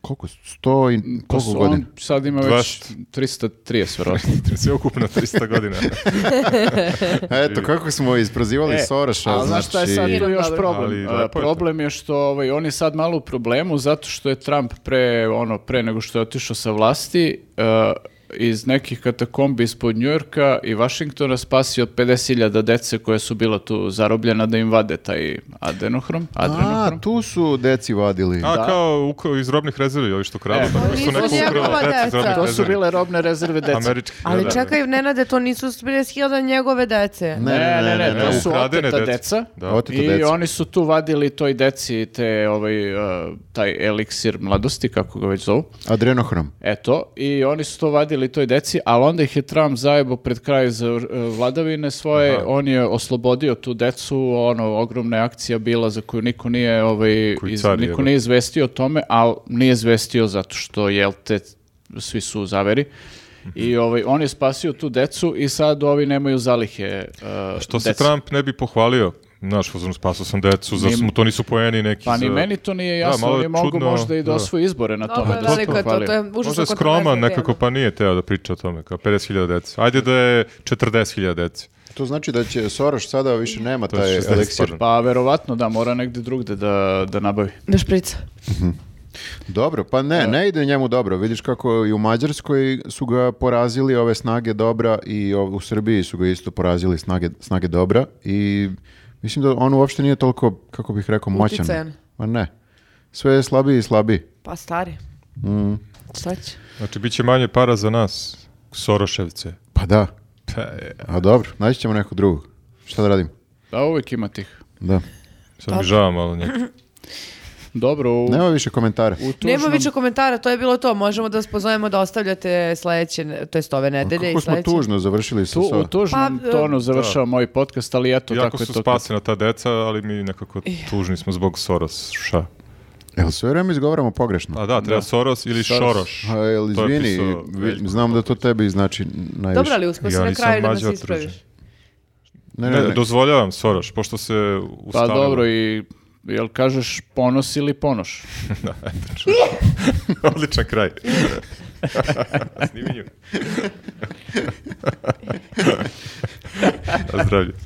Speaker 2: koliko sto i
Speaker 3: Pa
Speaker 2: koliko
Speaker 3: su
Speaker 2: godina
Speaker 3: on sad ima već 330 verovatno.
Speaker 4: Sve ukupno
Speaker 3: [laughs]
Speaker 4: 300 godina.
Speaker 2: eto kako smo isprozivali
Speaker 3: E,
Speaker 2: Soroša
Speaker 3: Ali
Speaker 2: znači
Speaker 3: znaš šta je sad tu još
Speaker 1: Dobro.
Speaker 3: problem?
Speaker 4: Ali
Speaker 3: A,
Speaker 4: lepo je to.
Speaker 3: problem je što ovaj, on je sad malo u problemu zato što je Trump pre, ono, pre nego što je otišao sa vlasti e, iz nekih katakombi ispod Njujorka i Vašingtona spasio 50.000 dece koje su bila tu zarobljena da im vade taj adenohrom.
Speaker 2: a
Speaker 3: adrenohrom.
Speaker 2: tu su deci vadili
Speaker 4: A, kao ukrao iz robnih rezervi, ovi što kradu,
Speaker 3: E.
Speaker 4: tako
Speaker 1: Ali
Speaker 4: su neko
Speaker 1: nisu
Speaker 4: ukrao
Speaker 1: njegova
Speaker 4: deca iz
Speaker 1: deca.
Speaker 4: robnih
Speaker 1: To
Speaker 3: To su
Speaker 4: rezervi.
Speaker 3: bile robne rezerve dece.
Speaker 4: Američki,
Speaker 1: Ali
Speaker 4: da, da.
Speaker 1: čekaj, Nenade, to nisu 50.000 njegove dece.
Speaker 3: Ne, ne, ne,
Speaker 4: Ne,
Speaker 3: to su
Speaker 4: ukradene
Speaker 3: oteta
Speaker 4: deca.
Speaker 3: deca.
Speaker 4: Da.
Speaker 2: Oteta
Speaker 3: I
Speaker 2: deca.
Speaker 3: oni su tu vadili toj deci te, ovaj, e, taj eliksir mladosti, kako ga već zovu.
Speaker 2: Adrenohrom.
Speaker 3: Eto, i oni su to vadili toj deci, ali onda ih je Trump zajebo pred kraj za e, vladavine svoje, on je oslobodio tu decu, ono, ogromna je akcija bila za koju niko nije, ovaj,
Speaker 4: Koji
Speaker 3: iz-
Speaker 4: car je,
Speaker 3: niko
Speaker 4: da.
Speaker 3: nije izvestio o tome, ali nije izvestio zato što, jel te, svi su u zaveri.
Speaker 4: Mhm.
Speaker 3: I ovaj, on je spasio tu decu i sad ovi nemaju zalihe e,
Speaker 4: Što se
Speaker 3: dece.
Speaker 4: Trump ne bi pohvalio, znaš, uzmano spaso sam decu, zar
Speaker 3: Ni-
Speaker 4: mu to nisu poeni neki
Speaker 3: Pa ni
Speaker 4: za-
Speaker 3: meni to nije
Speaker 4: Da,
Speaker 3: jasno,
Speaker 4: malo
Speaker 3: on
Speaker 4: je
Speaker 3: je mogao
Speaker 4: čudno,
Speaker 3: možda i da
Speaker 4: da.
Speaker 3: osvoji izbore na tome.
Speaker 1: Dobro,
Speaker 3: da se
Speaker 1: veliko je to,
Speaker 3: pohvalio.
Speaker 1: to je užasno
Speaker 4: Možda je
Speaker 1: kontroverzna
Speaker 4: skroman
Speaker 1: tema.
Speaker 4: nekako, pa nije teo da priča o tome, kao 50.000 dece. Ajde da je 40.000 dece.
Speaker 2: To znači da će Soroš sada više nema
Speaker 4: To je
Speaker 2: taj
Speaker 4: 60,
Speaker 2: eliksir.
Speaker 4: pardon.
Speaker 3: Pa verovatno da, mora negdje drugde da, da nabavi.
Speaker 1: Da šprica.
Speaker 2: Dobro, pa ne, ne ide njemu dobro. Vidiš kako i u Mađarskoj su ga porazili ove snage dobra i ov- u Srbiji su ga isto porazili snage, snage dobra i mislim da on uopšte nije toliko, kako bih rekao, moćan.
Speaker 1: Uticajan.
Speaker 2: Ma ne. Sve je slabiji i slabiji.
Speaker 1: Pa stari. Šta će?
Speaker 4: Znači, bit će manje para za nas, Soroševce.
Speaker 2: Pa da.
Speaker 4: Pa, e,
Speaker 2: A dobro, naći ćemo nekog drugog. Šta da radimo?
Speaker 3: Da, uvijek ima tih.
Speaker 2: Da.
Speaker 4: sad mi žao malo njega.
Speaker 3: Dobro, u,
Speaker 2: Nema više komentara.
Speaker 3: u tužnom...
Speaker 1: Nema više komentara, to je bilo to. Možemo da vas pozovemo da ostavljate sledeće, to jest ove nedelje
Speaker 2: Kako
Speaker 1: i
Speaker 2: smo
Speaker 1: sledeće.
Speaker 2: tužno završili sa
Speaker 3: Tu, u
Speaker 2: sa-
Speaker 3: tužnom
Speaker 1: Pa, e,
Speaker 3: tonu završava moj podcast, ali eto,
Speaker 4: Jako
Speaker 3: tako je
Speaker 4: su
Speaker 3: to.
Speaker 4: spasena ta deca, ali mi nekako tužni smo zbog Soroša.
Speaker 2: Jel sve vreme izgovaramo pogrešno?
Speaker 4: A da, treba Soros ili
Speaker 3: Soros.
Speaker 4: Šoroš.
Speaker 2: A, jel,
Speaker 4: Pa, To je
Speaker 2: izvini,
Speaker 4: pisao
Speaker 2: vi-
Speaker 4: Veljko.
Speaker 2: znam da to tebi znači najviše.
Speaker 1: Dobro, ali uspio si
Speaker 4: Ja
Speaker 1: na
Speaker 4: nisam
Speaker 1: kraju da nas
Speaker 4: mlađi od
Speaker 1: ispraviš.
Speaker 4: Ruže.
Speaker 2: Ne,
Speaker 4: Ne,
Speaker 2: ne, ne.
Speaker 4: dozvoljavam Soroš, pošto se
Speaker 3: Pa
Speaker 4: ustavilo.
Speaker 3: dobro, i jel kažeš ponos ili ponoš?
Speaker 4: Da, eto, čuj. [laughs] Odličan kraj. [laughs]
Speaker 3: [laughs]
Speaker 4: Snimanju. Zdravlje.